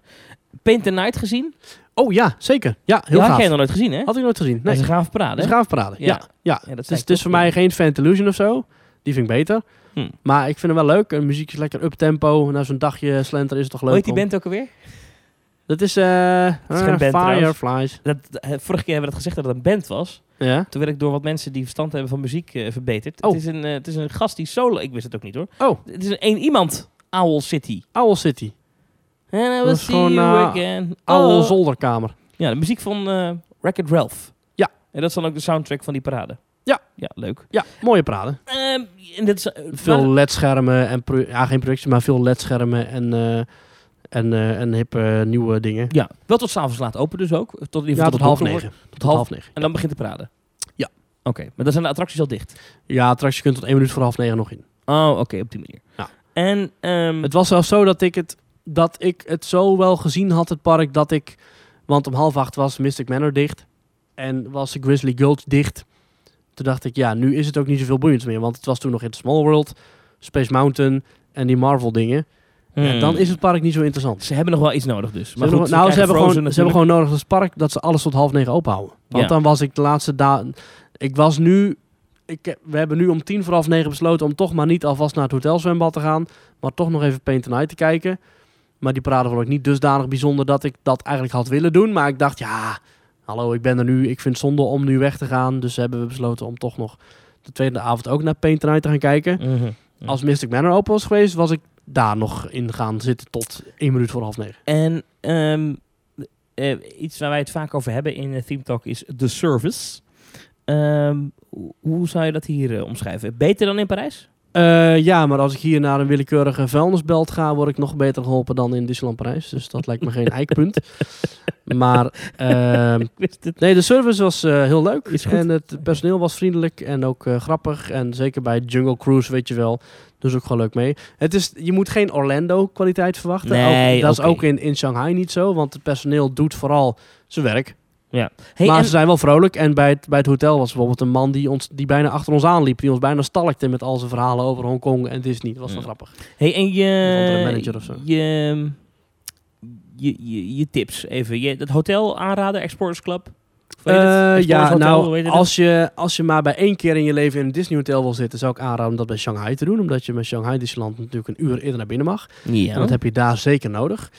Speaker 5: Paint the Night gezien?
Speaker 4: Oh ja, zeker. Ja, heel
Speaker 5: Die had
Speaker 4: gaaf.
Speaker 5: jij nog nooit gezien, hè?
Speaker 4: Had ik nooit gezien.
Speaker 5: Dat
Speaker 4: Nee,
Speaker 5: is een gaaf
Speaker 4: dat
Speaker 5: parade,
Speaker 4: is
Speaker 5: hè?
Speaker 4: gaaf praten.
Speaker 5: Ja.
Speaker 4: Ja, ja.
Speaker 5: Ja, dat
Speaker 4: Het is,
Speaker 5: zei
Speaker 4: het is
Speaker 5: ik ook,
Speaker 4: voor
Speaker 5: ja.
Speaker 4: mij geen Fantillusion of zo. Die vind ik beter.
Speaker 5: Hm.
Speaker 4: Maar ik vind hem wel leuk. En de muziek is lekker uptempo. Na zo'n dagje slenter is het toch leuk.
Speaker 5: Hoe heet die
Speaker 4: om-
Speaker 5: band ook alweer?
Speaker 4: Dat is, eh
Speaker 5: is
Speaker 4: eh,
Speaker 5: geen band trouwens.
Speaker 4: Fireflies.
Speaker 5: Dat, eh, vorige keer hebben we dat gezegd dat het een band was.
Speaker 4: Ja.
Speaker 5: Toen werd ik door wat mensen die verstand hebben van muziek eh, verbeterd.
Speaker 4: Oh.
Speaker 5: Het, is een, eh, het is een gast die solo... Ik wist het ook niet, hoor.
Speaker 4: Oh,
Speaker 5: Het is een één iemand. Owl City.
Speaker 4: Owl City.
Speaker 5: And I will
Speaker 4: Dat is
Speaker 5: see
Speaker 4: gewoon,
Speaker 5: you
Speaker 4: eh,
Speaker 5: again.
Speaker 4: Owl
Speaker 5: Oh.
Speaker 4: zolderkamer.
Speaker 5: Ja, de muziek van eh Wreck-It Ralph.
Speaker 4: Ja.
Speaker 5: En dat is dan ook de soundtrack van die parade.
Speaker 4: Ja.
Speaker 5: Ja, leuk.
Speaker 4: Ja, mooie praten.
Speaker 5: Ehm, en dit is, eh,
Speaker 4: Veel
Speaker 5: waar-
Speaker 4: ledschermen en pro- ja, geen projecties, maar veel ledschermen en, eh, en, eh, en hippe eh, nieuwe dingen.
Speaker 5: ja, wel tot s'avonds laat open dus ook. Tot, in ieder geval
Speaker 4: Ja, tot half negen.
Speaker 5: Tot half,
Speaker 4: half negen.
Speaker 5: En dan begint de parade.
Speaker 4: Ja.
Speaker 5: Oké, maar dan zijn de attracties al dicht.
Speaker 4: Ja, attractie kunt tot één minuut voor half negen nog in.
Speaker 5: Oh, oké, op die manier.
Speaker 4: Ja.
Speaker 5: En ehm,
Speaker 4: Het was zelfs zo dat ik het, dat ik het zo wel gezien had, het park, dat ik... Want om half acht was Mystic Manor dicht. En was de Grizzly Gulch dicht. Toen dacht ik, ja, nu is het ook niet zoveel boeiends meer. Want het was toen nog in Small World, Space Mountain en die Marvel dingen. En
Speaker 5: hmm.
Speaker 4: dan is het park niet zo interessant.
Speaker 5: Ze hebben nog wel iets nodig dus.
Speaker 4: Ze hebben
Speaker 5: goed,
Speaker 4: gewoon- nou, ze
Speaker 5: krijgen
Speaker 4: hebben, gewoon,
Speaker 5: Frozen
Speaker 4: ze hebben
Speaker 5: natuurlijk.
Speaker 4: gewoon nodig als park dat ze alles tot half negen open houden. Want
Speaker 5: Ja.
Speaker 4: dan was ik de laatste dagen... Ik was nu... Ik, heb- we hebben nu om tien voor half negen besloten om toch maar niet alvast naar het hotelzwembad te gaan. Maar toch nog even Paint the Night te kijken. Maar die parade vond ik niet dusdanig bijzonder dat ik dat eigenlijk had willen doen. Maar ik dacht, ja, hallo, ik ben er nu. Ik vind het zonde om nu weg te gaan. Dus hebben we besloten om toch nog de tweede avond ook naar Paint the Night te gaan kijken.
Speaker 5: Mhm. Ja.
Speaker 4: Als Mystic Manor open was geweest, was ik daar nog in gaan zitten tot één minuut voor half negen.
Speaker 5: En ehm, eh, iets waar wij het vaak over hebben in eh, Theme Talk is de service. Ehm, hoe- hoe zou je dat hier eh, omschrijven? Beter dan in Parijs?
Speaker 4: Eh, ja, maar als ik hier naar een willekeurige vuilnisbelt ga, word ik nog beter geholpen dan in Disneyland Parijs. Dus dat lijkt me geen eikpunt. Maar ehm,
Speaker 5: Ik wist het.
Speaker 4: nee, de service was eh, heel leuk.
Speaker 5: Is goed.
Speaker 4: En het personeel was vriendelijk en ook eh, grappig. En zeker bij Jungle Cruise, weet je wel, doen ze ook gewoon leuk mee. Het is, je moet geen Orlando-kwaliteit verwachten.
Speaker 5: Nee,
Speaker 4: Ook- dat
Speaker 5: oké.
Speaker 4: is ook in, in Shanghai niet zo, want het personeel doet vooral zijn werk.
Speaker 5: Hey,
Speaker 4: maar
Speaker 5: en-
Speaker 4: ze zijn wel vrolijk. En bij het, bij het hotel was bijvoorbeeld een man die, ons, die bijna achter ons aanliep. Die ons bijna stalkte met al zijn verhalen over Hongkong en Disney. Dat was wel
Speaker 5: Ja.
Speaker 4: grappig.
Speaker 5: Hey, en je,
Speaker 4: Of andere manager of zo.
Speaker 5: Je, ehm, je, je, je tips even. Je, dat hotel aanraden, Exporters Club. Of hoe heet het?
Speaker 4: Eh,
Speaker 5: Explorers
Speaker 4: ja,
Speaker 5: Hotel, hoe
Speaker 4: nou,
Speaker 5: heet het?
Speaker 4: als je, als je maar bij één keer in je leven in een Disney hotel wil zitten, zou ik aanraden om dat bij Shanghai te doen. Omdat je met Shanghai Disneyland natuurlijk een uur eerder naar binnen mag.
Speaker 5: ja.
Speaker 4: En dat heb je daar zeker nodig.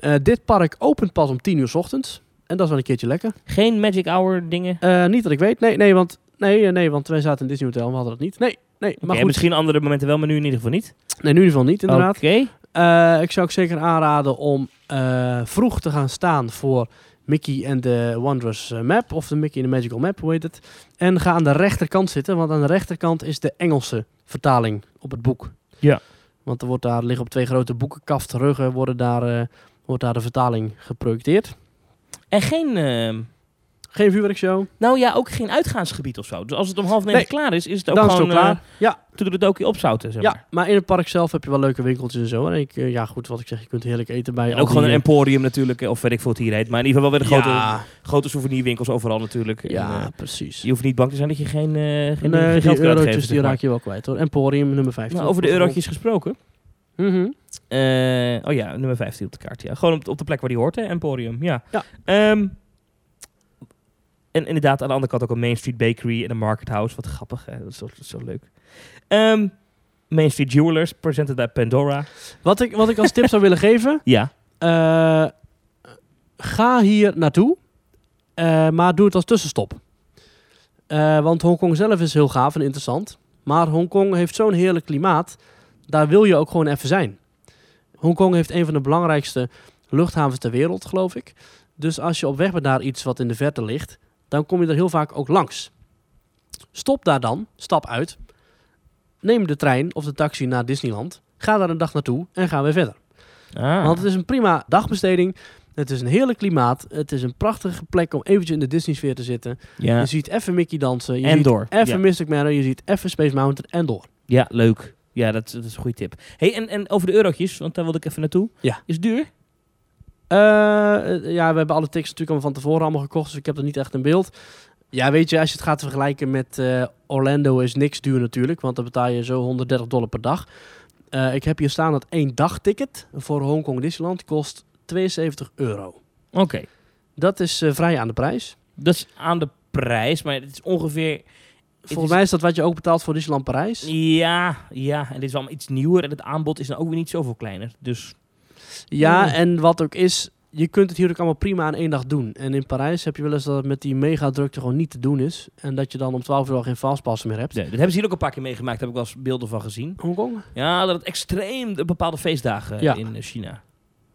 Speaker 4: Eh, dit park opent pas om 10 uur 's ochtends. En dat is wel een keertje lekker.
Speaker 5: Geen magic hour dingen.
Speaker 4: Eh, niet dat ik weet. Nee, nee, want, nee, eh, nee, want wij zaten in Disney hotel en we hadden dat niet. Nee, nee. Maar
Speaker 5: Maar
Speaker 4: goed,
Speaker 5: misschien andere momenten wel, maar nu in ieder geval niet.
Speaker 4: nee, nu in ieder geval niet inderdaad.
Speaker 5: Oké.
Speaker 4: Eh, ik zou ook zeker aanraden om eh, vroeg te gaan staan voor Mickey en de Wondrous eh, Map. Of de Mickey en de Magical Map, hoe heet het. En ga aan de rechterkant zitten, want aan de rechterkant is de Engelse vertaling op het boek.
Speaker 5: Ja.
Speaker 4: Want er wordt daar, liggen op twee grote boekenkastruggen, worden daar, eh, wordt daar de vertaling geprojecteerd.
Speaker 5: En geen... ehm,
Speaker 4: Geen vuurwerkshow,
Speaker 5: nou ja, ook geen uitgaansgebied of zo. Dus als het om half negen
Speaker 4: Nee.
Speaker 5: klaar is, is het ook
Speaker 4: dan is het
Speaker 5: gewoon... eh,
Speaker 4: ook klaar. ja.
Speaker 5: toen de dokie opzouten, zeg maar.
Speaker 4: Ja, maar in het park zelf heb je wel leuke winkeltjes en zo. En ik, eh, ja, goed, wat ik zeg, je kunt heerlijk eten bij.
Speaker 5: En
Speaker 4: al
Speaker 5: ook gewoon
Speaker 4: die,
Speaker 5: een
Speaker 4: eh,
Speaker 5: emporium natuurlijk, eh, of weet ik veel wat hier heet. Maar in ieder geval wel weer de grote,
Speaker 4: Ja,
Speaker 5: grote souvenirwinkels overal natuurlijk. En,
Speaker 4: ja,
Speaker 5: eh,
Speaker 4: precies.
Speaker 5: je hoeft niet bang te zijn dat je geen, eh geen, geen
Speaker 4: Nee,
Speaker 5: geld
Speaker 4: die
Speaker 5: kan uitgeven,
Speaker 4: eurotjes
Speaker 5: zeg
Speaker 4: die
Speaker 5: maar.
Speaker 4: raak je wel kwijt hoor. Emporium nummer 15.
Speaker 5: Nou, over de eurotjes gesproken.
Speaker 4: Mhm.
Speaker 5: Eh, oh ja, nummer 15 op de kaart. Ja. Gewoon op, op de plek waar die hoort, hè? Emporium. Ja.
Speaker 4: Ja.
Speaker 5: Ehm, en inderdaad, aan de andere kant ook een Main Street Bakery en een Market House. Wat grappig, hè? Dat is zo, dat is zo leuk. Ehm, Main Street Jewelers, presented bij Pandora.
Speaker 4: Wat, ik, wat ik als tip zou willen geven.
Speaker 5: Ja.
Speaker 4: eh, ga hier naartoe. eh, maar doe het als tussenstop. Eh, want Hongkong zelf is heel gaaf en interessant. Maar Hongkong heeft zo'n heerlijk klimaat. Daar wil je ook gewoon even zijn. Hongkong heeft een van de belangrijkste luchthavens ter wereld, geloof ik. Dus als je op weg bent naar iets wat in de verte ligt, dan kom je er heel vaak ook langs. Stop daar dan, stap uit. Neem de trein of de taxi naar Disneyland. Ga daar een dag naartoe en ga weer verder.
Speaker 5: Ah.
Speaker 4: Want het is een prima dagbesteding. Het is een heerlijk klimaat. Het is een prachtige plek om eventjes in de Disney-sfeer te zitten.
Speaker 5: ja.
Speaker 4: Je ziet even Mickey dansen. dus Je
Speaker 5: En
Speaker 4: ziet
Speaker 5: door.
Speaker 4: Even
Speaker 5: Ja.
Speaker 4: Mystic Manor. Je ziet even Space Mountain en door.
Speaker 5: ja, leuk. Ja, dat, is- dat is een goede tip. Hey, en, en over de eurotjes, want daar wilde ik even naartoe.
Speaker 4: Ja.
Speaker 5: Is het duur?
Speaker 4: Eh, eh, ja, we hebben alle tickets natuurlijk allemaal van tevoren allemaal gekocht. Dus ik heb er niet echt een beeld. Ja, weet je, als je het gaat vergelijken met eh, Orlando is niks duur natuurlijk. Want dan betaal je zo 130 dollar per dag. Eh, ik heb hier staan dat één dagticket voor Hongkong Disneyland kost 72 euro.
Speaker 5: Oké.
Speaker 4: Dat is eh, vrij aan de prijs.
Speaker 5: Dat is aan de prijs, maar het is ongeveer...
Speaker 4: Volgens
Speaker 5: is-
Speaker 4: mij is dat wat je ook betaalt voor Disneyland Parijs.
Speaker 5: Ja, ja. En dit is allemaal iets nieuwer en het aanbod is dan ook weer niet zoveel kleiner. Dus
Speaker 4: Ja,
Speaker 5: Ja.
Speaker 4: en wat ook is, je kunt het hier ook allemaal prima aan één dag doen. En in Parijs heb je wel eens dat het met die megadrukte gewoon niet te doen is. En dat je dan om 12 uur al geen fastpassen meer hebt.
Speaker 5: Nee, dat hebben ze hier ook een paar keer meegemaakt. Daar heb ik wel eens beelden van gezien.
Speaker 4: Hongkong?
Speaker 5: Ja, dat het extreem de bepaalde feestdagen
Speaker 4: Ja.
Speaker 5: in eh, China.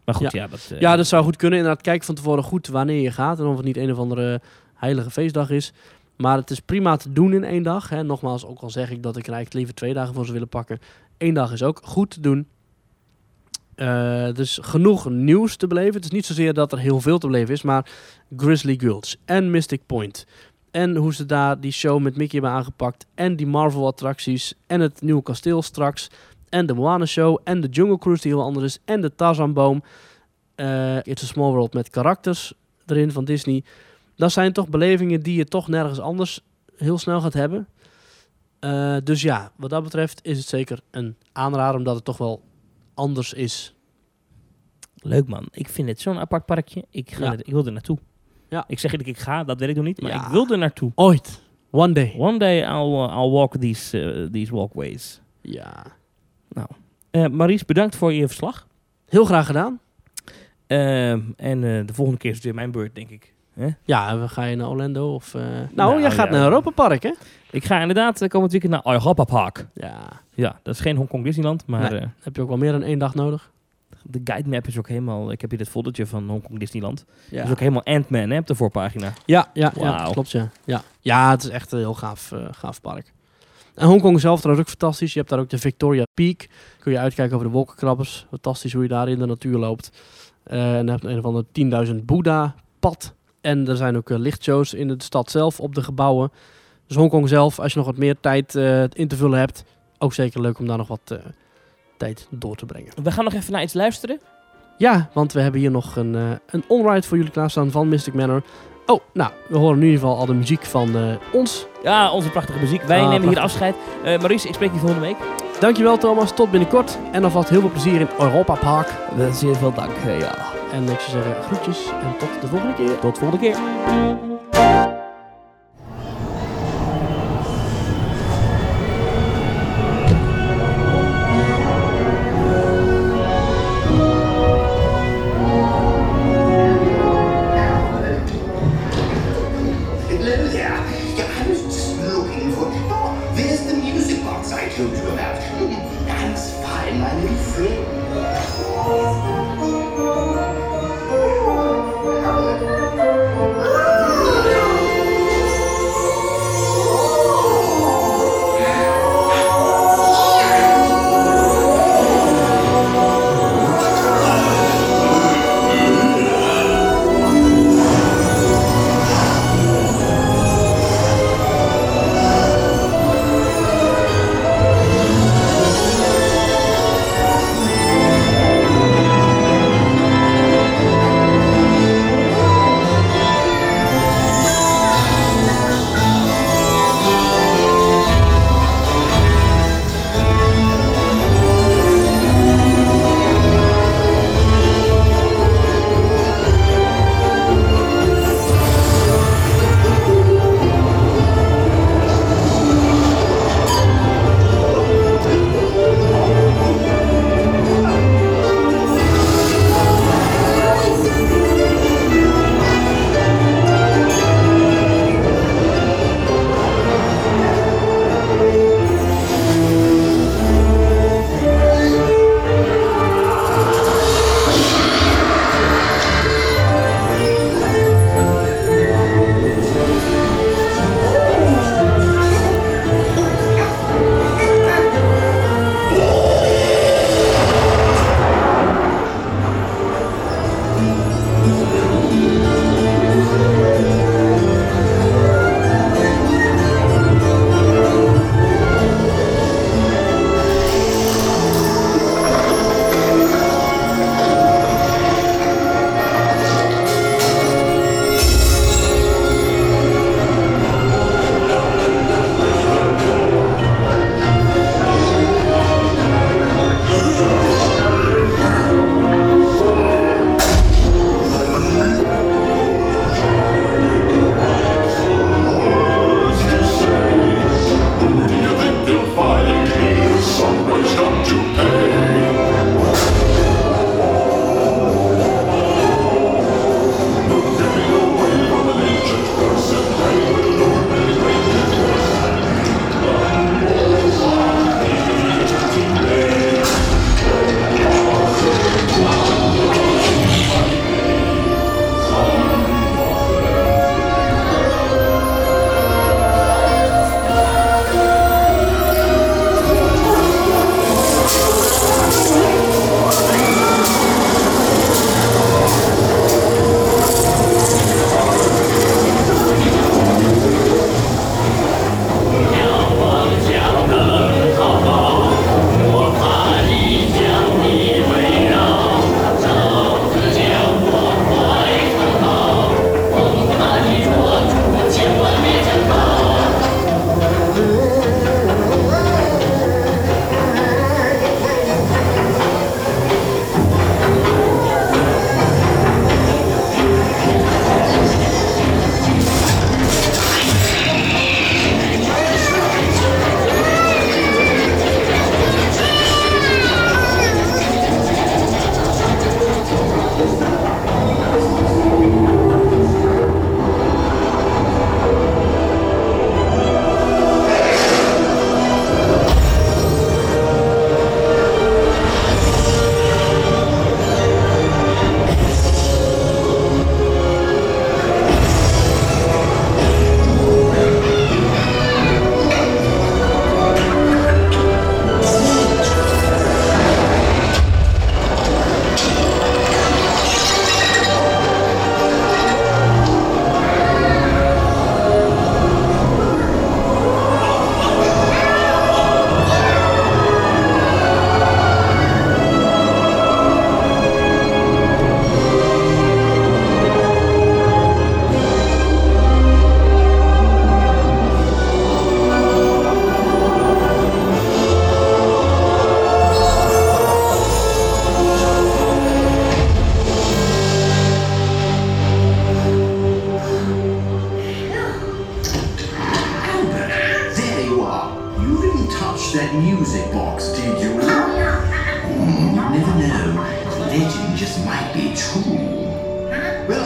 Speaker 5: Maar goed, ja. dat, eh,
Speaker 4: Ja, dat zou goed kunnen. Inderdaad, kijk van tevoren goed wanneer je gaat. En of het niet een of andere heilige feestdag is. Maar het is prima te doen in één dag. Hè. Nogmaals, ook al zeg ik dat ik er eigenlijk liever twee dagen voor zou willen pakken. Eén dag is ook goed te doen. Eh, dus genoeg nieuws te beleven. Het is niet zozeer dat er heel veel te beleven is. Maar Grizzly Girls en Mystic Point. En hoe ze daar die show met Mickey hebben aangepakt. En die Marvel-attracties. En het nieuwe kasteel straks. En de Moana-show. En de Jungle Cruise die heel anders is. En de Tarzanboom eh It's a Small World met karakters erin van Disney. Dat zijn toch belevingen die je toch nergens anders heel snel gaat hebben. Eh, dus ja, wat dat betreft is het zeker een aanrader, omdat het toch wel anders is.
Speaker 5: Leuk man. Ik vind het zo'n apart parkje. Ik, ga
Speaker 4: Ja.
Speaker 5: er, ik wil er naartoe.
Speaker 4: Ja.
Speaker 5: Ik zeg eerlijk, ik ga, dat weet ik nog niet. Maar
Speaker 4: Ja.
Speaker 5: ik wil er naartoe.
Speaker 4: Ooit. One day.
Speaker 5: One day I'll, uh, I'll walk these, eh, these walkways.
Speaker 4: Ja.
Speaker 5: Eh Maries, bedankt voor je verslag.
Speaker 4: Heel graag gedaan.
Speaker 5: Ehm, en eh, de volgende keer is het weer mijn beurt, denk ik.
Speaker 4: Ja, en we gaan je naar Orlando of... eh, Nou,
Speaker 5: Nou,
Speaker 4: jij gaat
Speaker 5: ja.
Speaker 4: naar Europa Park, hè?
Speaker 5: Ik ga inderdaad eh, komend weekend naar Europa Park.
Speaker 4: Ja.
Speaker 5: Ja, dat is geen Hongkong Disneyland, maar
Speaker 4: Nee.
Speaker 5: eh,
Speaker 4: Heb je ook wel meer dan één dag nodig?
Speaker 5: de guide map is ook helemaal... Ik heb hier dit foldertje van Hongkong Disneyland.
Speaker 4: Ja.
Speaker 5: Dat is ook helemaal Ant-Man hè, op de voorpagina.
Speaker 4: Ja, ja, ja
Speaker 5: Wauw.
Speaker 4: klopt. Ja. Ja. ja, het is echt een heel gaaf, eh, gaaf park. En Hongkong zelf trouwens ook fantastisch. Je hebt daar ook de Victoria Peak. Kun je uitkijken over de wolkenkrabbers. Fantastisch hoe je daar in de natuur loopt. Eh, en dan heb je een of ander 10.000 Boeddha-pad. En er zijn ook eh, lichtshows in de stad zelf op de gebouwen. Dus Hongkong zelf, als je nog wat meer tijd eh, in te vullen hebt... ook zeker leuk om daar nog wat eh, tijd door te brengen.
Speaker 5: We gaan nog even naar iets luisteren.
Speaker 4: Ja, want we hebben hier nog een, eh een onride voor jullie klaarstaan van Mystic Manor. Oh, nou, we horen in ieder geval al de muziek van eh, ons.
Speaker 5: Ja, onze prachtige muziek. Wij
Speaker 4: Ah,
Speaker 5: nemen hier
Speaker 4: prachtig.
Speaker 5: afscheid. Eh Maries, ik spreek je volgende week.
Speaker 4: Dankjewel Thomas, tot binnenkort. En alvast heel veel plezier in Europa Park.
Speaker 5: Zeer veel dank. eh, Ja.
Speaker 4: En ik zou zeggen, groetjes en tot de volgende keer.
Speaker 5: Tot volgende keer.
Speaker 6: Hello there. Yeah, I was just looking for. Oh, there's the music box I told you about. Hmm, Thanks, fine, my little friend.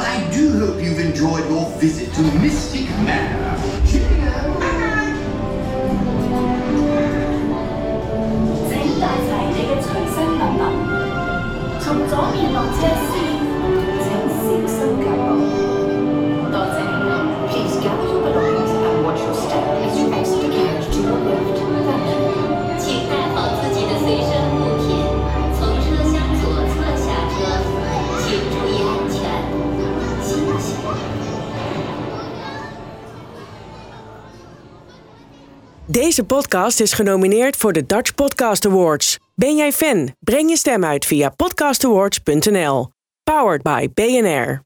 Speaker 6: Hmm, hope you've enjoyed your visit to Mystic Manor. Cheerio!
Speaker 7: 請帶齊你嘅隨身物品。從左面落車先，請小心駕駛。多謝。Please gather your belongings and watch your step as you exit the carriage to your left. Thank you.
Speaker 3: 请带好自己的随身物品，从车厢左侧下车，请注意安全，谢谢。
Speaker 1: Deze podcast is genomineerd voor de Dutch Podcast Awards. Ben jij fan? Breng je stem uit via podcastawards.nl. Powered by BNR.